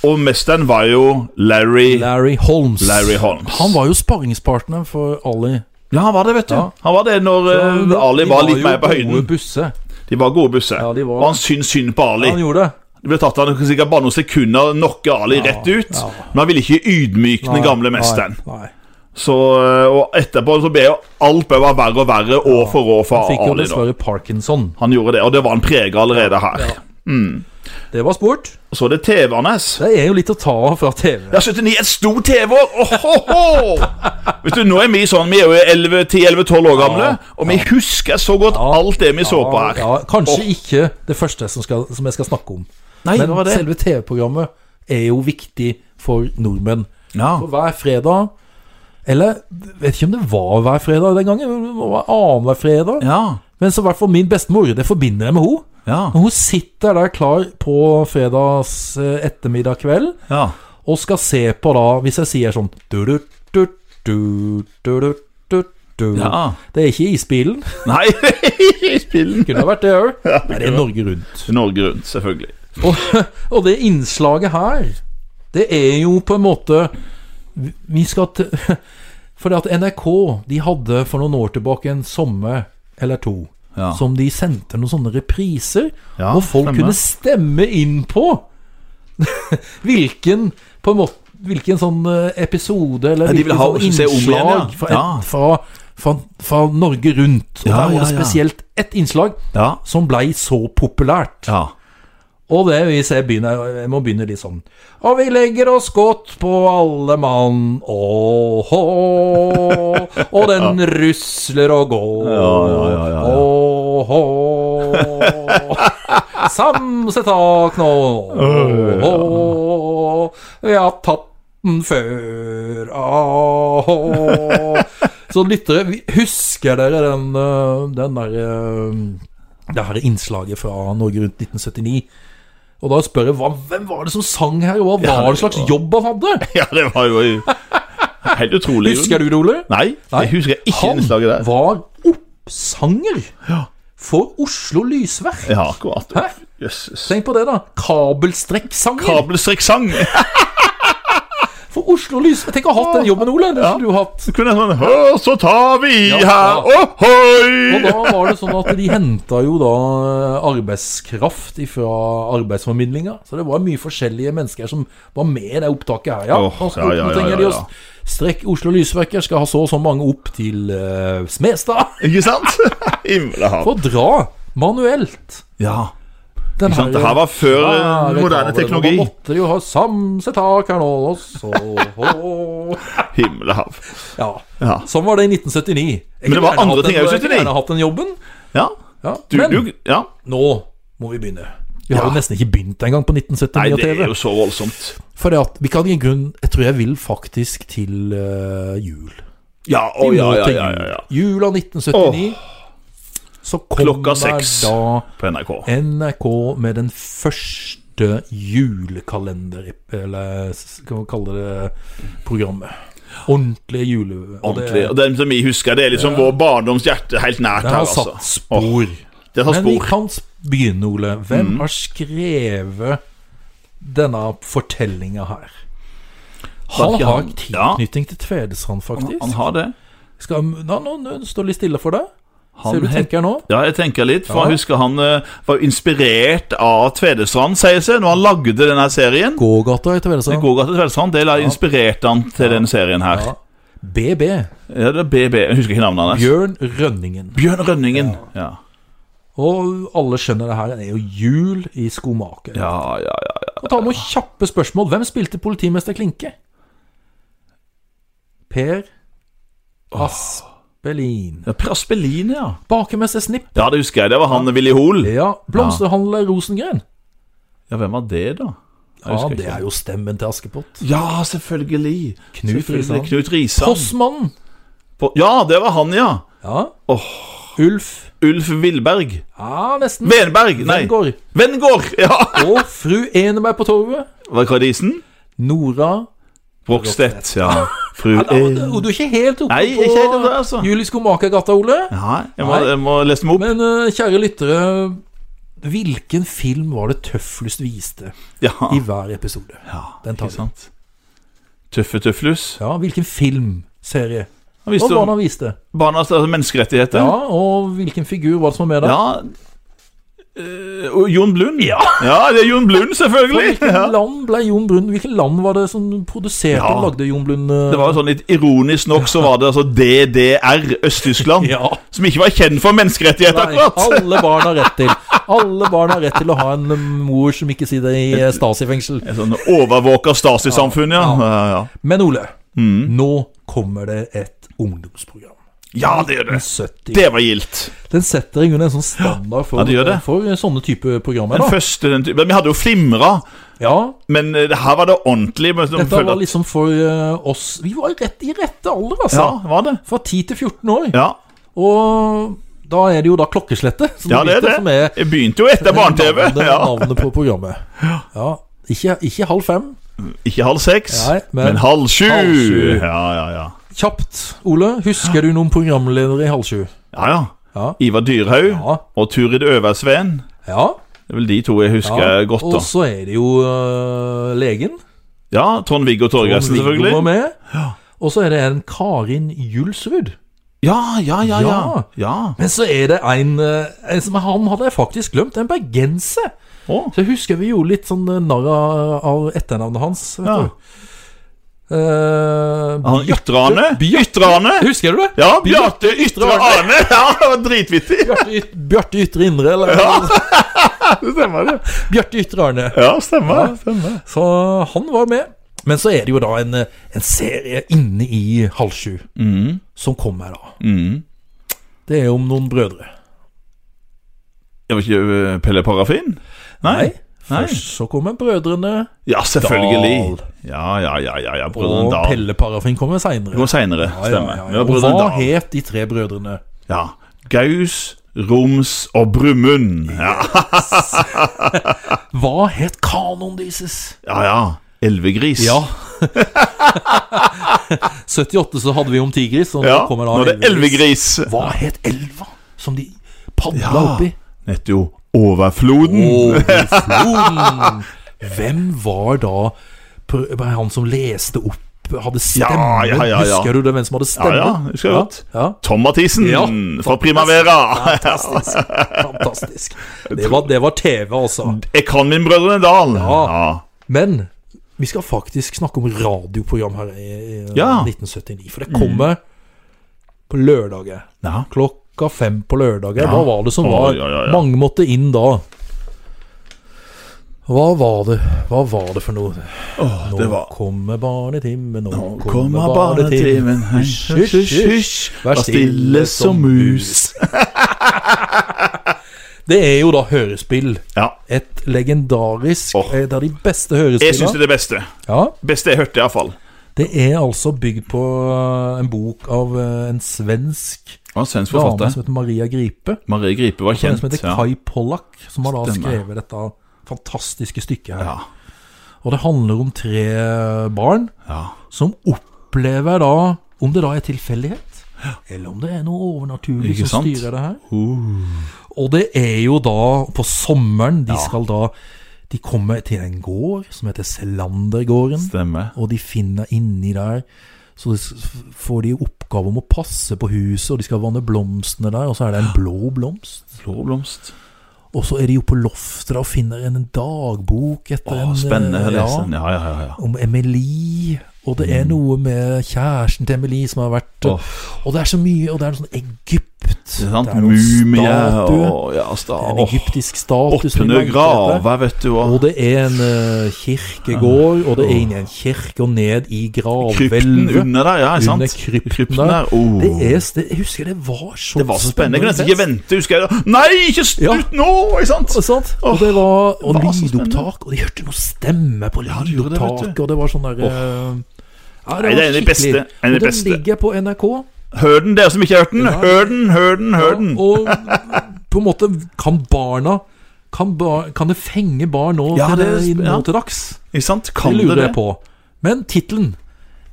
Speaker 2: Og mesteren var jo Larry
Speaker 1: Larry Holmes.
Speaker 2: Larry Holmes.
Speaker 1: Han var jo sparringspartner for Ali.
Speaker 2: Ja, han var det, vet du.
Speaker 1: Ja.
Speaker 2: Han var det når eh, Ali var litt mer
Speaker 1: De
Speaker 2: på
Speaker 1: var jo
Speaker 2: høyden.
Speaker 1: gode busse.
Speaker 2: De var gode busser.
Speaker 1: Ja, de var-
Speaker 2: Og han syntes synd på Ali.
Speaker 1: Han gjorde det.
Speaker 2: Det ble tatt han sikkert bare noen sekunder knocke Ali rett ut.
Speaker 1: ja.
Speaker 2: Men han ville ikke ydmyke den
Speaker 1: Nei,
Speaker 2: gamle
Speaker 1: nei,
Speaker 2: mesteren.
Speaker 1: Nei.
Speaker 2: Så, øh, og etterpå så ble jo alt bare var verre og verre år for år for
Speaker 1: Fikk jo
Speaker 2: Ali. Da.
Speaker 1: dessverre parkinson.
Speaker 2: Han gjorde det, og det var han prega allerede her.
Speaker 1: Det var sport.
Speaker 2: Så er det TV hans.
Speaker 1: Det er jo litt å ta av fra TV.
Speaker 2: Ja, 79, et stort TV-år! Ohoho! Vet du, nå er vi sånn, vi er jo 11, 10-11-12 år gamle, og vi husker så godt alt det vi så på her.
Speaker 1: Ja, kanskje
Speaker 2: Åh.
Speaker 1: ikke det første som, skal, som jeg skal snakke om.
Speaker 2: Nei,
Speaker 1: Men
Speaker 2: hva var det?
Speaker 1: selve TV-programmet er jo viktig for nordmenn.
Speaker 2: Ja.
Speaker 1: For hver fredag Eller vet ikke om det var hver fredag den gangen. men det var Annenhver fredag.
Speaker 2: Ja.
Speaker 1: Men så i hvert fall min bestemor, det forbinder jeg med henne.
Speaker 2: Ja.
Speaker 1: Og Hun sitter der klar på fredags eh, ettermiddag kveld
Speaker 2: Ja.
Speaker 1: og skal se på da, hvis jeg sier sånn du, du, du, du, du, du, du, du.
Speaker 2: Ja.
Speaker 1: Det er ikke isbilen.
Speaker 2: Nei, spillen.
Speaker 1: Kunne ha vært det òg. Nei, det er Norge Rundt.
Speaker 2: Norge Rundt, selvfølgelig.
Speaker 1: Og, og det innslaget her, det er jo på en måte vi- Vi skal til For at NRK de hadde for noen år tilbake en sommer eller to
Speaker 2: Ja.
Speaker 1: som de sendte noen sånne repriser,
Speaker 2: Ja,
Speaker 1: hvor folk
Speaker 2: stemmer.
Speaker 1: kunne stemme inn på hvilken på en måte Hvilken sånn eh, episode eller
Speaker 2: Ja, de vil
Speaker 1: hvilken
Speaker 2: ha
Speaker 1: sånn
Speaker 2: oss til å se om igjen, ja.
Speaker 1: innslag fra,
Speaker 2: Ja.
Speaker 1: fra, fra, fra Norge Rundt. Og
Speaker 2: Ja,
Speaker 1: der var det
Speaker 2: ja, ja.
Speaker 1: spesielt ett innslag
Speaker 2: Ja.
Speaker 1: som blei så populært.
Speaker 2: Ja.
Speaker 1: Og det hvis jeg begynner Jeg må begynne litt sånn Og vi legger oss godt på alle mann Åh Og den rusler og går
Speaker 2: Ja, ja, ja, ja, ja.
Speaker 1: Åh Samset tak nå Åh
Speaker 2: Øh.
Speaker 1: Vi har tatt den før Åh Så lyttere, vi- husker dere den, øh, den der øh, Det her innslaget fra Norge rundt 1979 og da spør jeg hva, hvem var det som sang her, og hva
Speaker 2: Ja,
Speaker 1: var det
Speaker 2: det
Speaker 1: slags
Speaker 2: var-
Speaker 1: jobb han hadde?
Speaker 2: ja, det var jo helt utrolig.
Speaker 1: Husker du det, Ole?
Speaker 2: Nei,
Speaker 1: Nei.
Speaker 2: jeg husker ikke
Speaker 1: Han
Speaker 2: innslaget der.
Speaker 1: var oppsanger for Oslo Lysverk.
Speaker 2: Ja, akkurat.
Speaker 1: Hæ?
Speaker 2: Jøsses.
Speaker 1: Tenk på det, da. Kabelstrekksanger.
Speaker 2: Kabelstrekksang.
Speaker 1: For Oslo Lys Tenk å ha hatt den jobben, Ole. Det skulle du hatt.
Speaker 2: Så kunne jeg sånn «Å, Så tar vi i
Speaker 1: Ja,
Speaker 2: her,
Speaker 1: ja. Og
Speaker 2: ohoi!
Speaker 1: da var det sånn at de henta jo da eh, arbeidskraft fra arbeidsformidlinga. Så det var mye forskjellige mennesker som var med i det opptaket her, ja.
Speaker 2: Åh,
Speaker 1: Nå skal-
Speaker 2: ja, ja,
Speaker 1: nå
Speaker 2: ja,
Speaker 1: trenger
Speaker 2: ja,
Speaker 1: de å
Speaker 2: ja.
Speaker 1: Strekk Oslo Lysverker skal ha så og så mange opp til eh, Smestad.
Speaker 2: Ikke sant? Himla hav.
Speaker 1: For å dra manuelt.
Speaker 2: Ja.
Speaker 1: Den
Speaker 2: Ikke sant? Det her var før eh, moderne teknologi.
Speaker 1: Man måtte jo ha samse tak her nå, og så hå.
Speaker 2: Himla hav.
Speaker 1: Ja.
Speaker 2: Ja.
Speaker 1: Sånn var det i 1979. Jeg
Speaker 2: Men det var
Speaker 1: kunne gjerne
Speaker 2: andre
Speaker 1: hatt
Speaker 2: ting
Speaker 1: den-
Speaker 2: også i
Speaker 1: Jeg kunne
Speaker 2: 79.
Speaker 1: gjerne hatt den jobben.
Speaker 2: ja.
Speaker 1: Ja.
Speaker 2: Du,
Speaker 1: Men
Speaker 2: du, ja.
Speaker 1: nå må vi begynne. Vi har
Speaker 2: Ja.
Speaker 1: jo nesten ikke begynt engang på
Speaker 2: Nei,
Speaker 1: 1979 og
Speaker 2: det er
Speaker 1: TV.
Speaker 2: jo så voldsomt.
Speaker 1: For det at vi kan i grunn Jeg tror jeg vil faktisk til eh, jul.
Speaker 2: Ja, å
Speaker 1: Vi
Speaker 2: ja,
Speaker 1: må
Speaker 2: ja,
Speaker 1: til
Speaker 2: ja,
Speaker 1: jul.
Speaker 2: ja, ja.
Speaker 1: Jula 1979. Så
Speaker 2: Klokka
Speaker 1: kommer
Speaker 2: seks.
Speaker 1: da
Speaker 2: På NRK.
Speaker 1: NRK med den første julekalender Eller skal vi kalle det programmet. Ordentlige jule... og det-
Speaker 2: Ordentlig. Og den som vi husker, det er liksom vår barndoms hjerte helt nært
Speaker 1: Den
Speaker 2: her,
Speaker 1: har
Speaker 2: altså.
Speaker 1: satt spor.
Speaker 2: Det har
Speaker 1: Men vi
Speaker 2: spor. Mm.
Speaker 1: kan s- begynne, Ole. Hvem har skrevet denne fortellinga her? Han
Speaker 2: Bakke-
Speaker 1: har
Speaker 2: Ja.
Speaker 1: tilknytning til Tvedestrand, faktisk.
Speaker 2: Han har det.
Speaker 1: Skal, nå, nå, nå står det litt stille for deg.
Speaker 2: Han
Speaker 1: Ser du
Speaker 2: het-
Speaker 1: tenker nå?
Speaker 2: Ja, jeg tenker litt, for
Speaker 1: Ja.
Speaker 2: jeg husker han eh, var inspirert av Tvedestrand, sier seg, når han lagde denne serien.
Speaker 1: Gågata i Tvedestrand.
Speaker 2: Gågata Tvedestrand, det la- inspirerte han til denne serien her.
Speaker 1: Ja. BB.
Speaker 2: Ja, det er BB, jeg husker ikke navnet hans.
Speaker 1: Bjørn Rønningen.
Speaker 2: Bjørn Rønningen. Ja.
Speaker 1: Og alle skjønner det her, det er jo jul i skomaker.
Speaker 2: Ja, ja, ja. ja.
Speaker 1: Og ta noen kjappe spørsmål. Hvem spilte politimester Klinke? Per Aspelin.
Speaker 2: ja Per Aspelin, ja.
Speaker 1: Bakermester Snipp.
Speaker 2: Ja, det husker jeg. Det var han Willy Hoel.
Speaker 1: Ja. Blomsterhandler Rosengren.
Speaker 2: Ja, hvem var det, da? Jeg
Speaker 1: Ja,
Speaker 2: husker
Speaker 1: det
Speaker 2: ikke.
Speaker 1: er jo stemmen til Askepott.
Speaker 2: Ja, selvfølgelig.
Speaker 1: Knut
Speaker 2: Selvfølgelig,
Speaker 1: Risan.
Speaker 2: Knut Risan.
Speaker 1: Postmannen.
Speaker 2: På- Ja, det var han, ja.
Speaker 1: Ja.
Speaker 2: Åh.
Speaker 1: Ulf.
Speaker 2: Ulf Vilberg.
Speaker 1: Ja, nesten.
Speaker 2: Venberg, nei.
Speaker 1: Vengård.
Speaker 2: Vengård, ja.
Speaker 1: Og fru Eneberg på torvet.
Speaker 2: Var det Kardisen?
Speaker 1: Nora.
Speaker 2: Brokstedt, ja. Fru
Speaker 1: Ja, da,
Speaker 2: E.
Speaker 1: og du er ikke helt oppe
Speaker 2: Nei,
Speaker 1: på
Speaker 2: ikke helt oppe, altså.
Speaker 1: Juli Skomakergata, Ole.
Speaker 2: Nei, jeg må,
Speaker 1: Nei.
Speaker 2: jeg må lese dem opp.
Speaker 1: Men eh, kjære lyttere, hvilken film var det tøflest viste
Speaker 2: Ja,
Speaker 1: i hver episode?
Speaker 2: Ah. ja
Speaker 1: Den tar
Speaker 2: ikke
Speaker 1: vi.
Speaker 2: sant. Tøffe Tøflus.
Speaker 1: Ja, hvilken filmserie? Og
Speaker 2: Han visste
Speaker 1: hva
Speaker 2: om
Speaker 1: han viste?
Speaker 2: barnas altså menneskerettigheter.
Speaker 1: Ja, og hvilken figur var det som var med der?
Speaker 2: ja. Eh, og Jon Blund. Ja. det er Jon Blund,
Speaker 1: Fra
Speaker 2: selvfølgelig.
Speaker 1: hvilket
Speaker 2: Ja.
Speaker 1: land ble Jon Blund Hvilket land var det som produserte
Speaker 2: Ja.
Speaker 1: og lagde Jon Blund? eh,
Speaker 2: Det var jo sånn litt Ironisk nok så var det altså DDR, Øst-Tyskland,
Speaker 1: Ja.
Speaker 2: som ikke var kjent for menneskerettigheter,
Speaker 1: Nei,
Speaker 2: akkurat.
Speaker 1: alle barn har rett til Alle barn har rett til å ha en eh, mor som ikke sitter i eh, Stasi-fengsel.
Speaker 2: En sånn overvåka Stasi-samfunn, ja. Ja, ja.
Speaker 1: Men Ole,
Speaker 2: Mm.
Speaker 1: nå kommer det et ungdomsprogram.
Speaker 2: ja, det gjør det.
Speaker 1: 70
Speaker 2: Det var gildt.
Speaker 1: Den setter i grunnen en sånn standard for,
Speaker 2: Ja, det gjør det.
Speaker 1: for sånne type programmer.
Speaker 2: Den
Speaker 1: da
Speaker 2: første den ty- Men vi hadde jo Flimra,
Speaker 1: ja,
Speaker 2: men eh, det her var det ordentlig. Men de
Speaker 1: Dette
Speaker 2: følte
Speaker 1: var
Speaker 2: at-
Speaker 1: liksom for eh, oss Vi var rett i rette alder, altså.
Speaker 2: Ja, var det?
Speaker 1: Fra 10 til 14 år.
Speaker 2: Ja,
Speaker 1: Og da er det jo da klokkeslettet som,
Speaker 2: ja det
Speaker 1: begynte,
Speaker 2: er det.
Speaker 1: som er
Speaker 2: Jeg begynte jo etter barne-TV.
Speaker 1: navnet,
Speaker 2: Ja.
Speaker 1: navnet på programmet. Ja, ikke, ikke halv fem.
Speaker 2: Ikke halv seks,
Speaker 1: Nei, men-
Speaker 2: men, halv sju.
Speaker 1: Halv sju.
Speaker 2: Ja, ja, ja.
Speaker 1: Kjapt, Ole. Husker du noen programledere i halv sju?
Speaker 2: Ja, ja.
Speaker 1: Ja.
Speaker 2: Ivar Dyrhaug
Speaker 1: Ja.
Speaker 2: og Turid Øversveen.
Speaker 1: ja,
Speaker 2: Det er vel de to jeg husker
Speaker 1: ja.
Speaker 2: godt,
Speaker 1: Og
Speaker 2: da.
Speaker 1: så er det jo eh, legen.
Speaker 2: Ja, Trond-Viggo Torgersen,
Speaker 1: Viggo
Speaker 2: selvfølgelig.
Speaker 1: var med. Og så er det en Karin Julsrud.
Speaker 2: Ja, ja, ja, ja.
Speaker 1: Ja.
Speaker 2: ja.
Speaker 1: Men så er det en, eh, en som han hadde jeg faktisk glemt, en bergenser.
Speaker 2: Å,
Speaker 1: Så jeg husker vi gjorde litt sånn eh, narr av- av etternavnet hans. Vet
Speaker 2: Ja.
Speaker 1: du. Eh,
Speaker 2: han Ytre Arne.
Speaker 1: Bjarte-
Speaker 2: Ytre Arne.
Speaker 1: Husker du det?
Speaker 2: Ja, Bjarte Ytre Arne. Ja, det var dritvittig.
Speaker 1: Bjarte Yt- Bjarte Ytre Indre, eller
Speaker 2: Det stemmer, det.
Speaker 1: Bjarte Ytre Arne.
Speaker 2: Ja, stemmer. stemmer.
Speaker 1: Så han var med. Men så er det jo da en, eh, en serie inne i halv sju som kommer da.
Speaker 2: Mm.
Speaker 1: Det er jo om noen brødre.
Speaker 2: Jeg var ikke øh, Pelle Parafin? Nei. Nei.
Speaker 1: Først så kommer brødrene,
Speaker 2: Ja, selvfølgelig.
Speaker 1: Dahl.
Speaker 2: Ja, ja, ja, ja, ja. Brødrene
Speaker 1: og
Speaker 2: Dal.
Speaker 1: Pelle Parafin kommer
Speaker 2: Det kom
Speaker 1: seinere.
Speaker 2: seinere, stemmer. Ja,
Speaker 1: Og
Speaker 2: Brødrene
Speaker 1: hva
Speaker 2: Dal.
Speaker 1: het de tre brødrene?
Speaker 2: Ja. Gaus, Roms og Brumund. Ja,
Speaker 1: Hva het kanoen deres?
Speaker 2: ja. ja. Elvegris.
Speaker 1: Ja. 78 så hadde vi om tigris, og nå
Speaker 2: Ja,
Speaker 1: kommer da
Speaker 2: Nå er det elvegris.
Speaker 1: Hva het elva som de padla
Speaker 2: Ja.
Speaker 1: oppi?
Speaker 2: Nettopp. Overfloden.
Speaker 1: Overfloden. Hvem var da pr- var det han som leste opp, hadde stemmen.
Speaker 2: Ja, ja, ja, ja.
Speaker 1: Husker du det, hvem som hadde
Speaker 2: Ja,
Speaker 1: stemme?
Speaker 2: ja, husker jeg godt.
Speaker 1: Ja.
Speaker 2: Tom Mathisen
Speaker 1: Ja,
Speaker 2: fra Primavera.
Speaker 1: Fantastisk. fantastisk Det var, det var TV, altså.
Speaker 2: Jeg kan min Brødrene Dal.
Speaker 1: Ja. Men vi skal faktisk snakke om radioprogram her i, i
Speaker 2: Ja.
Speaker 1: 1979. For det kommer på lørdager.
Speaker 2: Ja.
Speaker 1: Klokka fem på lørdager.
Speaker 2: Ja.
Speaker 1: Hva var det som
Speaker 2: Å,
Speaker 1: var?
Speaker 2: ja, ja, ja.
Speaker 1: Mange måtte inn da. Hva var det Hva var det for noe?
Speaker 2: Åh,
Speaker 1: Nå
Speaker 2: det var
Speaker 1: kommer barnetimen, nå,
Speaker 2: Nå
Speaker 1: kommer
Speaker 2: kommer barnetimen.
Speaker 1: barnetimen.
Speaker 2: Hysj, hysj, hysj. Vær stille som mus.
Speaker 1: Det er jo da hørespill.
Speaker 2: Ja.
Speaker 1: Et legendarisk
Speaker 2: Åh.
Speaker 1: eh, Det er de beste
Speaker 2: Jeg syns det
Speaker 1: hørespillene.
Speaker 2: er det beste.
Speaker 1: Ja,
Speaker 2: Beste jeg hørte, iallfall.
Speaker 1: det er altså bygd på eh, en bok av eh, en svensk
Speaker 2: Svensk
Speaker 1: dame som heter Maria Gripe.
Speaker 2: Marie Gripe var
Speaker 1: En som heter Kai Pollak, som har da
Speaker 2: Stemmer.
Speaker 1: skrevet dette fantastiske stykket her.
Speaker 2: Ja.
Speaker 1: Og det handler om tre eh, barn
Speaker 2: Ja.
Speaker 1: som opplever da Om det da er tilfeldighet, eller om det er noe overnaturlig
Speaker 2: Ikke
Speaker 1: som
Speaker 2: sant? Uh.
Speaker 1: styrer det her. Og det er jo da på sommeren de skal da De kommer til en gård som heter Selandergården.
Speaker 2: Stemmer.
Speaker 1: Og de finner inni der Så s- f- får de oppgave om å passe på huset, og de skal vanne blomstene der, og så er det en blå blomst.
Speaker 2: Blå blomst.
Speaker 1: Og så er de jo på loftet da og finner en dagbok etter
Speaker 2: Åh,
Speaker 1: en eh,
Speaker 2: spennende å
Speaker 1: ja,
Speaker 2: lese den. Ja, ja, ja. ja.
Speaker 1: om Emilie. Og det er noe med kjæresten til Emilie som har vært
Speaker 2: Mm. Åh.
Speaker 1: Og det er så mye, og det er noe sånn Egypt.
Speaker 2: Det er sant,
Speaker 1: det er noen
Speaker 2: Mumie
Speaker 1: statuer.
Speaker 2: og ja, sta,
Speaker 1: Det er En
Speaker 2: åh,
Speaker 1: egyptisk status. som vi
Speaker 2: Åpne
Speaker 1: lager etter.
Speaker 2: graver, vet du.
Speaker 1: Og
Speaker 2: Og
Speaker 1: det er en eh, kirkegård, og det er inni en kirke og ned i
Speaker 2: krypten
Speaker 1: gravhvelvet.
Speaker 2: under der, ja. ikke sant?
Speaker 1: Under krypten der.
Speaker 2: der. åh.
Speaker 1: Det er, det, jeg husker det var så
Speaker 2: Det var så spennende. Jeg kunne nesten ikke
Speaker 1: fest.
Speaker 2: vente. husker jeg Nei, ikke slutt nå! Ikke sant?
Speaker 1: Og, sant? og det var og
Speaker 2: det var så
Speaker 1: lydopptak, og de hørte noe stemme på
Speaker 2: de gjorde det, vet
Speaker 1: lydopptaket,
Speaker 2: du.
Speaker 1: og det var sånn der eh, ja,
Speaker 2: Nei, det er en av de beste.
Speaker 1: skikkelig.
Speaker 2: En av de
Speaker 1: Og
Speaker 2: beste.
Speaker 1: Den ligger på NRK,
Speaker 2: Hør den, dere som ikke har hørt den.
Speaker 1: Ja.
Speaker 2: Hør den, hør den, hør den.
Speaker 1: og på en måte kan barna Kan, bar, kan det fenge barn nå,
Speaker 2: Ja,
Speaker 1: til,
Speaker 2: det-
Speaker 1: nå
Speaker 2: ja.
Speaker 1: til dags?
Speaker 2: Ikke sant?
Speaker 1: Det
Speaker 2: Kan du
Speaker 1: lurer
Speaker 2: det?
Speaker 1: jeg på. Men tittelen,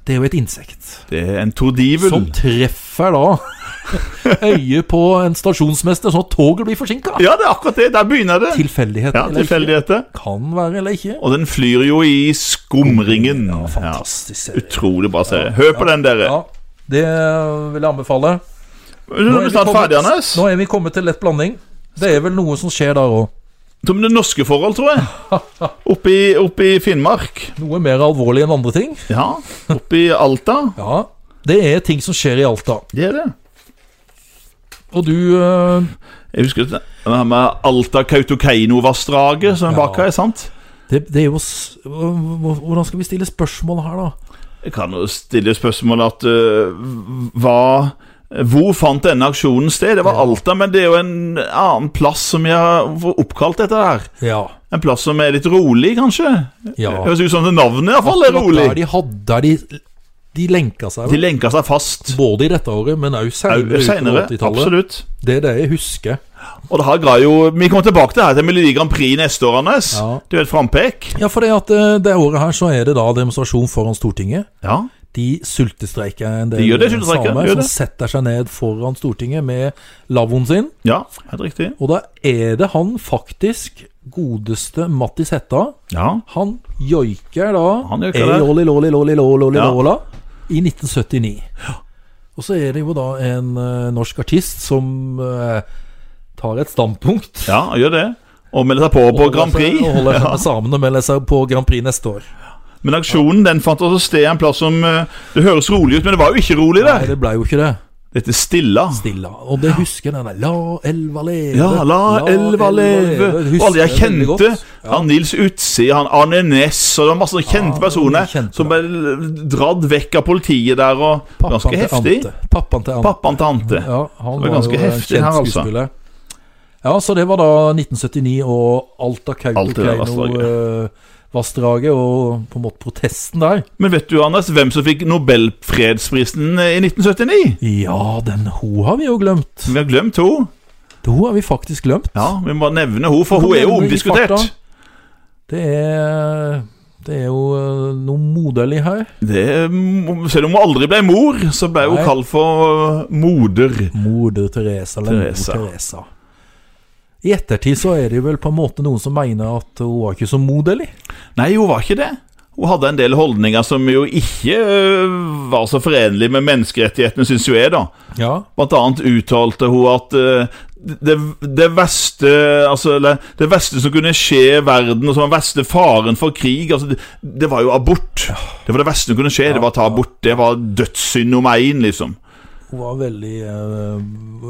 Speaker 1: det er jo et insekt.
Speaker 2: Det er en tordivul.
Speaker 1: Som treffer da øyet på en stasjonsmester, sånn at toget blir forsinka.
Speaker 2: Ja, det er akkurat det. Der begynner det.
Speaker 1: Tilfeldighet
Speaker 2: Ja,
Speaker 1: eller ikke.
Speaker 2: Tilfeldigheter.
Speaker 1: Kan være eller ikke.
Speaker 2: Og den flyr jo i skumringen.
Speaker 1: Ja,
Speaker 2: Ja,
Speaker 1: fantastisk serie.
Speaker 2: Utrolig bra serie. Hør på den, dere.
Speaker 1: Ja, det vil jeg anbefale.
Speaker 2: Nå er vi snart ferdig, Anders.
Speaker 1: nå er vi kommet til lett blanding. Det er vel noe som skjer der òg.
Speaker 2: Som det norske forhold, tror jeg. Oppe i, oppe i Finnmark.
Speaker 1: Noe mer alvorlig enn andre ting.
Speaker 2: Ja. Oppe i Alta.
Speaker 1: Ja, Det er ting som skjer i Alta.
Speaker 2: Det er det.
Speaker 1: Og du eh,
Speaker 2: Jeg husker det det her med Alta Kautokeino-vassdraget som er bak
Speaker 1: Ja.
Speaker 2: her, sant?
Speaker 1: det, det er jo s- Hvordan skal vi stille spørsmål her, da?
Speaker 2: Jeg kan jo stille spørsmålet at øh, hva hvor fant denne aksjonen sted? Det var Alta, men det er jo en annen plass som jeg har oppkalt dette her.
Speaker 1: Ja.
Speaker 2: En plass som er litt rolig, kanskje?
Speaker 1: ja.
Speaker 2: Det høres ut som det navnet iallfall er
Speaker 1: Akkurat Der
Speaker 2: rolig.
Speaker 1: de hadde Der de, de lenka seg.
Speaker 2: De lenka seg fast
Speaker 1: Både i dette året, men òg senere. utover
Speaker 2: seinere.
Speaker 1: 80-tallet.
Speaker 2: Absolutt.
Speaker 1: Det er det jeg husker.
Speaker 2: Og det her ga jo Vi kommer tilbake til det her til Melodi Grand Prix neste år, Anders.
Speaker 1: Ja.
Speaker 2: Det er jo et frampek.
Speaker 1: Ja, for det, at eh, det året her så er det da demonstrasjon foran Stortinget.
Speaker 2: Ja.
Speaker 1: De sultestreiker en del
Speaker 2: De gjør det, sultestreiker,
Speaker 1: samer
Speaker 2: gjør
Speaker 1: som
Speaker 2: det.
Speaker 1: setter seg ned foran Stortinget med lavvoen sin.
Speaker 2: ja, helt riktig.
Speaker 1: Og da er det han faktisk, godeste Mattis Hetta,
Speaker 2: Ja.
Speaker 1: han joiker da E,
Speaker 2: Han joiker
Speaker 1: Ei
Speaker 2: der.
Speaker 1: loli loli loli loli loli
Speaker 2: Ja.
Speaker 1: lola i 1979. Og så er det jo da en eh, norsk artist som eh, tar et standpunkt.
Speaker 2: ja, gjør det. Og melder seg på på
Speaker 1: Og holder
Speaker 2: Grand
Speaker 1: seg-
Speaker 2: Prix.
Speaker 1: Og holder seg med samene og melder seg på Grand Prix neste år.
Speaker 2: Men aksjonen den fant altså sted en plass som eh, Det høres rolig ut, men det var jo ikke rolig
Speaker 1: Nei,
Speaker 2: der.
Speaker 1: det ble jo ikke det.
Speaker 2: Dette er Stilla.
Speaker 1: Stilla. Og det husker den der La elva leve.
Speaker 2: Ja, la elva leve.
Speaker 1: Det
Speaker 2: Og
Speaker 1: husker
Speaker 2: alle jeg
Speaker 1: veldig
Speaker 2: kjente.
Speaker 1: godt. Ja.
Speaker 2: Han Nils Utsi, han Arne Næss og det var masse sånne
Speaker 1: Ja,
Speaker 2: kjente personer
Speaker 1: kjente.
Speaker 2: som ble dratt vekk av politiet der, og
Speaker 1: Pappaen
Speaker 2: ganske
Speaker 1: til
Speaker 2: heftig.
Speaker 1: Ante. Pappaen til Ante.
Speaker 2: Pappaen til Ante.
Speaker 1: Ja, han
Speaker 2: Det var
Speaker 1: var,
Speaker 2: ganske
Speaker 1: jo en
Speaker 2: heftig
Speaker 1: kjent
Speaker 2: her, altså.
Speaker 1: skuespiller. Ja, så det var da 1979 og Alta
Speaker 2: Alta vassdraget.
Speaker 1: Kautokeino-vassdraget og på en måte protesten der.
Speaker 2: Men vet du, Anders, hvem som fikk Nobelfredsprisen eh, i 1979?
Speaker 1: Ja, den hun har vi jo glemt.
Speaker 2: Vi har glemt henne.
Speaker 1: Hun har vi faktisk glemt.
Speaker 2: Ja, vi må bare nevne henne, for
Speaker 1: Hun
Speaker 2: hun er jo
Speaker 1: nevner vi i
Speaker 2: omdiskutert.
Speaker 1: farta. Det er Det er jo eh, noe moderlig her.
Speaker 2: Det, er- selv om hun aldri ble mor, så ble hun
Speaker 1: Nei.
Speaker 2: kalt for moder.
Speaker 1: Moder Teresa eller
Speaker 2: Teresa.
Speaker 1: mor Teresa. I ettertid så er det jo vel på en måte noen som mener at hun var ikke så moderlig.
Speaker 2: Nei, hun var ikke det. Hun hadde en del holdninger som jo ikke eh, var så forenlig med menneskerettighetene, syns jo jeg, da.
Speaker 1: Ja.
Speaker 2: Blant annet uttalte hun at eh, det, det, verste, altså, eller, det verste som kunne skje i verden, og som var verste faren for krig, altså, det, det var jo abort. Det var det verste som kunne skje. Det var å ta abort. Det var dødssynd nummer én, liksom.
Speaker 1: Hun var veldig, eh,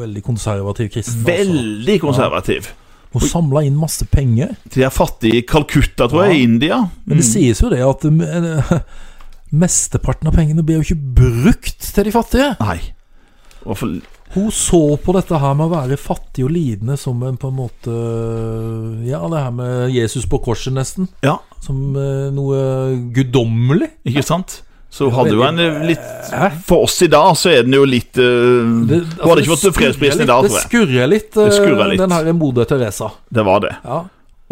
Speaker 1: veldig konservativ kristen. Altså.
Speaker 2: Veldig konservativ.
Speaker 1: Hun samla inn masse penger.
Speaker 2: De er fattige i Calcutta, tror jeg,
Speaker 1: Ja.
Speaker 2: i India.
Speaker 1: Men det sies jo det at eh, mesteparten av pengene blir jo ikke brukt til de fattige.
Speaker 2: Nei. Og for,
Speaker 1: Hun så på dette her med å være fattig og lidende som en på en måte Ja, det her med Jesus på korset, nesten.
Speaker 2: ja,
Speaker 1: Som eh, noe guddommelig.
Speaker 2: ikke sant? Så hun hadde jo en eh, litt
Speaker 1: Hæ?
Speaker 2: For oss i dag så er den jo litt eh,
Speaker 1: altså,
Speaker 2: Hun hadde ikke fått fredsprisen i dag, tror jeg.
Speaker 1: Det skurrer litt,
Speaker 2: Det skurrer
Speaker 1: eh,
Speaker 2: litt.
Speaker 1: den her moder Teresa.
Speaker 2: Det var det.
Speaker 1: Ja.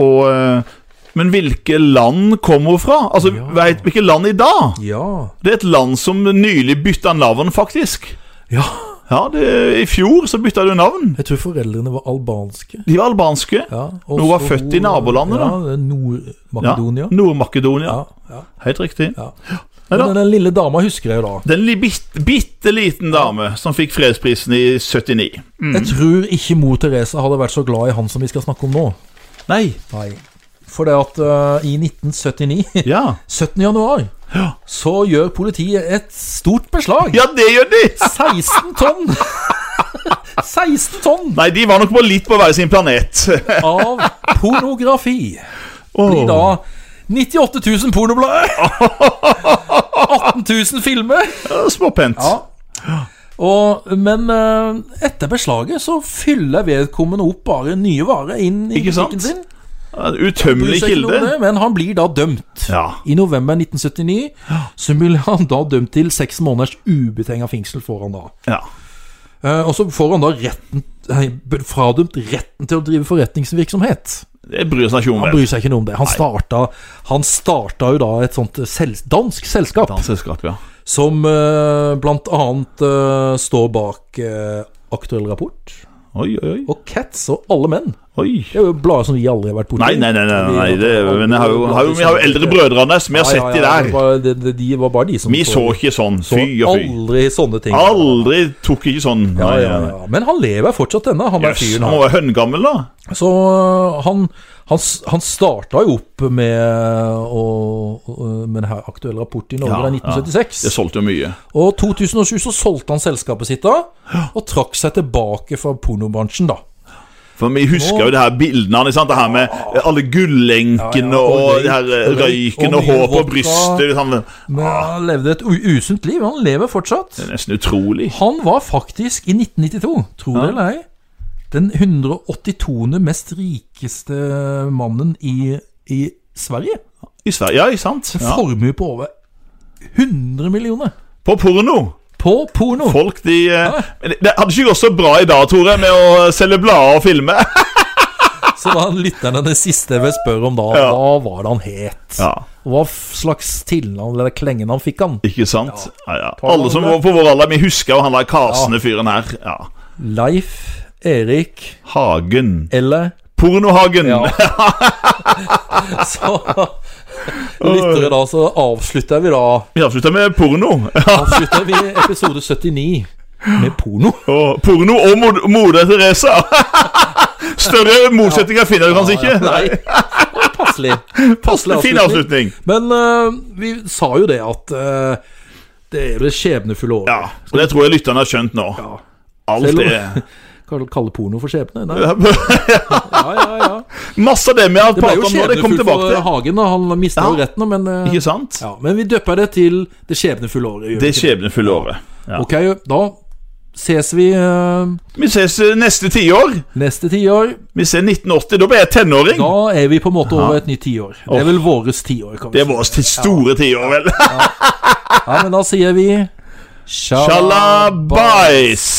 Speaker 2: Og, eh, men hvilke land kom hun fra? Altså,
Speaker 1: Ja.
Speaker 2: vet hvilke land i dag?
Speaker 1: Ja.
Speaker 2: Det er et land som nylig bytta navn, faktisk.
Speaker 1: ja.
Speaker 2: Ja, det, I fjor så bytta du navn.
Speaker 1: Jeg tror foreldrene var albanske.
Speaker 2: De var albanske.
Speaker 1: Ja,
Speaker 2: Men hun var født i nabolandet, da.
Speaker 1: Ja, Nord-Makedonia.
Speaker 2: Nord-Makedonia.
Speaker 1: Ja, ja.
Speaker 2: Helt riktig.
Speaker 1: Ja.
Speaker 2: Nei da.
Speaker 1: Men den lille dama husker jeg jo da.
Speaker 2: Den li- bitte, bitte liten dame som fikk fredsprisen i 79.
Speaker 1: Jeg tror ikke mor Teresa hadde vært så glad i han som vi skal snakke om nå.
Speaker 2: Nei.
Speaker 1: Nei. For det at eh, i 1979,
Speaker 2: Ja.
Speaker 1: 17. januar,
Speaker 2: Ja.
Speaker 1: så gjør politiet et stort beslag.
Speaker 2: Ja, det gjør de!
Speaker 1: 16 tonn! 16 tonn
Speaker 2: Nei, de var nok på litt på hver sin planet.
Speaker 1: av pornografi. Blir da
Speaker 2: Åh.
Speaker 1: 98 000 pornoblader. 18 000 filmer.
Speaker 2: Ja, Småpent.
Speaker 1: Ja. Og, men eh, etter beslaget så fyller vedkommende opp bare nye varer inn i
Speaker 2: Ikke sant?
Speaker 1: butikken sin.
Speaker 2: En
Speaker 1: Bryr
Speaker 2: Utømmelig
Speaker 1: seg ikke noe om
Speaker 2: kilde.
Speaker 1: det, Men han blir da dømt.
Speaker 2: Ja.
Speaker 1: I november 1979 så blir han da dømt til seks måneders ubetinga fengsel. Får han da.
Speaker 2: ja.
Speaker 1: Eh, og så får han da retten, nei, b- fradømt retten til å drive forretningsvirksomhet.
Speaker 2: Det bryr seg ikke om
Speaker 1: Han
Speaker 2: det.
Speaker 1: bryr seg ikke noe om det. Han starta, han starta jo da et sånt sel dansk selskap
Speaker 2: Danseselskap, ja.
Speaker 1: som eh, blant annet eh, står bak eh, Aktuell rapport
Speaker 2: Oi, oi, oi.
Speaker 1: og Cats og Alle menn.
Speaker 2: oi.
Speaker 1: Det er jo blader som vi aldri har vært borti.
Speaker 2: Nei, nei, nei, nei, nei. Det, men jeg har jo, har jo, vi har jo eldre brødre, Anders. Vi har sett de
Speaker 1: Det
Speaker 2: der.
Speaker 1: var, det, det, de var bare de som
Speaker 2: Vi så ikke sånn.
Speaker 1: så
Speaker 2: Fy og fy.
Speaker 1: aldri sånne ting.
Speaker 2: Aldri tok ikke sånn.
Speaker 1: Ja,
Speaker 2: Nei,
Speaker 1: ja,
Speaker 2: nei, nei.
Speaker 1: ja. Men han lever fortsatt ennå, han der
Speaker 2: Jøss,
Speaker 1: fyren.
Speaker 2: han
Speaker 1: her.
Speaker 2: var høngammel, da.
Speaker 1: Så øh, han, han, s- han starta jo opp med, å, å- med denne aktuelle rapporten i Norge da
Speaker 2: Ja,
Speaker 1: i
Speaker 2: ja. Det
Speaker 1: 1976.
Speaker 2: solgte jo mye.
Speaker 1: Og 2007 så solgte han selskapet sitt da, og trakk seg tilbake fra pornobransjen, da.
Speaker 2: For vi husker jo det her bildene hans. sant? Det her med alle gullenkene og, det her eh,
Speaker 1: røyk,
Speaker 2: røyken
Speaker 1: og
Speaker 2: og hår
Speaker 1: mye
Speaker 2: på
Speaker 1: vodka.
Speaker 2: brystet. Sånn.
Speaker 1: Men han levde et u- usunt liv. Han lever fortsatt.
Speaker 2: Det er nesten utrolig.
Speaker 1: Han var faktisk, i 1992, tror det eller ei, den 182. mest rikeste mannen i, i Sverige.
Speaker 2: I Sverige, ja, ikke sant? Ja.
Speaker 1: Formue på over 100 millioner.
Speaker 2: På porno.
Speaker 1: På porno!
Speaker 2: Folk, de eh, men Det det hadde ikke gått så bra i dag, Tore, med å selge blader og filme.
Speaker 1: Så da lytterne det siste jeg vil spørre om da,
Speaker 2: Ja.
Speaker 1: hva var det han het?
Speaker 2: Ja,
Speaker 1: Hva slags tilnavn eller klengen han fikk han?
Speaker 2: ikke sant? Ja, ja. Alle som var på vår alder, vi husker jo han der kasende fyren her. Ja.
Speaker 1: Leif, Erik
Speaker 2: Hagen.
Speaker 1: eller
Speaker 2: Pornohagen.
Speaker 1: Ja. Så lyttere da, så avslutter vi da
Speaker 2: Vi avslutter med porno.
Speaker 1: Avslutter vi episode 79 med porno.
Speaker 2: Og porno og mod- moder Teresa. Større motsetninger finner du kanskje ikke.
Speaker 1: Nei. Passelig. Passelig
Speaker 2: Fin avslutning.
Speaker 1: Men eh, vi sa jo det at eh, det er det skjebnefulle året.
Speaker 2: Ja, og det tror jeg lytterne har skjønt nå.
Speaker 1: Ja.
Speaker 2: Alt
Speaker 1: Selv om-
Speaker 2: det
Speaker 1: Kall- Kalle porno for skjebne? Nei. Ja, ja, ja.
Speaker 2: Masse av det vi har
Speaker 1: Det ble
Speaker 2: pratet
Speaker 1: jo
Speaker 2: om nå, det kom
Speaker 1: skjebnefullt
Speaker 2: tilbake
Speaker 1: for
Speaker 2: til.
Speaker 1: Hagen. da Han mista jo
Speaker 2: Ja.
Speaker 1: retten, men, eh,
Speaker 2: Ikke sant?
Speaker 1: ja, men vi døper det til det skjebnefulle året. gjør vi
Speaker 2: Det
Speaker 1: ikke
Speaker 2: skjebnefulle året. Ja.
Speaker 1: Ok, da ses vi eh,
Speaker 2: Vi ses eh, neste tiår.
Speaker 1: neste tiår.
Speaker 2: Vi ser 1980. Da ble jeg tenåring.
Speaker 1: Da er vi på en måte over et nytt tiår. Det er vel våres tiår, kan vi
Speaker 2: Det er vårt store tiår, vel.
Speaker 1: Ja, men da sier vi Shalabais.
Speaker 2: Shalabais!